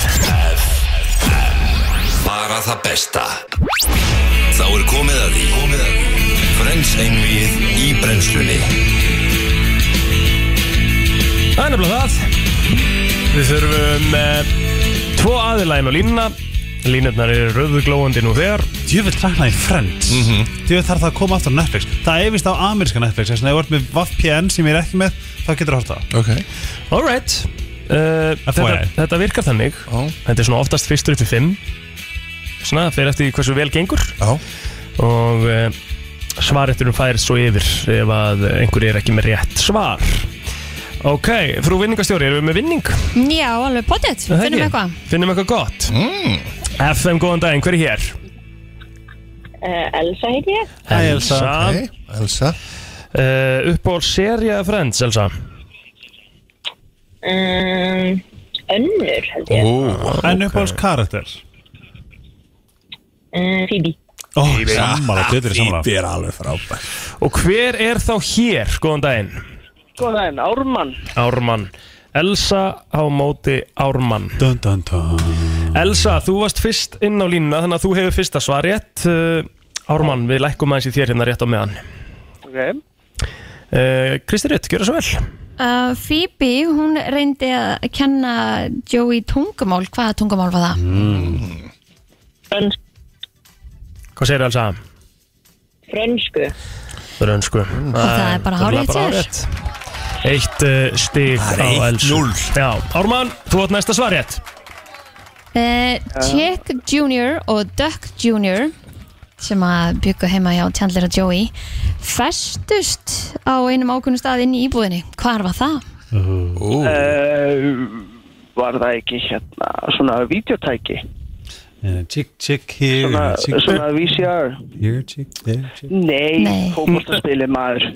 S12: Bara það besta Þá er komið að því Komið að því Frens einvið í brennslunni
S1: Það er nefnilega það Við þurfum eh, tvo aðilægin og línuna Línurnar eru röðuglóandi nú þegar
S3: Djöfell saknaði Friends mm -hmm. Djöfell þarf það að koma aftur á Netflix Það er vist á ameríska Netflix Þess vegna ef þú ert með VPN sem ég er ekki með þá getur þú horta
S14: okay.
S1: Alright uh, þetta,
S3: FYI.
S1: þetta virkar þannig Þetta er svona oftast fyrstur upp í fimm Svona, það fer eftir því hversu vel gengur
S14: Já.
S1: Og uh, svaretturum færist svo yfir Ef að einhver er ekki með rétt svar Ok, frú vinningastjóri, erum við með vinning?
S2: Já, alveg potið,
S1: Er það
S2: finnum
S1: ekki?
S2: eitthvað
S1: Finnum eitthvað gott mm. FM, góðan daginn, hver er hér?
S15: Uh, Elsa heiti ég.
S1: Elsa,
S14: Ok, Elsa.
S1: Uh, Uppáhald seria Friends, Elsa
S15: Um, önnur held ég.
S14: Ó,
S3: En uppáhalds karakter
S15: Um, Phoebe.
S3: Ó, sammála, þetta er sammála
S14: Phoebe er alveg frábær
S1: Og hver er þá hér, góðan daginn?
S15: Góðan daginn, Ármann.
S1: Ármann Elsa á móti Ármann
S3: dun, dun, dun.
S1: Elsa, þú varst fyrst inn á línuna Þannig að þú hefur fyrsta svar rétt uh, Ármann, við lækkum aðeins í þér hérna rétt á meðan
S15: Ok.
S1: uh, Kristi Rutt, gjör það svo vel
S2: Uh, Phoebe, hún reyndi að kenna Joey tungumál, hvaða tungumál var það?
S1: mm. Hvað segir Elsa?
S15: Frönsku.
S1: Rönnsku
S2: það er bara hárrétt hjá þér.
S1: Eitt uh, stig
S14: Það er
S1: á
S14: eitt
S1: Elsu
S14: núll.
S1: Já, Ármann, þú átt næsta svar rétt Mm.
S2: Uh, Chick Junior og Duck Junior sem að byggu heima hjá Chandler og Joey festust á einum ákunnum stað inn í íbúðinni hvar var það?
S14: Uh,
S15: var það ekki hérna svona videotæki?
S3: Eh, Chick, chick here
S15: Svona,
S3: chick
S15: svona VCR?
S3: Here, chick there chick.
S15: Nei, fókbaltaspili maður.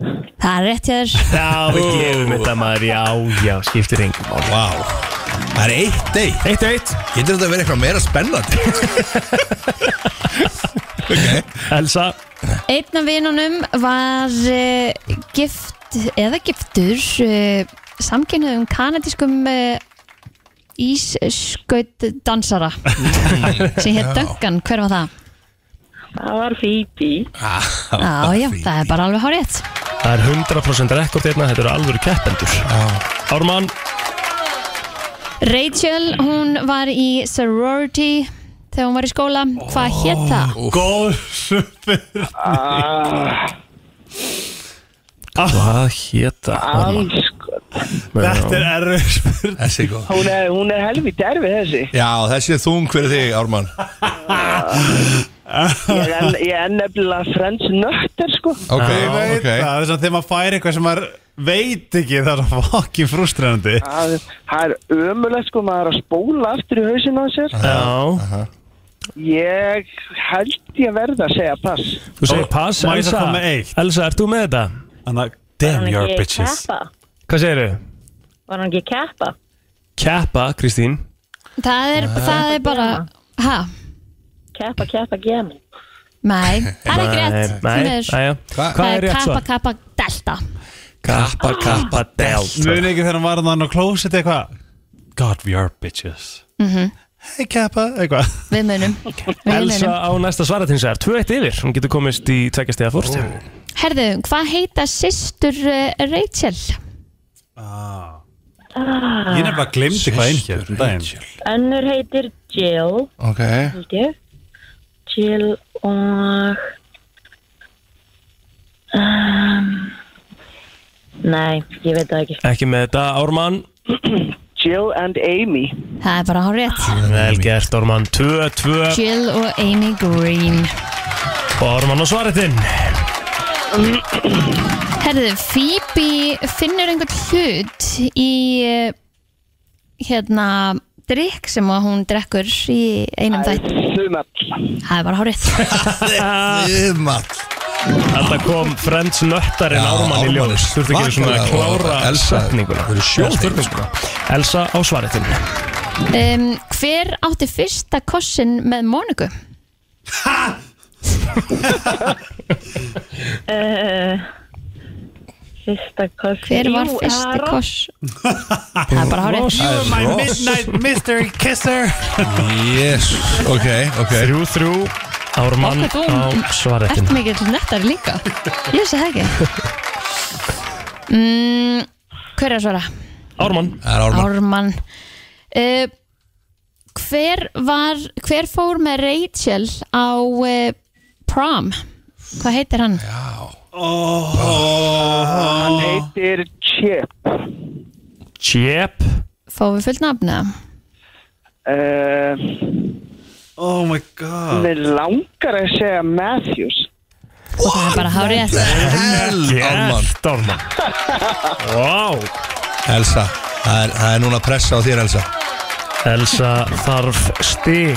S2: Það er rétt hjá þér
S1: Já, við gefum þetta maður, já, já, skiptir engum mál
S14: Vá, það er eitt eitt
S1: Eitt eitt
S14: Getur þetta verið eitthvað meira spennandi?
S1: Elsa
S2: Einn af vinunum var uh, gift gift eða giftur uh, samkynnaðum kanadískum uh, ísskaut dansara sem hér
S16: Já.
S2: Döngan, hver var það?
S16: Það var Phoebe
S1: Ah,
S2: Já, já, það er bara alveg hárétt
S1: Það er 100% rekord hérna, þetta eru alvöru keppendur Ármann,
S2: Rachel, hún var í sorority þegar hún var í skóla Hvað hétt það?
S3: Góð spurning
S1: hvað hétta?
S3: Þetta er erfið spurning
S14: Þessi er góð
S17: Hún er, hún er helvítið erfið þessi
S14: Já, þessi er þung fyrir þig, Ármann
S17: Ég er, enn- ég er nefnilega frends nöttir sko
S14: Ok,
S3: ég veit
S14: ok.
S3: það, þess að þegar maður fær eitthvað sem maður veit ekki það er svo fokkin frustrandi
S17: Það það er ömulegt sko, maður er að spóla aftur í hausinu
S1: Ah.
S17: að sér
S1: Já
S17: Ég held ég verð að segja pass
S1: Þú segir pass,
S3: Má ég þá
S1: Elsa
S3: koma með eitt?
S1: Elsa, ert þú með þetta?
S3: Anna,
S15: Var hann ekki keppa?
S1: Hvað segirðu?
S15: Var hann ekki keppa?
S1: Keppa, Kristín
S2: Það er,
S1: Nei.
S2: það er bara ha,
S15: Keppa, keppa, gemi
S2: Nei, það er ekki rétt
S1: Nei,
S2: því
S1: nei,
S2: miður.
S1: jæja. Hva- hvað
S2: Það
S1: er rétt
S2: kappa,
S1: svar?
S2: kappa, delta
S1: Kappa, kappa, delta
S3: Muni ekki þegar hann var hann á klósit eitthvað God we are bitches
S2: Mhm.
S3: Hey kappa, eitthvað
S2: Við munum Við
S1: Elsa
S2: munum.
S1: á næsta svarat hins vegar, 2-1 yfir Hún getur komist í tvekja stiga fórst
S2: Herðu, hvað heita systur uh, Rachel?
S15: ah,
S3: Ég nefnilega glemdi hvað einn hér um daginn.
S15: Önnur heitir Jill
S14: Ok
S15: held ég Jill og um, Nei, ég veit það ekki
S1: Ekki með þetta, Ármann
S17: Jill and Amy
S2: Það er bara hárétt
S1: Vel gert, Ármann, 2-2
S2: Jill og Amy Green
S1: Og Ármann á svarið þinn
S2: Herðu, Phoebe finnur einhvern hlut í eh, hérna drikk sem að hún drekkur í einum þætt Það er bara hárið
S14: Þumall
S1: Þetta kom Friends nöttarinn Ármann í ljós Þú ert ekki verið svona að
S14: svakalega
S1: klára
S14: orðað. Elsa,
S1: setninguna
S14: þú eru sjö spurningar.
S1: Elsa á svarið þinn
S2: um, Hver átti fyrsta kossin með Móniku?
S15: uh, Fyrsta koss
S2: Hver var
S15: Jú,
S2: fyrsti
S15: Aron.
S2: koss? Það er bara hárið
S3: You are Oh, my midnight mystery kisser
S14: Jesus, ok, ok
S1: Þrjú, þrjú Ármann
S2: Okkur
S1: á
S2: þú
S1: svarið
S2: ert
S1: þinn
S2: mikill nettar líka Ég sé það ekki mm, Hver er að svara?
S1: Ármann
S14: Það er
S2: Ármann, Uh, Hver var Hver fór með Rachel á uh, prom? Hvað heitir hann?
S3: oh.
S17: Hann heitir Chip
S1: Chip
S2: Fáum við fullt nafna?
S17: uh,
S3: Oh my god
S17: Mér langar að segja Matthews
S2: Það er bara hárið
S14: Ármann
S1: Ármann Wow
S14: Elsa, það er, það er núna pressa á þér, Elsa
S1: Elsa þarf stig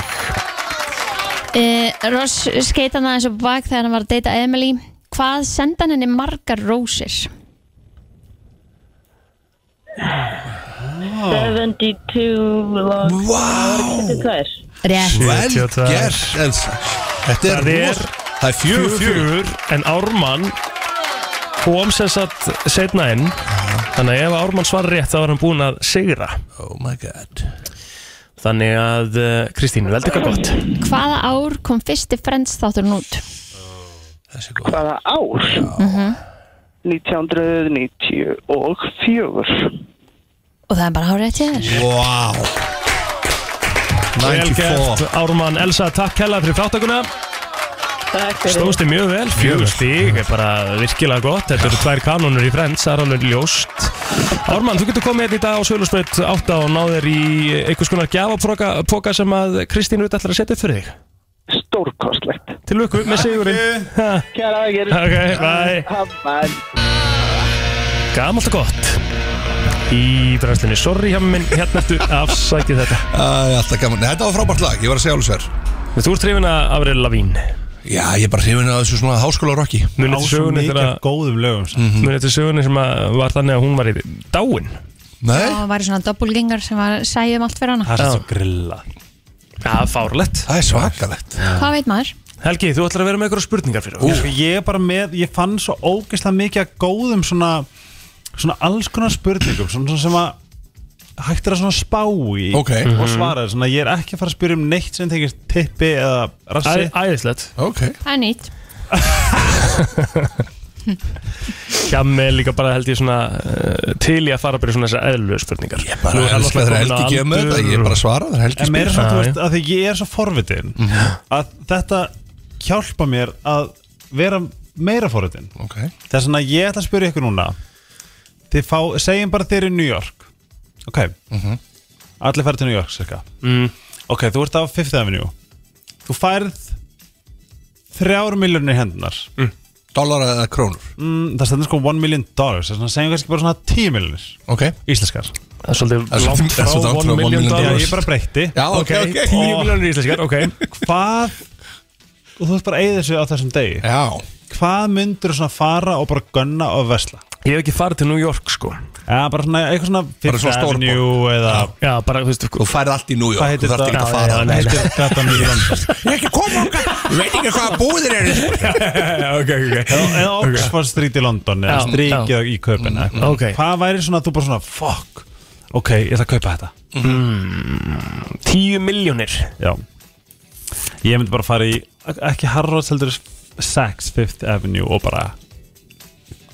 S2: uh, Ross skeita hann aðeins upp á bak þegar hann var að deyta Emily Hvað senda hann henni margar rósir?
S15: 72 long Wow
S2: Rétt
S14: Vel gert, Elsa Þetta er
S1: Það er
S14: rosa- Það er fjögur, fjögur
S1: En Ármann kom sem sagt setna inn Þannig að ef Ármann svarar rétt þá var hann búinn að sigra
S14: Oh my god
S1: Þannig að eh, Kristín, veldi eitthvað gott
S2: Hvaða ár kom fyrsti Friends þátturinn út?
S17: Hvaða ár?
S2: Mm
S17: 1994
S2: Og það er bara hárið til þér
S14: Wow
S1: Vel
S14: 94
S1: gert, Ármann, Elsa, takk hella fyrir þáttakuna Stóðst þið mjög vel, fjögur stík er bara virkilega gott, þetta eru tvær kanonur í Friends, það er alveg ljóst Ármann, þú getur komið hérna í dag á Sölusbreyt 8 og náðir í einhvers konar gjafapoka sem að Kristín Rut ætlar að setja upp fyrir þig
S17: Stórkostlegt
S1: Til lukku með sigurinn Ha.
S17: Kæra aðgerð
S1: Ok, bye.
S17: Bye
S1: Gamalt og gott Í bræðslinni, sorry hjá minn, hérna ertu afsækið þetta
S14: Það er alltaf gaman Nei, Þetta var frábært lag, ég var að segja alveg sér
S1: Þú ert hrifin að Avril Lavín
S14: Já, ég er bara hrifin að þessu svona háskóla rocki
S1: Munið til sögunni þegar að-
S3: góðum lögum
S1: Munið til sögunni sem að var þannig að hún var í dáin
S14: Nei
S2: Og hann var í svona doppulgengar sem var sæjum allt fyrir hana
S1: er svo
S3: grilla
S1: Það er fárlegt
S14: Það er svakalegt
S2: Hvað veit maður?
S1: Helgi,
S3: Sko,
S1: þú ætlar að vera með einhverja spurningar fyrir okkur
S3: Ég er bara með, ég fann svo ógeðslega mikið að góðum svona svona alls konar spurningum svona sem að hægt er að svona spá í
S14: Ok.
S3: og
S14: Mhm.
S3: svara svona ég er ekki að fara að spyrja um neitt sem tengist tippi eða rassi
S1: Æ- Æðislegt
S14: okay.
S2: Það er nýtt
S1: Hjammi er líka bara held ég svona uh, til í að fara bara í svona þessar eðlulegu spurningar Ég
S14: bara elska þegar Helgi gefur mér þetta, ég bara svara þegar Helgi
S3: En meira
S14: spyr.
S3: svona, þú
S14: Já,
S3: veist,
S14: já.
S3: að því ég er svo forvitin
S14: Mhm.
S3: að þetta hjálpa mér að vera meira forvitin
S14: okay.
S3: Það er svona, ég ætla að spyrja ykkur núna Þið fá, segjum bara þeir eru í New York Ok
S14: Mhm.
S3: Allir færi til New York, cirka
S1: mm.
S3: Ok, þú ert á Fifth Avenue Þú færð þrjár miljónir hendunar mm.
S14: Dólar eða krónur
S3: mm, Það stendur sko 1 million dollars Það er svona, segjum kannski bara svona 10 miljónir
S14: Ok
S3: Íslenskar
S1: Það er svolítið
S3: Það er svolítið-
S1: langt
S3: það er
S1: frá 1
S3: svolítið langt frá 1
S1: million
S3: million
S1: dollars
S3: Já, ég bara breytti.
S1: Já, ok,
S3: Ok,
S1: ok 10
S3: og-
S1: milljónir íslenskar, ok
S3: Hvað Og þú ert bara eigið þessu á þessum degi
S14: Já
S3: Hvað myndur þú svona fara og bara gunna og vesla?
S1: Ég hef ekki farið til New York sko
S3: Já, bara svona eitthvað svona
S1: Bara svona stórborg.
S3: eða
S1: Já, bara, þú veist
S14: Þú færð allt í New York,
S3: Hvað heitir
S14: þú þarft
S3: þetta?
S14: ekki að fara.
S3: Hvað heitir þetta mjög
S14: Ég er ekki að koma okkar Ég veit ekki hvaða búðir eru
S1: London
S3: Eða Oxford Street í London eða
S14: Já, já.
S3: strikið í kaupin eða eitthvað.
S1: Ok.
S3: Hvað væri svona að þú bara svona fuck Ok, ég ætla að kaupa þetta
S1: mm, 10 milljónir
S3: Já Ég myndi bara fara í ekki Harrods heldur Saks Fifth Avenue og bara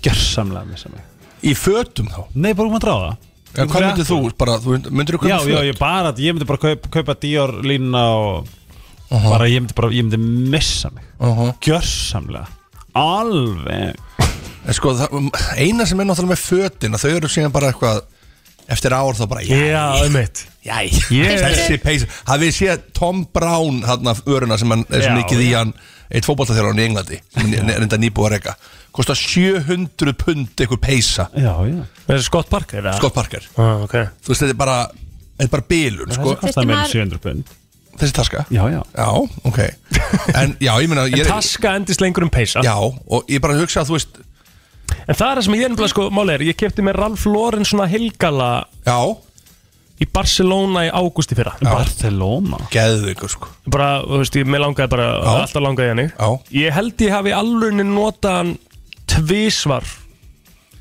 S3: gjörsamlega missa mig
S14: Í fötum þá?
S3: Nei, bara um að draga
S14: En hvað myndir þú? Bara, þú myndir þú kaupa
S3: já,
S14: föt?
S3: já, ég bara, ég myndi bara kaupa, kaupa Dior línuna og bara, ég myndi bara, ég myndi missa mig gjörsamlega alveg
S14: En sko, það, eina sem er náttúrulega með fötin að þau eru síðan bara eitthvað eftir ár þá bara, jæ,
S1: Já, um eitt
S14: jæ
S1: Ég-
S14: þessi peysa, hafið séð Tom Brown þarna öruna sem hann er svo
S1: Já,
S14: mikið í hann eitt fótballtæðarón í Englandi sem er enda nýbúið að reyka kostar 700 pund einhver peysa
S3: Já, já
S1: Það er Scott Parker eða?
S14: Scott Parker
S1: ah, okay.
S14: þú veist, þetta er bara, þetta er bara bilun sko.
S3: þessi kostar meira en 700 pund
S14: þessi taska?
S3: Já, já
S14: ok en já, ég meina ég,
S1: En taska endist lengur um peysa
S14: Já, og ég bara hugsa að þú veist
S1: En það er það sem ég er nefnilega sko, máli er Ég kefti með Ralph Lauren svona helgala
S14: Já
S1: Í Barcelona í ágústi fyrra
S3: Barcelona?
S14: Geðveikur sko
S1: Bara, þú veist, ég með langaði bara Alltaf langaði henni
S14: Já
S1: Ég held ég hafi alveg notað hann Tvísvar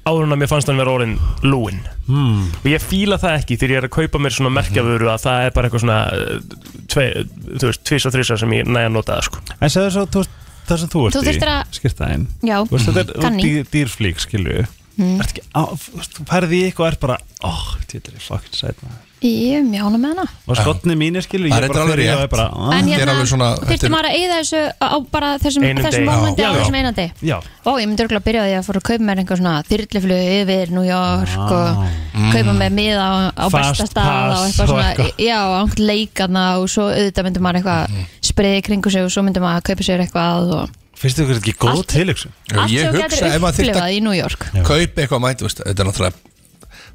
S1: Áður en að mér fannst hann vera orðin lúin
S3: hmm.
S1: Og ég fíla það ekki þegar ég er að kaupa mér svona merkjavöru að það er bara eitthvað svona uh, tve, þú veist, tvís og þrísar sem ég næja að nota það sko.
S3: en segðu svo, þú, veist, það sem þú
S2: Þú
S3: ert í
S2: þurftir að-
S3: skýrtaðin
S2: Já,
S3: þú veist, þetta er
S2: kann í.
S3: dýr, dýrflík, skilju
S2: Mm.
S3: Ert ekki, á, þú veist, þú færði í eitthvað og er bara oh, þetta er fucking sæt maður
S2: Ég er mjána með hana
S3: og skotni mínir skilju,
S14: Það
S3: ég
S14: er
S3: bara
S14: alveg
S3: fyrir í það og
S14: rétt.
S3: er bara ah.
S2: En
S14: Þetta er
S2: hérna,
S14: alveg svona- þetta
S2: þurfti
S14: er-
S2: maður að eyða þessu á bara þessum,
S14: Einum
S2: þessum
S14: degi. Já,
S2: mómenti á
S14: já.
S2: þessum einandi
S14: Já.
S2: Ó, ég myndi örgulega að byrja á því að fóra að kaupa mér einhver svona þyrliflug yfir New York og
S14: Mm.
S2: kaupa mér miða á, á
S14: Fast
S2: besta stað og
S14: pass
S2: eitthvað
S14: og
S2: svona,
S14: eitthvað.
S2: já, á einhvern leikana og svo auðvitað myndi maður eitthvað
S14: Mhm.
S2: mm. spriði kringu sig og svo myndi maður að kaupa sér eitthvað og
S3: finnst þú ekki góð
S2: Allt-
S3: tilöksun
S2: allt sem
S14: ég hugsa ef
S2: þú getur
S14: maður þyrfti að-
S2: upplifað í New York
S14: kaupa eitthvað mætt, veist, þetta er náttúrulega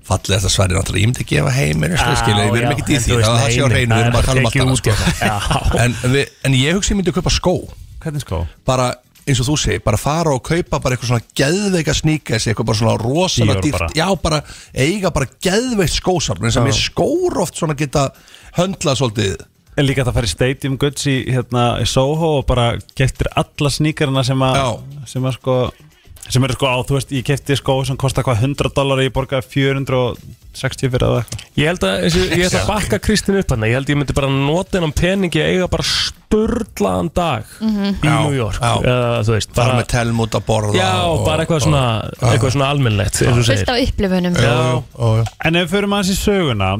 S14: fallið þetta sværi náttúrulega, ég myndi að gefa sko, heimir
S1: Já,
S14: skilja, við erum
S1: já,
S14: ekkert í
S1: en
S14: því,
S1: þú
S14: það
S1: veist,
S14: það sé á
S1: nei, nei,
S14: reynu
S1: það
S14: við erum bara að
S1: er
S14: tala um
S1: ekki
S14: allt
S1: út hérna, í
S14: annað sko. en, við- en ég hugsi ég myndi að kaupa skó
S3: hvernig skó?
S14: bara eins og þú segir, bara fara og kaupa bara eitthvað svona geðveika sníkess eitthvað bara svona rosalega
S3: Dior
S14: dýrt
S3: bara.
S14: já, bara eiga bara geðveikt skósarn eins og
S3: Já.
S14: mér skór oft svona geta höndla svolítið
S3: En líka það fær í Stadium Goods í, hérna, í Soho og bara keftir alla sníkarna sem að sem að sko sem eru sko á, þú veist, ég kefti skó sem kostar hvað 100 dólar ég borgaði 460 fyrir það eitthvað
S1: Ég held að, eins og- ég held
S3: Já.
S1: að bakka Kristín upp hann Ég held ég myndi bara nota hennan peningi að eiga bara spurlaðan dag
S2: Mhm.
S1: í New York uh, Þú veist,
S14: fara með telmút að borða
S1: Já,
S14: og-
S1: bara eitthvað
S14: og-
S1: svona, eitthvað svona almennlegt eins og þú
S2: fullt
S1: segir
S2: af upplifunum
S3: En ef við förum aðeins í söguna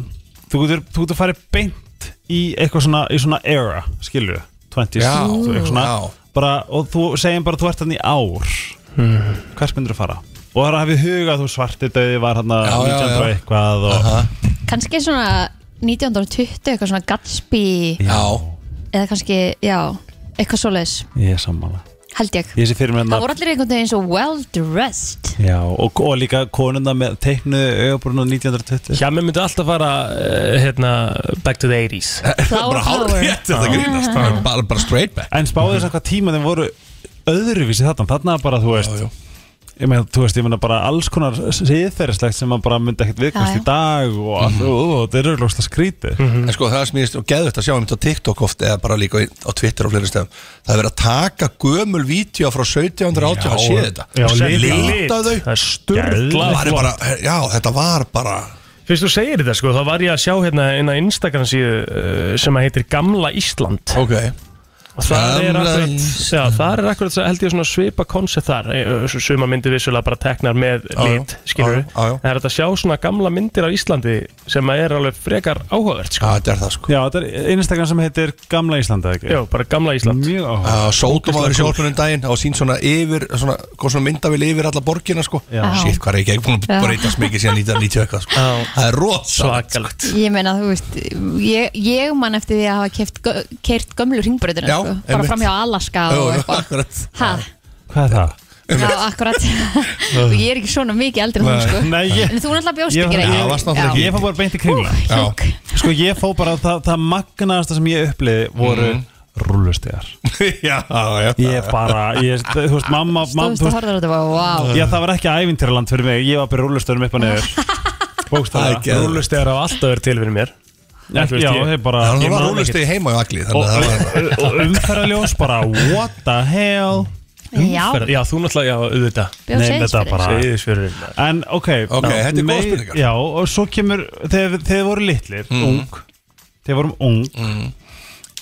S3: þú getur, þú getur farið beint í eitthvað svona, í svona era skilju, 20s
S14: Já,
S3: þú- eitthvað svona,
S14: já.
S3: bara, og þú segjum bara þú ert hann í ár
S14: Mhm.
S1: Hmm.
S3: hvers myndir þú fara? Og það hafið hugað þú svarti döði var hann að
S14: Já, já,
S3: 1900 og
S14: já.
S3: eitthvað og
S2: kannski svona 1920 eitthvað svona Gatsby
S14: Já.
S2: eða kannski, já, eitthvað svoleiðis
S3: ég er sammála
S2: held ég
S3: ég sé fyrir mér
S2: það
S3: hérna
S2: voru allir einhvern veginn svo well dressed
S3: Já, og, og líka konuna með teiknuðu augabrúnu 1920
S1: Já, mér myndi alltaf fara uh, hérna, back to the 80s
S2: Flower power.
S14: þetta grínast.
S3: Bara-
S14: bara straight back
S3: En spáðu þess að hvað tíma þeim voru öðruvísi þarna Þarna bara, þú veist ég meina, þú veist, ég meina bara alls konar siðferðislegt sem maður bara myndi ekkert viðkvæmst
S2: Já, já.
S3: í dag og allt, mm þetta er auðvitað skrítið
S1: Mhm.
S14: En sko það sem ég veist og geðvægt að sjá um þetta á TikTok oft eða bara líka í- á Twitter og fleiri stöðum það er verið að taka gömul vídeo frá 1780 að sé þetta
S1: Já, lit-
S14: lita
S1: lit.
S14: þau
S1: Það er sturlað
S14: Var ég bara, Já, þetta var bara
S1: Fyrst þú segir þetta sko, þá var ég að sjá hérna eina Instagram síðu uh, sem að heitir Gamla Ísland
S14: Ok
S1: Og það er
S14: Gamla
S1: akkurat, já, það er akkurat svo- held ég svona svipa konsept þar Eh, svo Suma myndir vissulega bara teknar með
S14: Já, já.
S1: lit, skilur við
S14: Já, já, já.
S1: Það er hægt að sjá svona gamla myndir af Íslandi sem að er alveg frekar áhugavert sko
S14: Já, þetta er það sko
S3: Já, þetta er einstaklega sem heitir Gamla Íslanda, ekki?
S1: Já, bara Gamla Ísland
S3: Mjög
S14: Uh, Sótum að vera í
S3: Ógeðslega
S14: sjálfnum daginn það var sínt svona yfir, svona, kom svona myndavil yfir alla borgina sko
S2: Já.
S14: Sitt hvað er ekki, ekki búin
S2: Já.
S14: að breytast mikið síðan 1990 eitthvað sko Það er rosalegt
S1: Svakalegt
S2: Ég meina, þú veist, ég, ég man eftir því að hafa keirt gömlu ringbröðina,
S14: Já,
S2: sko, bara
S14: einmitt.
S2: fram hjá Alaska og
S14: Jú,
S2: eitthvað.
S14: akkurat.
S2: Hæ,
S3: Hvað er það?
S2: já, akkurat. og ég er ekki svona mikið eldri en þú,
S3: Nei.
S2: sko.
S3: Nei, ég-
S2: en þú náttúrulega bjóst
S3: Ég
S2: ekki
S3: var-
S2: reynd.
S3: Já, varst náttúrulega ekki. Ég fór bara beint í kringlu Sko ég fó bara það, það magnaðasta sem ég uppliði voru mm.
S14: Mhm.
S3: rúlustegar
S14: Já, já
S3: Ég bara, ég, þú veist, mamma, mamma
S2: Stóðst og horfður á þetta og bara, wow.
S3: Já, það var ekki ævintýraland fyrir mig Ég var bara rúlustöðum upp og niður
S1: Það er
S3: Bókstæða
S1: geðveikt. Rúllustegar hafa alltaf verið til fyrir mér
S3: Já,
S1: Þú veist, ég-
S3: þeir bara
S14: Það
S3: ég
S14: var
S3: man
S14: rúlustegi
S3: ekkert.
S14: heima á Agli þannig að það var
S3: Og- Og umferðarljós bara What the hell
S2: Já.
S1: Umferð- Já, þú náttúrulega, já, auðvitað
S2: Bjó
S3: Nei, þetta
S2: Seyðisfjörður.
S1: Ah.
S3: bara
S1: Seyðisfjörður
S3: En ok
S14: Ok,
S3: ná,
S14: þetta er góð
S3: mei-
S14: spurningar.
S3: Já, og svo kemur Þegar þegar þið voru litlir,
S14: Mhm.
S3: ung Þegar við vorum ung
S14: Mm.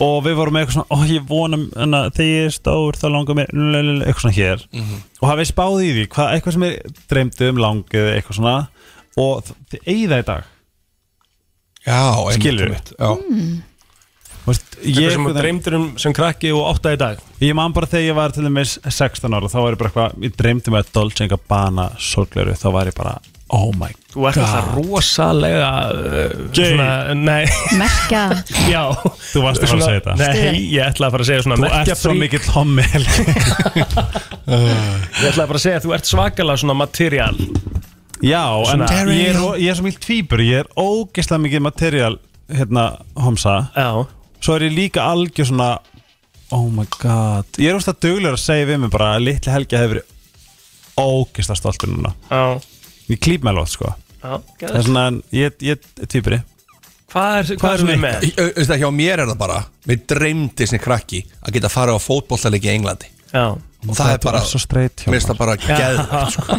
S3: Og við vorum með eitthvað svona Ó, ég vonum en að Þegar ég er stór þá langar mig lalalala, Eitthvað svona hér
S14: Mhm.
S3: Og hafið spáð í því Hvað eitthvað sem er dreymdi um langið Eitthvað svona Og þ- þið eigi það í dag
S14: Já, einmitt,
S3: Skilurðu?
S14: einmitt, já.
S3: Þú veist,
S1: Eitthvað
S3: ég-
S1: sem þú dreymdir um sem krakki og átta í dag
S3: Ég man bara þegar ég var til dæmis 16 ára þá var ég bara eitthvað, ég dreymdi mig að Dolce Gabbana sorgleru, þá var ég bara oh my god
S1: Þú ert alltaf rosalega uh, svona, Nei,
S2: Merkja.
S1: já
S3: Þú varst að fara að
S1: Svona-
S3: segja þetta
S1: Nei, ég ætla að fara að segja svona
S3: Þú ert svo
S1: merkjafrík.
S3: mikill hommel
S1: Ég ætla að bara að segja að þú ert svakalega svona material
S3: Já, en
S1: Svona-
S3: ég er, ég er svo mikill tvíbur ég er ógeðslega mikið material hérna, homsa
S1: Já
S3: Svo er ég líka algjör svona oh my god Ég er ósta duglegur að segja við mig bara að litli helgi hefur verið ógeðslega stoltur núna
S1: Já,
S3: Ég klýp mig alveg, sko
S1: já,
S3: Það er
S1: geðvægt.
S3: svona, ég, ég er tvíburi
S1: Hvað er, hvað
S3: Hvað
S1: er
S3: er
S1: við
S3: svona
S1: með?
S14: Í- au- Veist það, hjá mér er það bara Mér dreymdi sinni krakki að geta farið á fótbollaleiki í Englandi
S1: Já
S14: Og það er bara,
S3: svo straight hjá
S14: mér finnst það bara geð sko.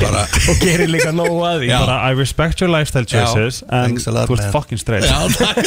S14: Bara,
S1: Og gerir líka nóg að því
S14: Já.
S3: bara I respect your lifestyle
S14: Já,
S3: choices en
S14: thanks a lot,
S3: þú ert
S14: man.
S3: fucking straight
S14: já, takk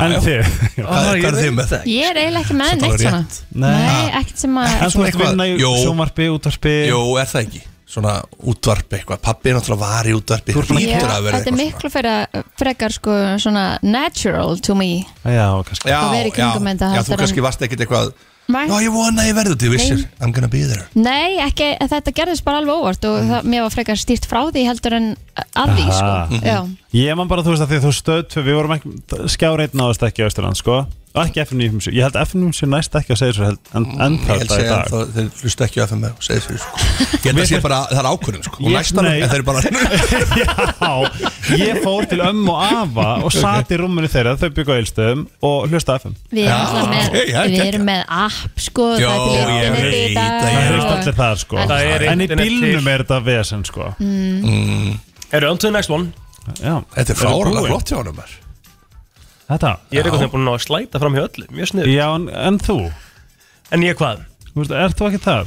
S3: en þið
S14: Hvað
S1: ég
S14: hvað er þið með það?
S2: Ég er eiginlega ekki með
S14: Sem talar
S2: neitt svona.
S14: rétt.
S3: Nei.
S2: Nei, ekkert sem að...
S3: en þú ert
S14: eitthvað-
S3: vinna í
S14: Jó.
S3: sjónvarpi, útvarpi
S14: Jó, er það ekki? Svona útvarpi eitthvað Pappi er náttúrulega var í útvarpi
S3: Þú ert
S2: Já,
S14: Hlýtur að vera
S2: þetta er
S14: eitthvað
S2: miklu frekar, frekar sko, svona natural to me
S3: Ah, já, kannski
S14: Já,
S2: að vera í kringum
S14: já,
S2: þetta
S14: já,
S2: heldur
S14: þú
S2: en-
S14: kannski varst ekkit eitthvað
S2: Nei.
S14: Já, ég vona að ég verður, þú vissir I'm gonna be there
S2: Nei, ekki, þetta gerðist bara alveg óvart
S14: Mhm.
S2: og það, mér var frekar stýrt frá því heldur en að því,
S3: Aha.
S2: sko.
S3: Mhm.
S2: Já.
S3: ég man bara þú veist að því þú stöð við vorum ekki skjár einn áðast ekki á Ísland sko og ekki FNU ég held FNU næst ekki að segja svo held en, en
S14: Ég held
S3: það í
S14: segja
S3: dag
S14: að þeir hlusta ekki á FM og segja fyrir sko. Ég held að sé bara, það er ákvörðun sko. Og
S3: Ég-
S14: næsta
S3: nei.
S14: en þeir bara
S3: já, ég fór til ömmu og afa og sat í rúmunu þeirra þau byggja á eilstöðum og hlusta á FM
S2: Við,
S14: Já,
S2: erum alltaf með,
S14: ok, já,
S2: við
S14: geggjað.
S2: erum með app, sko,
S14: Jó,
S2: það er til
S14: ég
S2: internet í
S14: veit
S2: dag.
S14: að
S3: það
S14: Já.
S3: er allir það sko
S2: Það
S1: er
S3: en í
S1: internet til.
S3: bílnum er þetta vesen sko
S1: Eru on to the next one
S3: já,
S14: Mm. Þetta er
S3: búin?
S14: fáralega flott hjá honum er.
S3: þetta
S1: Ég er eitthvað sem er búin að ná að slæta fram hjá öllu Mjög sniður
S3: Já, en, en þú?
S1: En ég hvað?
S3: Þú veist, Er þú ekki þar?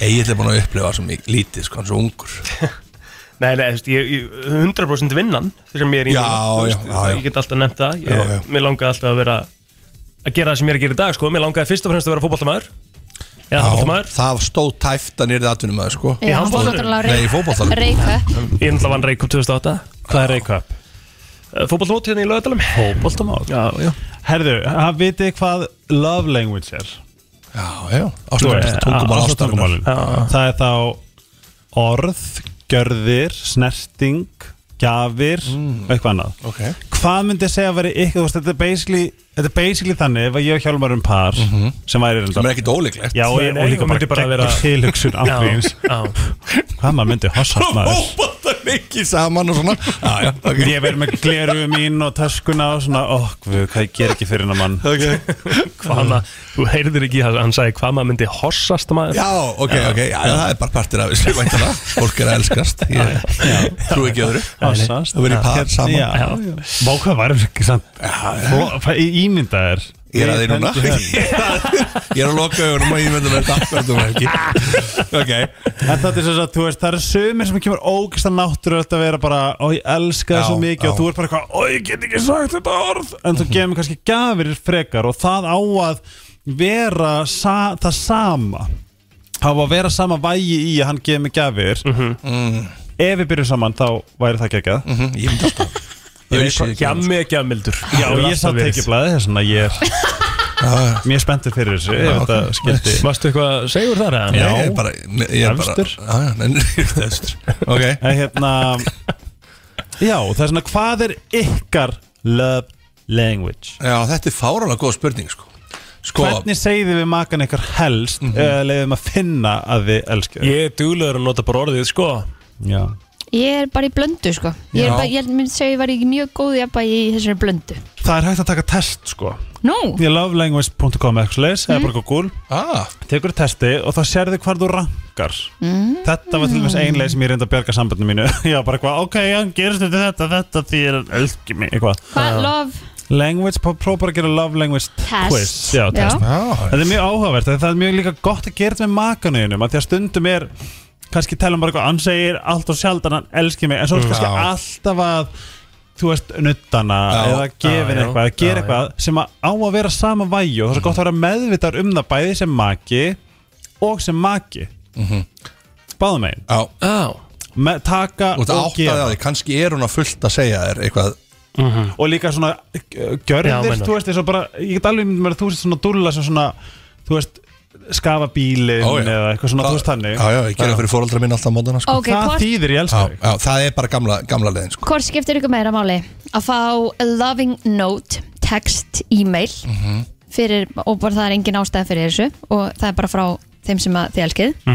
S14: Egil er búin að upplifa svo mikið lítið sko, hann er svo ungur
S1: Nei, nei, þú veist, ég, ég 100% vinnan þegar sem ég er í
S14: Já,
S1: þú
S14: já, já, já.
S1: Ég get alltaf nefnt það ég,
S14: Já, já.
S1: Mér langaði alltaf að vera að gera það sem ég er að gera í dag sko. Mér langaði fyrst og fremst að vera fótboltamaður Já,
S14: Já,
S1: fótboltamaður
S14: það stóð tæft að nýrið aðtunum maður sko
S2: Já, hann fór
S1: handboltanum?
S2: náttúrulega
S14: Nei, í fótboltanum.
S2: reyka.
S1: Ég náttúrulega vann Reykjavík 2008
S3: Hvað er Reykjavík?
S1: Fótboltamót hérna í lögadalum
S3: Fóboltamál
S1: Já, já
S3: Herðu, hafið vitið hvað love language er?
S14: Já, já,
S3: Eh,
S14: ástæðan tungumál ástæðan
S3: tungumálin Það er þá orð, gjörðir, snerting, gjafir og eitthvað annað
S14: Ok,
S3: Hvað myndi ég segja að veri ykkur, þú veist, þetta er basically, þetta er basically þannig ef að ég og Hjálmar um par sem væri
S14: sem
S3: reyndar
S14: er ekkit ólíklegt
S3: Já, og,
S1: Nei,
S3: og
S1: nei,
S3: líka
S1: og myndi
S3: bara,
S1: bara
S3: bara
S1: vera-
S3: tilhugsun
S1: Já,
S3: ángríns
S1: já
S3: Hvað maður myndi hossast maður
S14: Fótboltanum mikið saman og svona já, já, okay.
S3: Ég verð með gleru mín og taskuna og svona, óh, guð, hvað ég ger ekki fyrir hennar mann
S14: okay.
S7: Hvama, þú heyrðir ekki, hann, hann sagði hvama myndi hossast maður
S14: Já, ok, ok, já, það er bara partur af þessu væntanlega. Fólk er að elskast Ég trú ekki öðru
S3: Hossast.
S14: Það verið
S3: Já.
S14: par saman
S3: Já, já. Má hvað varum ekki samt Fó- fæ- Ímynda þér
S14: Ég er að því núna
S3: Ég hendi henni.
S14: Ég er að loka augunum og ég myndi að vera dagverðum ekki Ok
S3: En þetta er svo að þú veist, það eru sömur sem kemur ógæsta náttúrulegt að vera bara Ó, ég elska það svo
S14: Já,
S3: mikið og
S14: já. Mhm.
S3: þú er bara eitthvað Ó, ég get ekki sagt þetta orð En þú gefur mér kannski gafir frekar og það á að vera sa það sama Hafa að vera sama vægi í að hann gefur mér gafir
S14: Mhm.
S3: Ef við byrjum saman, þá væri það gekkað
S14: mm -hmm. Ég myndi alltaf
S3: Ég
S14: vissi ekki
S7: Gjammi ekki að mildur
S3: Já, ég satt ekki blæði þess að ég er Mér er spenntur fyrir þessu
S14: Já,
S3: Ef þetta
S14: ok.
S3: skildi
S7: Varstu eitthvað segur þar eða?
S14: Já, ég er bara Ég er bara Ah,
S3: Efstur.
S14: Já, já, nei, nei, Efstur Ok
S3: En hérna Já, það er svona hvað er ykkar love language?
S14: Já, þetta er fárálega góð spurning sko Sko
S3: Hvernig segið við makan ykkar helst mm eða leiðum að finna að við elskum
S7: Ég er duglegur að nota bara orðið, sko
S3: Já
S2: Ég er bara í blöndu sko Ég, er
S3: Já.
S2: bara, ég myndi segja að ég var ekki mjög góð í að bæja í þessari blöndu
S3: Það er hægt að taka test sko
S2: Nú,
S3: Ég lovelanguage.com exleis eða bara Google
S14: ah.
S3: Tekur testi og þá sérðu hvar þú rankar
S2: Mm.
S3: Þetta var til dæmis ein leið sem ég reyndi að bjarga sambandinu mínu Já, bara hvað, ok, já, gerist þetta, þetta, þetta því ég er elski mig Eitthvað
S2: hvað, love
S3: Language, pró- prófa bara að gera love language
S2: Test.
S3: quiz Já, test
S2: Já.
S3: Það er mjög áhugavert, það er mjög líka gott að gera þetta með makanuðinum Því að stundum er, kannski tala um bara eitthvað Hann segir allt og sjaldan, hann elskir mig En svo er kannski
S14: Já.
S3: alltaf að, þú veist, nuttana
S14: Já.
S3: Eða
S7: Já,
S3: gefin
S7: já.
S3: eitthvað, að
S7: Já,
S3: gera eitthvað Sem að á að vera sama vægi Og það er svo gott að vera meðvitar um það bæði sem maki Og sem maki
S14: Mhm.
S3: Báðum einn
S14: Já
S7: Já
S3: Me, Taka
S14: Þú ert
S3: og
S14: áttaði
S3: gefa
S14: að því Kannski er hún að fullt að segja þér eitthvað
S3: og líka svona uh,
S7: Já,
S3: gjörðir,
S7: meinar.
S3: þú veist, eins og bara ég get alveg myndið mér að þú sést svona dúlla sem svona, þú veist, skafa bílinn
S14: Ó, já.
S3: eða eitthvað svona, þú veist þannig
S14: Já, já, ég gerði fyrir fóröldra mín alltaf á mótana sko.
S2: Ok,
S3: það
S2: hvort,
S3: þýðir ég elska
S14: já,
S3: þig
S14: já, það er bara gamla, gamla leiðin sko.
S2: hvort skiptir ykkur meira máli Að fá a loving note Text, e-mail fyrir, Og bara það er engin ástæða fyrir þessu Og það er bara frá þeim sem að þið elskið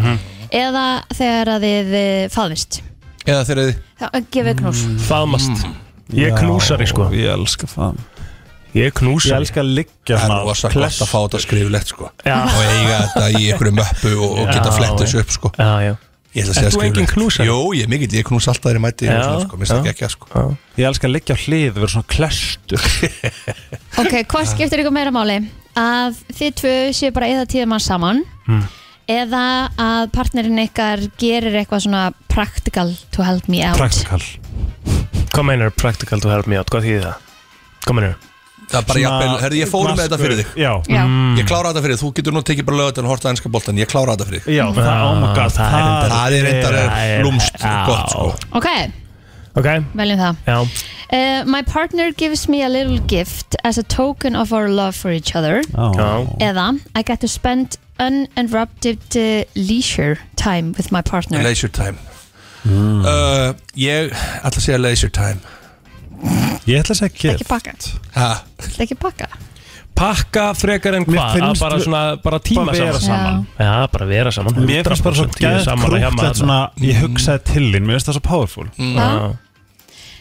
S2: Eða þegar að þið eh, faðmist
S14: Eða þeir eru
S2: Þá eh, gefið knús
S1: Mm.
S7: Faðmast Ég er knúsari, sko
S3: ég elska það
S7: Ég er
S3: ég
S7: knúsari
S3: elska að liggja
S14: Það er rosa gott að fá þetta skriflegt sko. og eiga þetta í einhverju möppu og, og geta
S7: Já,
S14: flett
S7: já.
S14: þessu upp sko.
S7: Já, já
S14: Ég ætla að
S7: Ert
S14: segja
S7: þú
S14: skriflegt
S7: enginn knúsari?
S14: Jó, ég er mikill, ég knús alltaf þegar ég mæti
S7: Já,
S14: já, sko, Mér
S7: já.
S14: stakki ekki að sko
S7: Já.
S3: ég elska að liggja á hlið, vera svona klestu
S2: Ok, hvort skiptir ykkur meira máli Að þið tvö séu bara eða tíðum að saman Eða að partnerinn ykkar gerir eitthvað svona practical to help me out
S3: praktikal
S7: Hvað meinar practical to help me out? Hvað þýðir það? Hvað meinar?
S14: Það er bara jafnvel, herri ég fórum með þetta fyrir þig
S3: já,
S2: Já,
S7: Mm.
S14: Ég klára þetta fyrir þig, þú getur nú tekið bara lögat en horta ennska boltan, ég klára þetta fyrir þig
S3: já það, oh my god,
S7: Ah, Það er reyndar-
S14: Það er reyndar
S7: Það er-
S14: lúmst
S7: Já.
S14: gott sko
S2: ok,
S7: Ok,
S2: veljum það
S7: já
S2: Uh, my partner gives me a little gift as a token of our love for each other
S3: Já.
S2: eða I get to spend uninterrupted uh, leisure time with my partner
S14: Leisure time
S7: Mm.
S14: Uh, Ég ætla að segja leisure time
S3: ég ætla að segja
S2: ekki
S3: gift
S2: pakka,
S14: Ha,
S2: Viltu ekki pakka
S7: Pakka frekar en
S3: Mér
S7: hvað? Að
S3: finnst
S7: Bara
S3: við-
S7: svona, bara tíma
S3: bara vera
S7: saman
S3: saman
S7: Já, bara vera saman
S3: Mér finnst bara svo
S7: 100% ég er
S3: gæðt
S7: sammála hjá maður
S3: krútlegt svona, ég hugsaði til þín, mér finnst það svo powerful
S2: Já.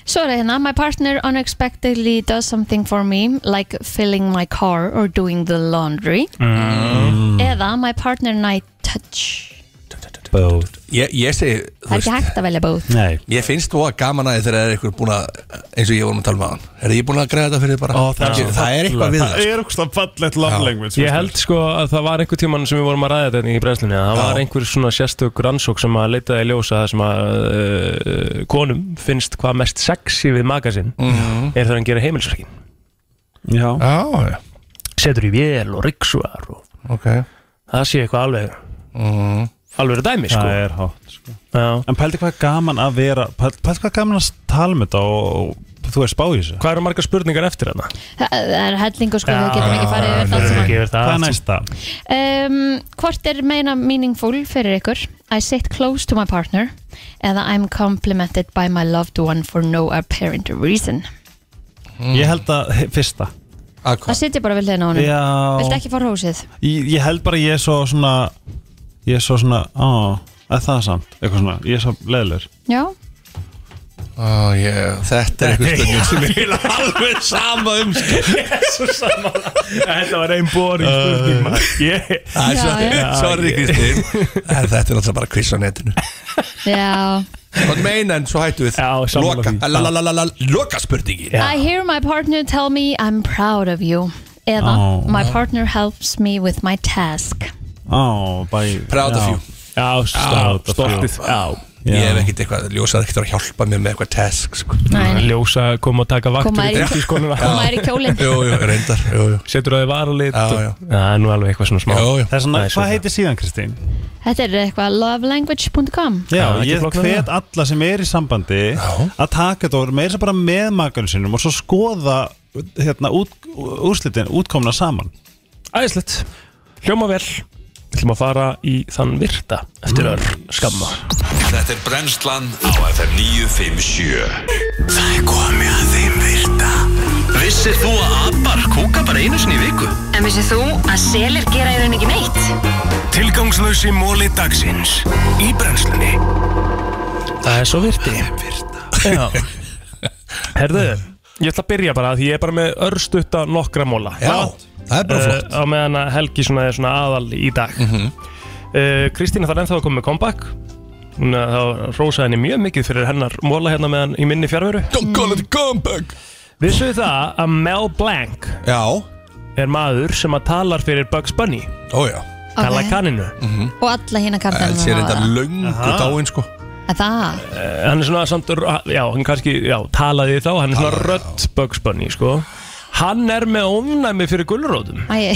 S2: Svo er það hérna My partner unexpectedly does something for me like filling my car or doing the laundry
S7: Mm.
S2: eða my partner and I touch
S3: Both.
S14: Ég, ég segi, þú
S2: Það er
S14: veist
S2: ekki hægt að velja bóð
S3: Nei,
S14: Ég finnst þú að gaman að þegar er eitthvað búin að eins og ég vorum að tala með hann Er ég búin að greiða þetta fyrir þig bara?
S3: Ó, það er
S14: Ekki-
S3: svo
S14: það er eitthvað við það
S3: það
S14: sko.
S3: er okkur fallegt love
S14: Já.
S3: language
S7: Ég held sko að það var einhver tíman sem við vorum að ræða þetta hérna í brennslunni að það
S14: Já.
S7: var einhver svona sérstök rannsók sem að leitaði í ljósa það sem að uh, konum finnst hvað mest sexy við magasinn
S14: Mhm.
S7: er þegar hann gera heimilsverkin
S14: Já,
S3: Já,
S14: já,
S7: setur í vél og ryksugar og
S14: ok
S7: það sé eitthvað alveg
S14: mm.
S7: alveg dæmi sko
S3: það er hátt sko.
S7: Já.
S3: En pældi hvað er gaman að vera pældi pældi hvað er gaman að tala um þetta og, og þú er spá í þessu
S7: Hvað eru margar spurningar eftir þarna?
S2: Það það er hellingu sko, við
S7: Já,
S2: getum ekki farið yfir það
S7: Við
S2: sem
S7: getum yfir
S3: Hvað
S7: það
S3: er næsta?
S2: Um, hvort er meina meaningful fyrir ykkur? I sit close to my partner eða I'm complimented by my loved one for no apparent reason
S3: Ég held að he- fyrsta
S2: Það sitja bara við hliðina á honum Viltu
S3: Já,
S2: ekki fá rósið?
S3: ég, ég held bara ég er svo svona ég er svo svona, á, að það er samt eitthvað svona, ég er svo leðlur
S2: Já,
S14: Ó, ég, þetta er eitthvað spurning sem er eiginlega alveg sama um sko.
S1: Þetta var einn boring spurning maður. Ég-
S14: Æ, sorry,
S1: Já,
S14: sorry
S1: ég-
S14: Kristín En Þetta er náttúrulega bara quiz á netinu
S2: Já
S14: Hvað meina en svo hættu við
S1: sammála
S14: Loka,
S1: því.
S14: lalalala, loka spurningi
S2: I hear my partner tell me I'm proud of you eða
S3: Ó.
S2: my partner helps me with my task
S3: Á, bæ
S14: Proud of
S3: Já.
S14: you.
S1: Já,
S3: proud of you.
S14: stoltið Ég hef ekkert eitthvað, ljósað ekkert að hjálpa mér með eitthvað task sko.
S2: Nei.
S1: Ljósa kom að taka vaktur
S2: Koma
S1: í
S2: þér í-
S1: drengiskonuna.
S2: koma þér í kjólinn.
S14: Jú, jú, reyndar jú, jú.
S1: Setur á því varalit
S14: Já, já.
S1: og- Það er nú alveg eitthvað svona smá
S3: Það er svona,
S1: Nei,
S3: hvað
S1: svona.
S3: heitir síðan Kristín?
S2: Þetta er eitthvað lovelanguage.com
S3: Já,
S1: Já, ekki
S3: ég
S1: flóknara.
S3: hvet alla sem er í sambandi að taka þetta og meira sem bara með makanum sinum og svo skoða hérna, út, úrslitin, útkomna saman
S1: Æðislegt Hljóma vel Við ætlum að fara í þann virta Eftir öll skamma
S18: Þetta er brennslan á FM 957
S19: Það er komið að þeim virta
S18: Vissir þú að abar kúka bara einu sinni í viku?
S19: En vissið þú að selir gera í raun ekki neitt?
S18: Tilgangslösi móli dagsins Í brennslunni
S1: Það er svo virti Já Herðu, ég ætla að byrja bara Því ég er bara með örstutta nokkra móla
S14: Já, það er bara flott.
S1: Eh,
S14: Mhm.
S1: Á meðan að Helgi svona er svona aðal í dag uh, Kristína þarf ennþá að koma með comeback Hún eh, þá rósaði henni mjög mikið fyrir hennar móla hérna meðan í minni fjárveru
S14: Don't call it a comeback
S1: Vissu það að Mel Blanc
S14: Já
S1: Er maður sem að talar fyrir Bugs Bunny
S14: Ó já
S1: Kalla
S2: Ok.
S1: kaninu
S2: og alla hína
S14: Það sé reynda
S2: kartanum
S14: löngu
S1: Aha.
S14: dáinn sko
S2: Það,
S1: Eh, hann er svona samt, já, hann kannski, já, talaði þá, hann er svona rödd Bugs Bunny, sko. Hann er með ónæmi fyrir gulrótum.
S2: æ,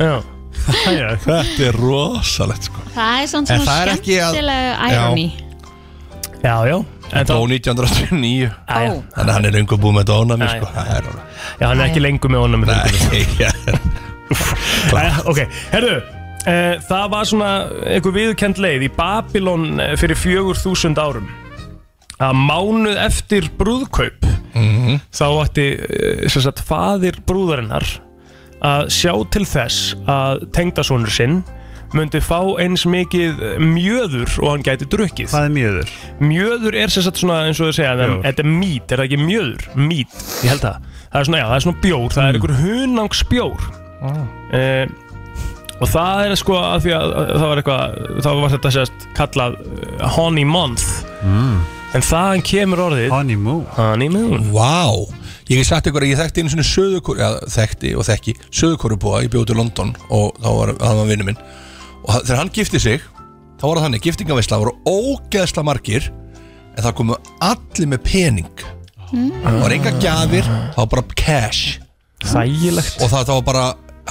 S1: Já.
S14: Þetta er rosalegt sko
S2: það er
S14: En
S2: svona svona
S14: það er ekki að-
S2: skemmtilega
S14: Já.
S2: irony
S1: Já, já. En
S14: Dó 1989
S1: Æ, já.
S14: Þannig að hann er löngu búið með dónami
S1: Æ.
S14: sko Það er alveg
S1: já, hann er ekki lengur með ónæmi fyrir gulrótum.
S14: Nei, já.
S1: Eh, ok, herru eh, Það var svona einhver viðkend leið í Babylon eh, fyrir 4000 árum að mánuð eftir brúðkaup þá ætti eh, sem sagt faðir brúðarinnar að sjá til þess að tengdasonur sinn myndi fá eins mikið mjöður og hann gæti drukkið
S3: Hvað er mjöður?
S1: Mjöður er sem sagt svona eins og þau segja það, Þetta er mít, er það ekki mjöður? Mít, ég held það Það er svona, já, það er svona bjór,
S14: Mm.
S1: það er einhver hunangsbjór
S14: Ah.
S1: Eh, og það er sko að því að, að það var eitthvað það var þetta sérst kallað uh, honey month
S3: Mm.
S1: en þaðan kemur orðið
S3: honeymoon
S1: honeymoon
S14: Vá Ég hef sagt ykkur að ég þekkti einu svona söðukóru Já, þekkti og þekki Söðukórubúa, ég bjóði í London Og þá var það var vinnu minn Og hann- þegar hann gifti sig Þá var það þannig, giftingaveisla voru ógeðsla margir En það komu allir með pening Það var enga gjafir Það var bara cash
S1: Þægilegt
S14: Og það, það var bara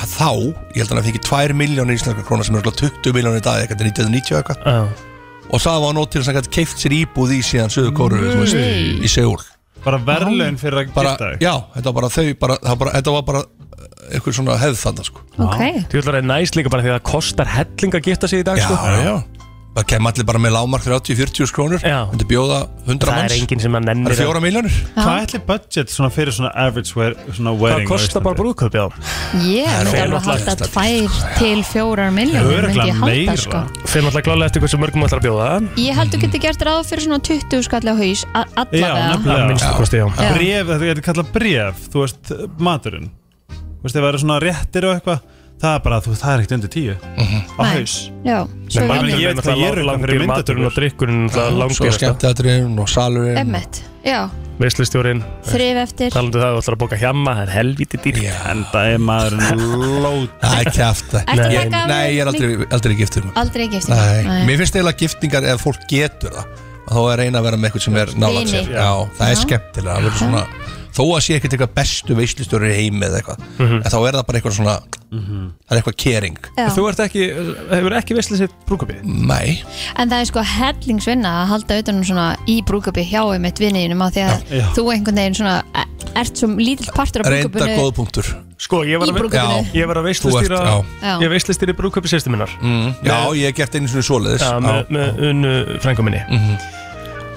S14: þá Ég held að hann fengi 2 miljónir íslenskar krónar Sem er örugglega 20 miljónir í dag Eitthvað 1990 og eitthvað
S1: Já.
S14: Og það var nót til þess að hann gæti keift sér íbúð í síðan Söðu kóru, þú veist,
S3: Nei.
S14: í Seúl
S3: Bara verðlaun fyrir að
S14: bara,
S3: gifta þig
S14: Já, þetta var bara þau bara, það var bara, Þetta var bara uh, einhver svona hefð þannig sko.
S2: Ok,
S1: Þú ætlar að næst líka bara því að það kostar helling að gifta sig í dag
S14: Já,
S1: sko.
S14: já Það kem allir bara með lámark 30-40 krónur
S1: Já.
S14: Þetta bjóða 100
S1: Það er
S14: manns
S1: enginn sem að
S14: Það
S1: nennir
S14: er fjóra miljónir
S3: Hvað ætli budget svona fyrir svona average wear, svona
S1: Það
S3: wearing
S1: kostar bara brúðkaup, já
S2: ég
S1: Það er
S2: myndi alveg
S1: ótrúlega
S2: að halda
S1: stabilt.
S2: tvær til fjórar miljónum myndi ég halda sko
S1: Fyrir náttúrulega glálega eftir hversu mörgum ætlar að bjóða
S2: Ég held þú getur gert ráð fyrir svona 20 skalli á haus a- allavega
S1: Að minnstu kosti, já
S2: Já.
S3: Bref, þetta getur kallað bref Þú veist, maturinn Þú veist, ef það eru svona réttir og eitthvað Það er bara, þú veist, það er ekkert undir tíu
S1: Mhm.
S3: Á
S2: Nei.
S3: haus
S2: Já,
S1: Nei,
S2: svo er
S1: maður-
S3: ég veit hvað ég er
S1: náttúrulega
S3: fyrir
S1: Langir maturinn og drikkurinn
S14: Svo
S1: Langir
S14: skemmt aðriðin og salurinn
S2: Emmett, já,
S1: Veislustjórin
S2: þrif eftir
S1: hérna. Talandu það, þú ætlar að bóka hjemma Það er helvítið dýrt
S3: En það er maðurinn lót
S14: Það er kæft
S2: Ertu að taka
S14: Nei, ég er aldrei, aldrei giftur maður.
S2: Aldrei giftið
S14: Nei, mér finnst eiginlega giftingar ef fólk getur það að þá er reyna að vera með eitthvað sem er nálægt
S2: Vini.
S14: sér Já, það er
S2: Já.
S14: skemmtilega það verður svona, þó að sé ekkert eitthvað bestu veislustjóri í heimi eða eitthvað en þá er það bara eitthvað svona það er eitthvað kering
S1: Þú ert ekki, hefur ekki veistlið sér brúkupið
S14: Nei,
S2: En það er sko hellingsvinna að halda utanum svona í brúkupi hjá um eitt vinniðinum af því að
S14: Já.
S2: þú einhvern veginn svona e- ert svo lítill partur á
S14: reynda
S2: brúkupinu
S14: góð punktur
S1: Sko, ég var
S2: Í
S1: að,
S2: brúðkaupinu.
S1: Já. ég var að
S14: Þú ert,
S1: veistlustýra
S2: já.
S1: Ég veistlustýri brúköpi sérstu minnar
S14: mm, Já, ég hef gert einu svona svoleiðis
S1: Já, með, með unnu frængu minni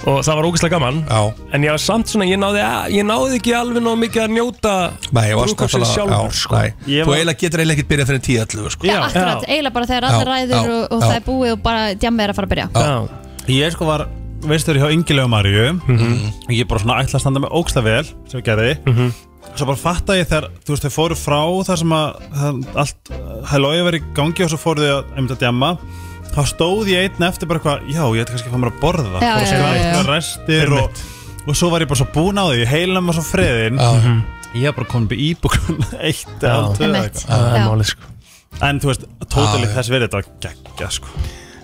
S1: Og það var ógeðslega gaman
S14: Mhm. Já,
S1: En ég var samt svona, ég náði, að- ég náði ekki alveg ná mikið að njóta
S14: nei, ég varst
S1: brúðkaupsins
S14: náttúrulega
S1: sjálfur
S14: já,
S1: sko.
S14: nei. Þú
S1: Ég var-
S14: eiginlega getur eiginlega ekkert byrjað fyrir tíu allu sko.
S2: Já, akkurat, eiginlega bara þegar allir
S14: Já,
S2: ræður
S14: já,
S2: og, og
S14: já.
S2: það er búið og bara djammi er að fara að byrja
S1: Já.
S3: Ég sko var veistur hjá Ingilegu Marju Ég bara svona ætla að standa með ógsta vel sem ég gerði Svo bara fatta ég þegar, þú veist, þau fóru frá þar sem að það- allt Hælói var í gangi og svo fóru þau að einmitt að djamma Þá stóð ég einn eftir bara eitthvað Já, ég ætla kannski að fá mér að borða
S20: Já,
S3: Og
S20: já, já, já.
S3: eitthvað restir og, og svo var ég bara svo búin á því, heilan var svo Mhm. freðin Ég var bara komin upp í íbúkun eitt
S1: Já.
S3: eða tvö eða
S1: Einmitt.
S3: eitthvað.
S1: Já, það er Já. málið, sko.
S3: En þú veist, tótali
S1: Já, já.
S3: þess verið þetta var geggja sko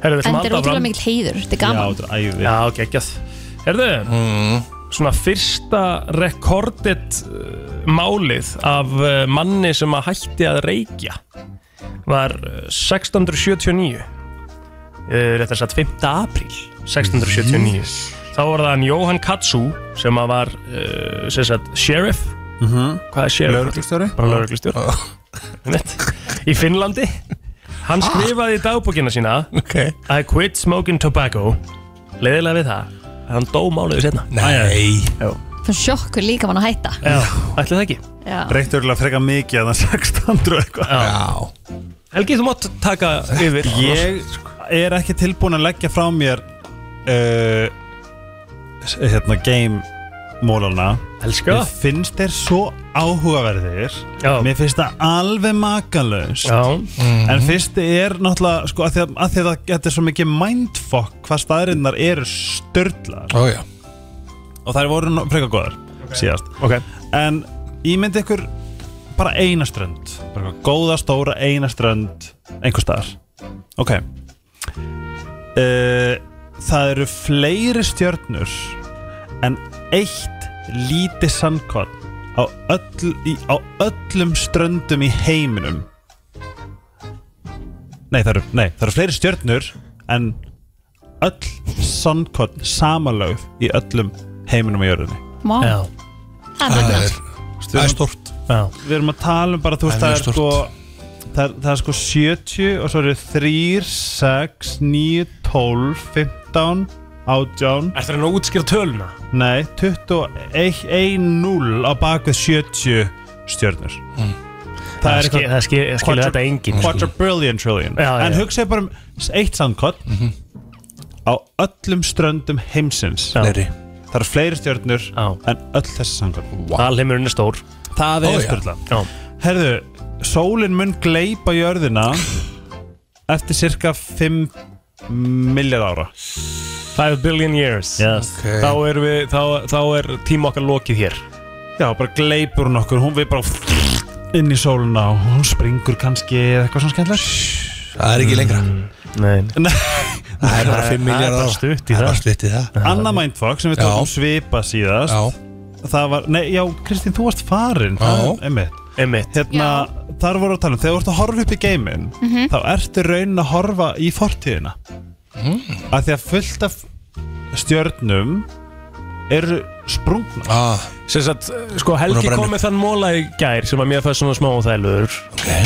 S1: Herðu, við ætlum
S2: En
S1: að
S2: þetta er
S1: halda
S2: útrúlega
S1: áfram.
S2: mikill heiður, þetta er gaman
S3: Já, þetta er æði
S1: Já, geggjað Herðu, svona fyrsta rekordet uh, málið af uh, manni sem að hætti að reykja var uh, 1679 uh, rétt að satt 5. apríl 1679 þá var það hann Jóhann Katsu sem að var uh, sem sagt sheriff hvað er sheriff?
S3: Lögreglustjóri?
S1: bara lögreglustjóri Einmitt. í Finnlandi hann skrifaði í dagbókina sína okay. I quit smoking tobacco leiðilega við það að hann dó mánuðu setna
S14: Nei
S1: Já,
S2: Fyrir sjokkur líka mann að hætta
S1: Já, ætli það ekki
S2: Já.
S3: Reykti örgulega freka mikið að það 600 og eitthvað
S14: Já
S1: Helgi, þú mátt taka yfir
S3: Ég er ekki tilbúin að leggja frá mér uh, s- hérna game mólana
S1: Elska.
S3: Mér finnst þeir svo áhugaverðir Já. Mér finnst það alveg makalaust En fyrst er náttúrulega sko, að því að, að því að þetta er svo mikið mindfuck hvað staðrinnar eru störtlar
S14: Ó, já.
S3: Og þær voru nú- frekar góðar síðast
S1: okay.
S3: En ímyndi ykkur bara eina strönd bara eitthvað Góða stóra eina strönd einhver staðar Ok uh, Það eru fleiri stjörnur en eitt lítið sandkorn á, öll, í, á öllum ströndum í heiminum Nei, það eru, nei, það eru fleiri stjörnur en öll sandkorn samalögð í öllum heiminum á jörðinni
S2: Má. Já. Það er magnað.
S3: Það er stort Við erum að tala um bara, þú veist,
S14: Það er
S3: það er sko það er, það er sko 70 og svo eru 3, 6, 9, 12, 15, 18
S1: Er það að útskýra töluna?
S3: Nei, 21, 1, 0 á bakvið 70 stjörnur
S1: Mm.
S3: Það,
S1: Það
S3: er
S1: skil-
S3: eitthvað-
S1: það skil- það skilur
S3: quadru-
S1: þetta enginn, sko.
S3: Quadrubillion trillion
S1: Já, já,
S3: En
S1: já.
S3: hugsaði bara um s- eitt sandkott
S14: Mhm.
S3: á öllum ströndum heimsins
S1: Fleiri.
S3: Það eru fleiri stjörnur en öll þessi sandkott
S1: Alheimurinn er stór
S3: Það
S1: Ó,
S3: er
S1: já.
S3: stjörnla
S1: Já.
S3: Herðu, sólin mun gleipa jörðina eftir cirka 5 miljard ára
S1: 5 billion years
S3: yes.
S1: Ok. Þá
S3: er, við, þá, þá er tíma okkar lokið hér Já, bara gleipur hún okkur hún við bara inn í sólina og hún springur kannski eða eitthvað svona skemmtilegt
S14: Það er ekki lengra
S1: Nei
S14: Það er bara 5 miljardar
S3: Það er bara stutt í það
S14: stutt í það
S3: Anna Mindfuck sem við
S14: Já.
S3: tókum svipa síðast Það var, nei, já, Kristín, þú varst farin
S14: Já.
S3: Emmitt
S1: Emmitt
S3: Hérna, þar voru að tala um Þegar þú ert að horfa upp í geimin
S14: Mhm.
S3: Þá ertu raunin að horfa í fortíðina mm. Að því að fullt af stjörnum Eru sprungna
S14: ah.
S1: Sem sagt, sko Helgi
S3: Búin að brenna.
S1: kom með þann móla í gær sem að mér fæði svona smá óþægilegur okay.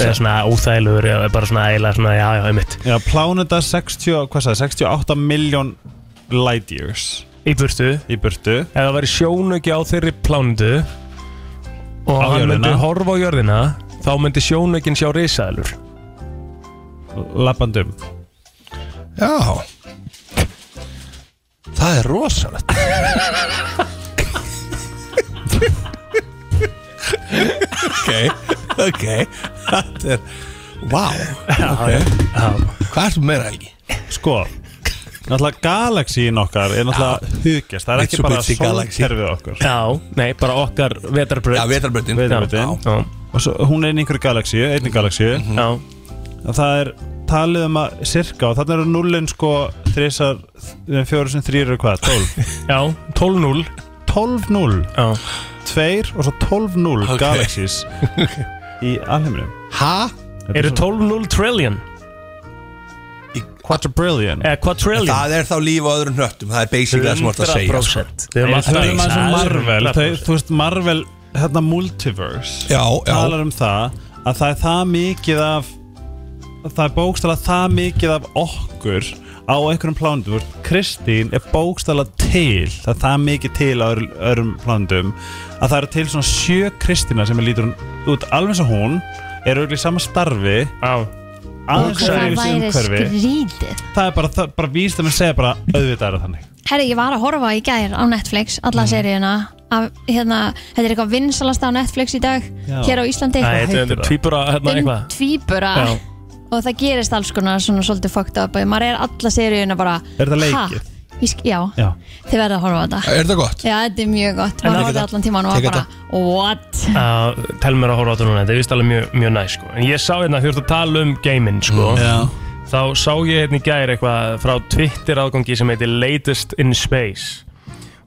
S1: eða svona óþægilegur eða bara svona eiginlega svona já já einmitt
S3: Já, plánenda 60, hvað sagði, 68 miljón light years
S1: Í burtu
S3: Í burtu
S1: Ef það væri sjónauki á þeirri plándu og
S3: Á
S1: hann myndi
S3: jörðina.
S1: horfa á jörðina þá myndi sjónaukin sjá risaðilur
S3: Lappandum
S14: Já Það er rosalegt Ok, ok Þetta er, vá okay. Hvað ertu meira ekki?
S3: Sko, náttúrulega galaxíin okkar er náttúrulega hugjast Það er ekki bara
S14: Mitsubishi Galaxy.
S3: sólkerfið okkar
S1: Já, nei, bara okkar vetarbröð
S14: Já, Mm. vetrarbrautin.
S3: Vetrarbrautin.
S14: Já. Mhm.
S3: Og svo, hún er í einhverju galaxíu, einni galaxíu Já Það er talið um að cirka og þarna eru nullin sko þrísar, fjóru sem þrýr eru hvað, 12
S1: Já, 12-0
S3: 12-0
S1: Já
S3: Tveir og svo 12-0
S1: Ok.
S3: galaxís í alheiminum
S14: Ha?
S1: Eru 12-0 trillion?
S3: Quadrillion
S1: eh, Quadrillion
S14: Það er þá líf á öðrum hnöttum Það er basically það sem þú ert að segja sko.
S1: 100%.
S14: Við erum
S3: Nei,
S14: alltaf
S3: tölum
S14: eins.
S3: aðeins um
S14: Það er
S3: Marvel
S14: 100%.
S3: þau, Þú veist Marvel, hérna Multiverse
S14: Já, já.
S3: Talar um það að það er það mikið af Það er bókstala það mikið af okkur Á einhverjum plánundum Þú veist, Kristín er bókstala til Það er það mikið til á öðru- öðrum plánundum Að það eru til svona sjö Kristína Sem er lítur hún út alveg eins og hún Eru auðvitað í sama starfi
S1: Já
S3: aðeins
S2: Það
S3: öðruvísi
S2: væri
S3: umhverfi.
S2: skrítið.
S3: það er bara, það, bara víst að segja bara auðvitað er það þannig
S2: Herri, ég var að horfa í gær á Netflix alla mm. seríuna af, hérna, Þetta er eitthvað vinsalasta á Netflix í dag
S21: Já.
S2: Hér á Íslandi
S21: Æ, þetta er tvíbura, hérna,
S2: Um
S21: eitthvað.
S2: tvíbura
S21: Já.
S2: Og það gerist alls konar svona svolítið fucked up og maður er alla seríuna bara
S14: Er þetta
S2: "Ha?"
S14: leikið?
S2: Ég sk- Já,
S14: Já.
S2: þið verða að horfa á þetta
S14: Er þetta gott?
S2: Já, þetta er mjög gott,
S21: En
S2: maður
S21: það-
S2: horfði allan tíman og var
S21: Tek
S2: bara What?
S1: að tel mér að horfa á þetta núna, þetta er vist alveg mjög, mjög næ sko. en ég sá hérna, þú ert að tala um geiminn sko.
S14: Mm,
S1: þá sá ég hérna í gær eitthvað frá Twitter aðgangi sem heitir Latest in Space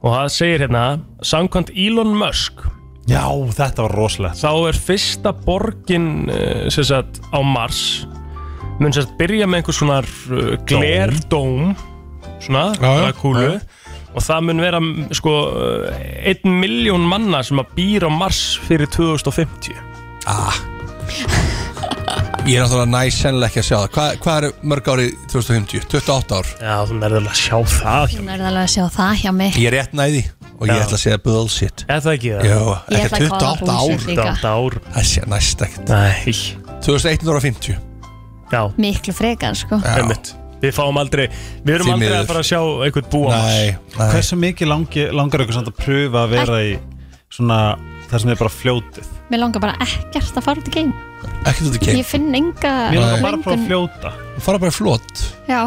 S1: og það segir hérna samkvæmt Elon Musk
S3: Já, þetta var rosalegt
S1: þá er fyrsta borgin eh, sem sagt, á Mars mun sem sagt, byrja með einhvers svona uh, glerdóm svona,
S14: Já, já,
S1: já, kúlu
S14: já.
S1: og það mun vera m, sko eh, einn miljón manna sem að býr á Mars fyrir 2050
S14: ah. Ég er náttúrulega næs sennilega ekki að sjá það Hva, Hvað eru mörg ári 2050? 28 ár
S1: Já, þú nærður að sjá það
S2: Hún er alveg að sjá það hjá mig
S14: Ég er rétt næði og ég
S1: Já.
S14: ætla að segja bullshit
S1: Er það ekki það?
S14: Jó,
S2: Ég
S14: ekki
S2: ætla að kalla
S14: 28 ár
S2: bullshit líka. 28
S1: ár
S14: Það sé næst ekkert
S1: Nei
S14: 2150
S1: Já
S2: Miklu frekar, sko
S14: Eh.
S1: Einmitt. Við fáum aldrei Við erum
S14: Því
S1: aldrei
S14: miður.
S1: að fara að sjá einhvern bú á Mars
S3: Hversu mikið langi, langar ykkur samt að pröfa að vera í svona það sem er bara fljótið
S2: Mér langar bara ekkert að fara út í geim
S14: Ekkert út í
S2: Ég finn enga
S3: Mér langar bara að
S2: löngun-
S3: prófa að fljóta
S14: Fara bara flott
S2: Já,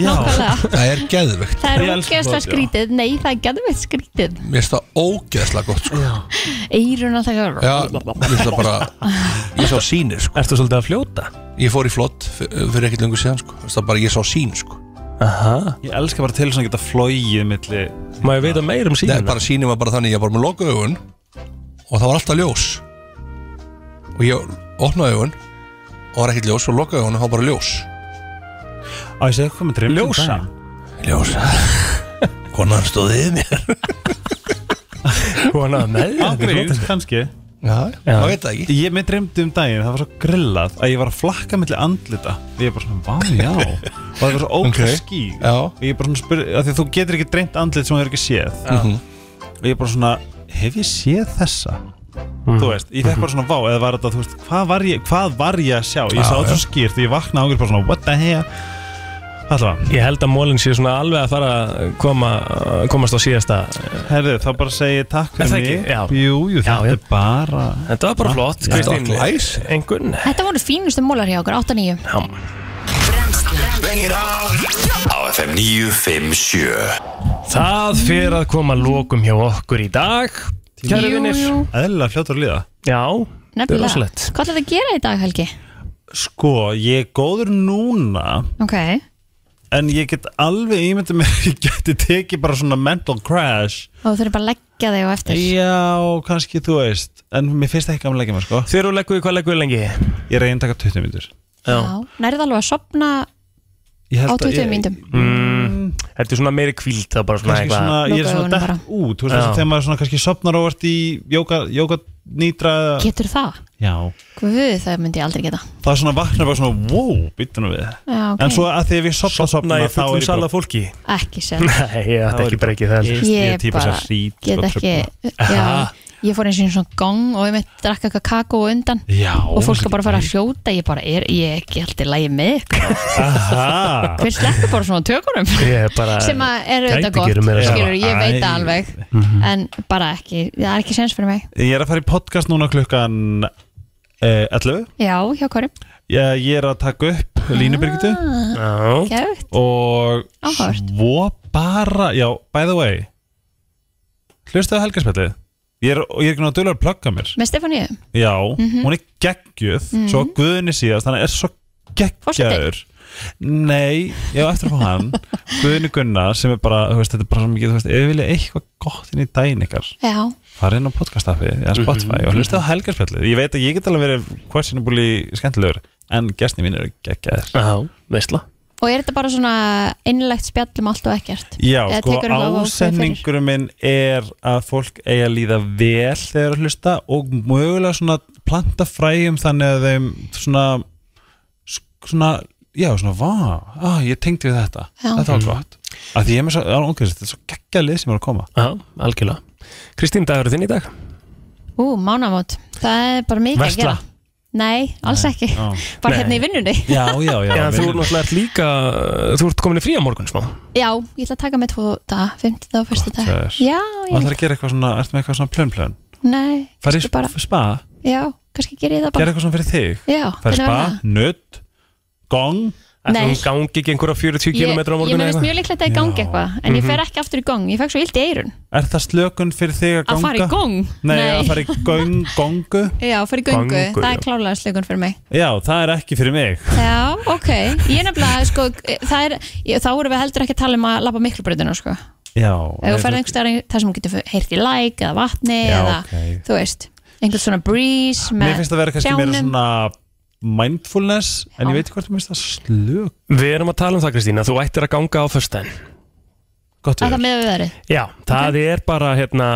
S14: Já.
S2: nákvæmlega
S14: Það er geðvegt
S2: Það er ógeðslega skrítið, nei það er geðveitt skrítið
S14: Mér finnst það ógeðslega gott sko.
S2: Eirun alltaf
S14: Já, mér finnst það bara Ég sá sýnir sko.
S1: Ertu svolítið að fljóta?
S14: Ég fór í flott f- fyrir ekkert lengur síðan sko. Mér finnst Það bara ég sá sýn sko.
S1: Aha.
S3: Ég elska bara til þess að geta flóið milli
S1: Má ég vita meir um sýnina?
S14: Nei, bara sýnin var bara þannig Ég var með loka augun Og það var alltaf ljós Og ég opnaði augun Og var ekkert ljós Og lokaði augun og það var bara ljós
S3: Á, ég segi komið drifn
S14: Ljósa. Ljósa Konan stóði yfir mér
S1: Kona með þér, þetta er
S3: Ágríns,
S1: flott.
S3: kannski
S14: Já,
S1: Já.
S14: maður veit það ekki.
S3: Ég með dreymdi um daginn, það var svo grillað að ég var að flakka milli andlita Ég er bara svona, vá, já Og það var svo ókvæð okay.
S14: Ok.
S3: skýr
S14: Já.
S3: Ég er bara svona spyr, að því að þú getur ekki dreymt andlit sem þú hefur ekki séð
S14: Já. Mhm.
S3: Og ég er bara svona, hef ég séð þessa?
S1: Mhm.
S3: Þú veist, ég fekk bara svona vá Eða var þetta, þú veist, hvað var ég, hvað var ég að sjá? Ég
S1: Já,
S3: sá þetta
S1: já.
S3: svo skýrt, ég vakna ágrið bara svona, what the hell Alltaf
S1: Ég held að mólinn sé svona alveg að fara að koma, komast á síðasta
S3: Herðu, þá bara segi ég
S1: Er
S3: takk fyrir
S1: það ekki?
S3: mig
S1: Já.
S3: Jú, jú, þetta
S1: já.
S3: er bara
S1: Þetta var bara flott,
S3: Já.
S1: Kristín
S3: Þetta var
S1: Engun
S2: Eh. Þetta voru fínustu mólar hjá okkur, 8-9
S22: Á FM 957
S1: Það fyrir að koma lokum hjá okkur í dag Kæri
S2: Jú,
S1: vinnir
S2: jú.
S3: Eðlilega fljótur að líða
S1: Já, þetta er
S2: Nefnilega,
S1: rosalegt
S2: hvað ætlaðu að gera í dag Helgi?
S3: Sko, ég er góður núna
S2: Ok,
S3: En ég get alveg ímyndið mér að Ég geti tekið bara svona mental crash
S2: og þú þurfum bara að leggja þig á eftir
S3: Já, kannski þú veist En mér finnst það ekki gaman að leggja mér, sko
S1: Þegar þú leggur, hvað leggur lengi?
S3: Ég reyni að taka 20 mínútur
S2: Nærið alveg að sopna
S3: Ég
S2: á
S3: held að
S2: 20
S3: ég-
S2: mínútum
S1: Mm, Þetta er svona meiri kvíld Það er bara svona
S3: Kannski svona, ég er
S2: Loka
S3: svona
S2: augunum
S3: dætt út Þú veist
S1: Já.
S3: þess að þegar maður svona kannski sopnar óvart í Jóka, jóka nýtra
S2: Getur það?
S3: Já
S2: Guð, það myndi ég aldrei geta
S3: Það er svona vaknar bara svona, wow, býttunum við
S2: Já, ok.
S3: En svo að því að við sopna, sopna
S1: í fullum sal af
S3: fólki
S2: Ekki sér
S1: Nei, ég ætti ekki breykið það heldur.
S2: Ég bara get ekki já,
S1: Aha.
S2: Ég fór eins og einu svona gong og ég mitt drakk eitthvað kakó á undan
S3: Já,
S2: og fólk er bara að fara að hljóta ég bara er, ég er ekki alltaf lægi með ykkur
S1: Aha.
S2: hver sleppur bara svona tökunum
S1: Ég er bara-
S2: sem að er
S1: Gæti
S2: auðvitað gott
S1: gerir meira
S2: skilur,
S3: saman. Mhm.
S2: ég veit
S3: Æ.
S2: það alveg en bara ekki, það er ekki sens fyrir mig
S3: Ég er að fara í podcast núna klukkan eh, 11
S2: já, hjá hverjum
S3: ég, ég er að taka upp Línubyrgitu
S2: Ah, geðveikt.
S3: Og
S2: Áhugavert.
S3: svo bara Já, by the way Hlustaðu á helgarspjallið Ég er, og ég er ekki náttúrulega dölur að plugga mér
S2: með Stefáníu,
S3: Já,
S2: Mhm.
S3: hún er geggjöð
S2: Mhm.
S3: Svo að Guðni síðast, þannig er svo geggjöður Nei, ég á eftir að fá hann Guðni Gunnar sem er bara, þú veist, þetta er bara svo mikið Þú veist, ef við vilja eitthvað gott inn í daginn ykkar
S2: já,
S3: farið inn á podcastafi eða Spotify og hlusta á helgarspjallið ég veit að ég get alveg verið questionably skemmtilegur en gestni mín eru geggjaðir
S1: Já, veistla
S2: og er þetta bara svona innlegt spjall um allt og ekkert
S3: Já,
S2: Eða
S3: sko,
S2: tekurðu eitthvað á því fyrir?
S3: ásendingurum minn er að fólk eiga að líða vel þegar að hlusta og mögulega svona planta fræjum þannig að þeim svona svona, já, svona, vá, ah, ég tengdi við þetta
S1: Já.
S3: þetta var
S1: Mhm.
S3: gott að því ég er með svo, á, ok, þetta er svo geggjað lið sem er að koma
S1: Já, algjörlega Kristín, dagur þinn í dag
S2: ú, mánamót, það er bara mikið að
S1: Veistla
S2: gera Nei, alls ekki
S1: Á. Nei.
S2: Bara hérna í vinnunni
S1: En þú ert náttúrulega ert líka, uh, þú ert komin í frí á morgun smá
S2: Já, ég ætla að taka með tvo dag, 50 og 1. dag
S3: það er.
S2: Já,
S3: Og
S2: ég
S3: ætlar að gera eitthvað svona, ertu með eitthvað svona plön plön?
S2: Nei,
S3: Farið
S2: kannski bara
S3: í spa?
S2: Já, kannski ger ég það bara
S3: Gera eitthvað svona fyrir þig?
S2: Já,
S3: Farið
S2: hvernig væri
S3: í spa,
S2: það?
S3: nutt, gong?
S2: Ætli hún Nei.
S1: gangi ekki einhverja 40
S2: Ég, ég meðist mjög líklegt að ég gangi eitthvað En ég
S3: Mhm.
S2: fer ekki aftur í gong, ég fekk svo illt í eirun
S3: Er það slökun fyrir
S2: Að
S3: þig að ganga?
S2: fara í gong?
S3: Nei,
S2: Nei.
S3: að fara í gong, gongu?
S2: Já, fara í göngu,
S3: Göngu,
S2: það
S3: já.
S2: er klálega slökun fyrir mig
S3: Já, það er ekki fyrir mig.
S2: Já, ok, ég nefnilega sko, það er, ég, Þá vorum við heldur ekki að tala um að labba miklubröðina sko.
S3: Já.
S2: Ef þú ferð einhver stærn þar sem þú getur heyrt í læk eða vatni
S3: Já,
S2: eða,
S3: ok.
S2: þú veist, einhvern svona breeze með
S3: Mér finnst það vera kannski meira
S2: trjánum.
S3: svona mindfulness, en ég veit ekki hvort þú finnst það slök.
S1: Við erum að tala um það Kristína, þú ættir að ganga á föstudaginn
S3: Gott
S2: Að það með við verið
S1: Já, það er bara hérna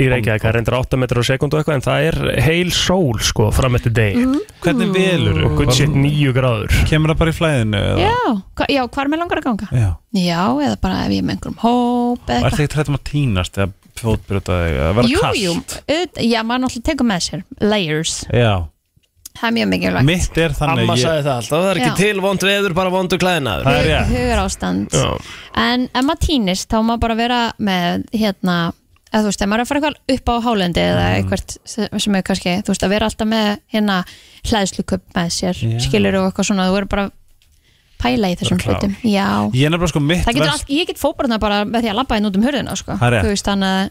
S1: í Reykjavík, það reyndir 8 metrar á sekundu eitthvað en það er heil sól sko fram eftir degi
S7: Mhm.
S3: Hvernig velur þú?
S1: Good shit 9 gráður
S3: Kemur það bara í flæðinu? eða?
S2: Já, hva, já, hvar með langar að ganga?
S3: Já.
S2: Já, eða bara ef ég er með einhverjum hóp
S3: Og
S2: eða
S3: ert það
S2: eitthvað
S3: ekki trættum að týnast eða fótbrjóta þig að vera
S2: Jú,
S3: kalt?
S2: jú, auðvitað- já, maður náttúrulega tekur með sér layers,
S3: Já,
S2: það er mjög mikilvægt
S3: mitt er þannig
S7: Amma
S3: að ég-
S7: sagði það alltaf, það er ekki
S2: Já.
S7: til vond veður, bara vondur klæðinaður
S3: Það er rétt.
S2: hugar ástand
S7: Já.
S2: en ef maður týnist þá á maður bara vera með hérna, eða þú veist, ef maður er að fara eitthvað upp á hálendi eða
S3: Mm.
S2: eitthvað sem er kannski, þú veist, að vera alltaf með hérna hlæðsluköp með sér
S3: Já.
S2: skilur og eitthvað svona, þú verður bara að pæla í þessum
S3: Vera klár.
S2: hlutum já,
S3: Ég er nefnilega sko mitt
S2: það getur
S3: verst-
S2: allt, ég get fóbarna bara með því að labba inn út um hurðina, sko,
S3: Það er rétt.
S2: þú veist, þannig að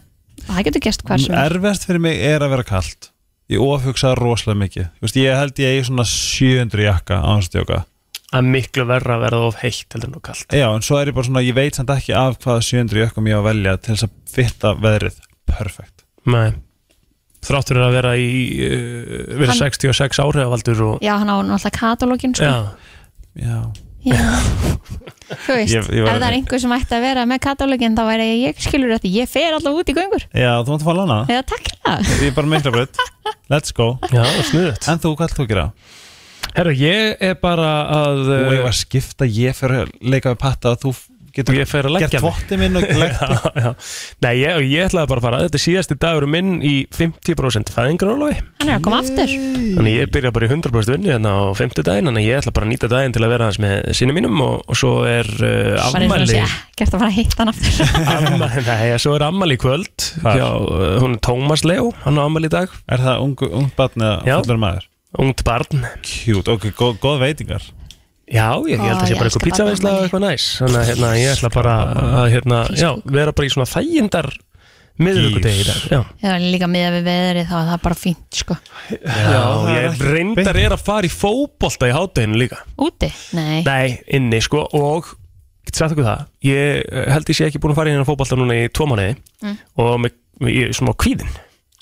S2: það getur gerst hvað sem er
S3: Erfest fyrir mig er að vera kalt Ég ofhugsa rosalega mikið Þú veist, Ég held ég eigi svona 700 jakka ánstjóka
S1: Það er miklu verra að verða of heitt heldur en of kalt
S3: Já, en svo er ég bara svona, ég veit samt ekki af hvaða 700 jakkum ég á að velja til þess að fitta veðrið Perfekt
S1: Nei, þráttur er að vera í uh, vera
S2: Hann-
S1: 66 ári af aldur og
S2: já, hann á náttúrulega katalógin, sko
S1: Já.
S3: Já.
S2: þú veist,
S3: Ég- ég var-
S2: ef það er einhver sem ætti að vera með katalógin þá væri ég, ég skilur þetta, ég fer alltaf út í göngur
S3: Já, þú mátt að fá að lana
S2: eða takk það
S3: Ég er bara mikla breytt Let's go
S1: Já, snuðut
S3: En þú, hvað ætlum þú að gera?
S1: Herra, ég er bara að eh,
S3: Þú hefur að skipta, ég fyrir að leika við patta og þú getur
S1: Ég fer að leggja
S3: Gert
S1: mig.
S3: votti minn og leggt
S1: Já, já. Nei, ég, ég ætlaði bara að fara Þetta er síðasti dagur minn í 50% fæðingarólofi
S2: Hann er að koma aftur
S1: Þannig ég byrja bara í 100% vinnu hérna á 50 daginn Þannig ég ætla bara að nýta daginn til að vera hans með sinni mínum og, og svo er uh,
S2: Bara eins og hann
S1: afmæli
S2: sé ekkert að fara að hitta hann aftur
S1: Amma- Nei, svo er ammali í kvöld hjá, uh, Hún er Tómas Leo, hann á ammali í dag
S3: Er það ungu, ungt barn eða
S1: Já.
S3: fullur maður?
S1: Ungt barn
S3: Cute, ok, góð, góð veitingar
S1: Já, ég, ég held
S2: Ó,
S1: að sé
S2: ég
S1: bara
S2: elska
S1: eitthvað pizzaveisla og eitthvað næs Þannig að hérna, ég ætla bara að hérna, já, vera bara í svona þægindar miðvíkudegi í dag Já,
S2: Já, líka miða við veðri þá er það bara fínt sko
S1: já ég reyndar er að fara í fótbolta í hátteginu líka
S2: Úti? Nei,
S1: Nei, inni sko og getur sagt okkur það, ég eh, held ég sé ekki búin að fara í hérna fótbolta núna í tvo mánuði
S2: Mm.
S1: og með, með ég er smá kvíðin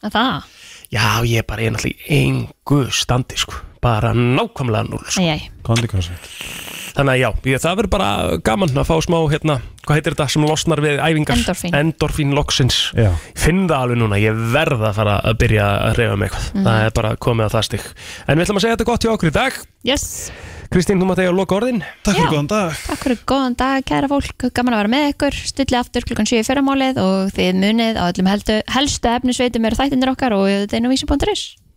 S2: að það?
S1: Já, ég er bara ég er náttúrulega í engu standi sko, bara nákvæmlega núl sko.
S2: Æjæ,
S3: Kondikonsert
S1: Þannig að já, ég, það verður bara gaman að fá smá hérna, hvað heitir þetta sem losnar við æfingar?
S2: Endorfín.
S1: Endorfín loksins
S3: Já.
S1: Finn það alveg núna, ég verð að fara að byrja að reyfa mig eitthvað Það er bara komið á það stig En við ætlum að segja þetta gott hjá okkur í dag
S2: yes
S1: Kristín, þú maður þegar að loka orðin
S3: Takk fyrir
S2: Já.
S3: góðan dag
S2: Takk fyrir góðan dag kæra fólk, gaman að vera með ykkur Stulli aftur klukkan 7 í fyrramálið og þið munið á öllum heldu, helstu efnisveitum eru þættinir okkar og þetta er nú vísi.is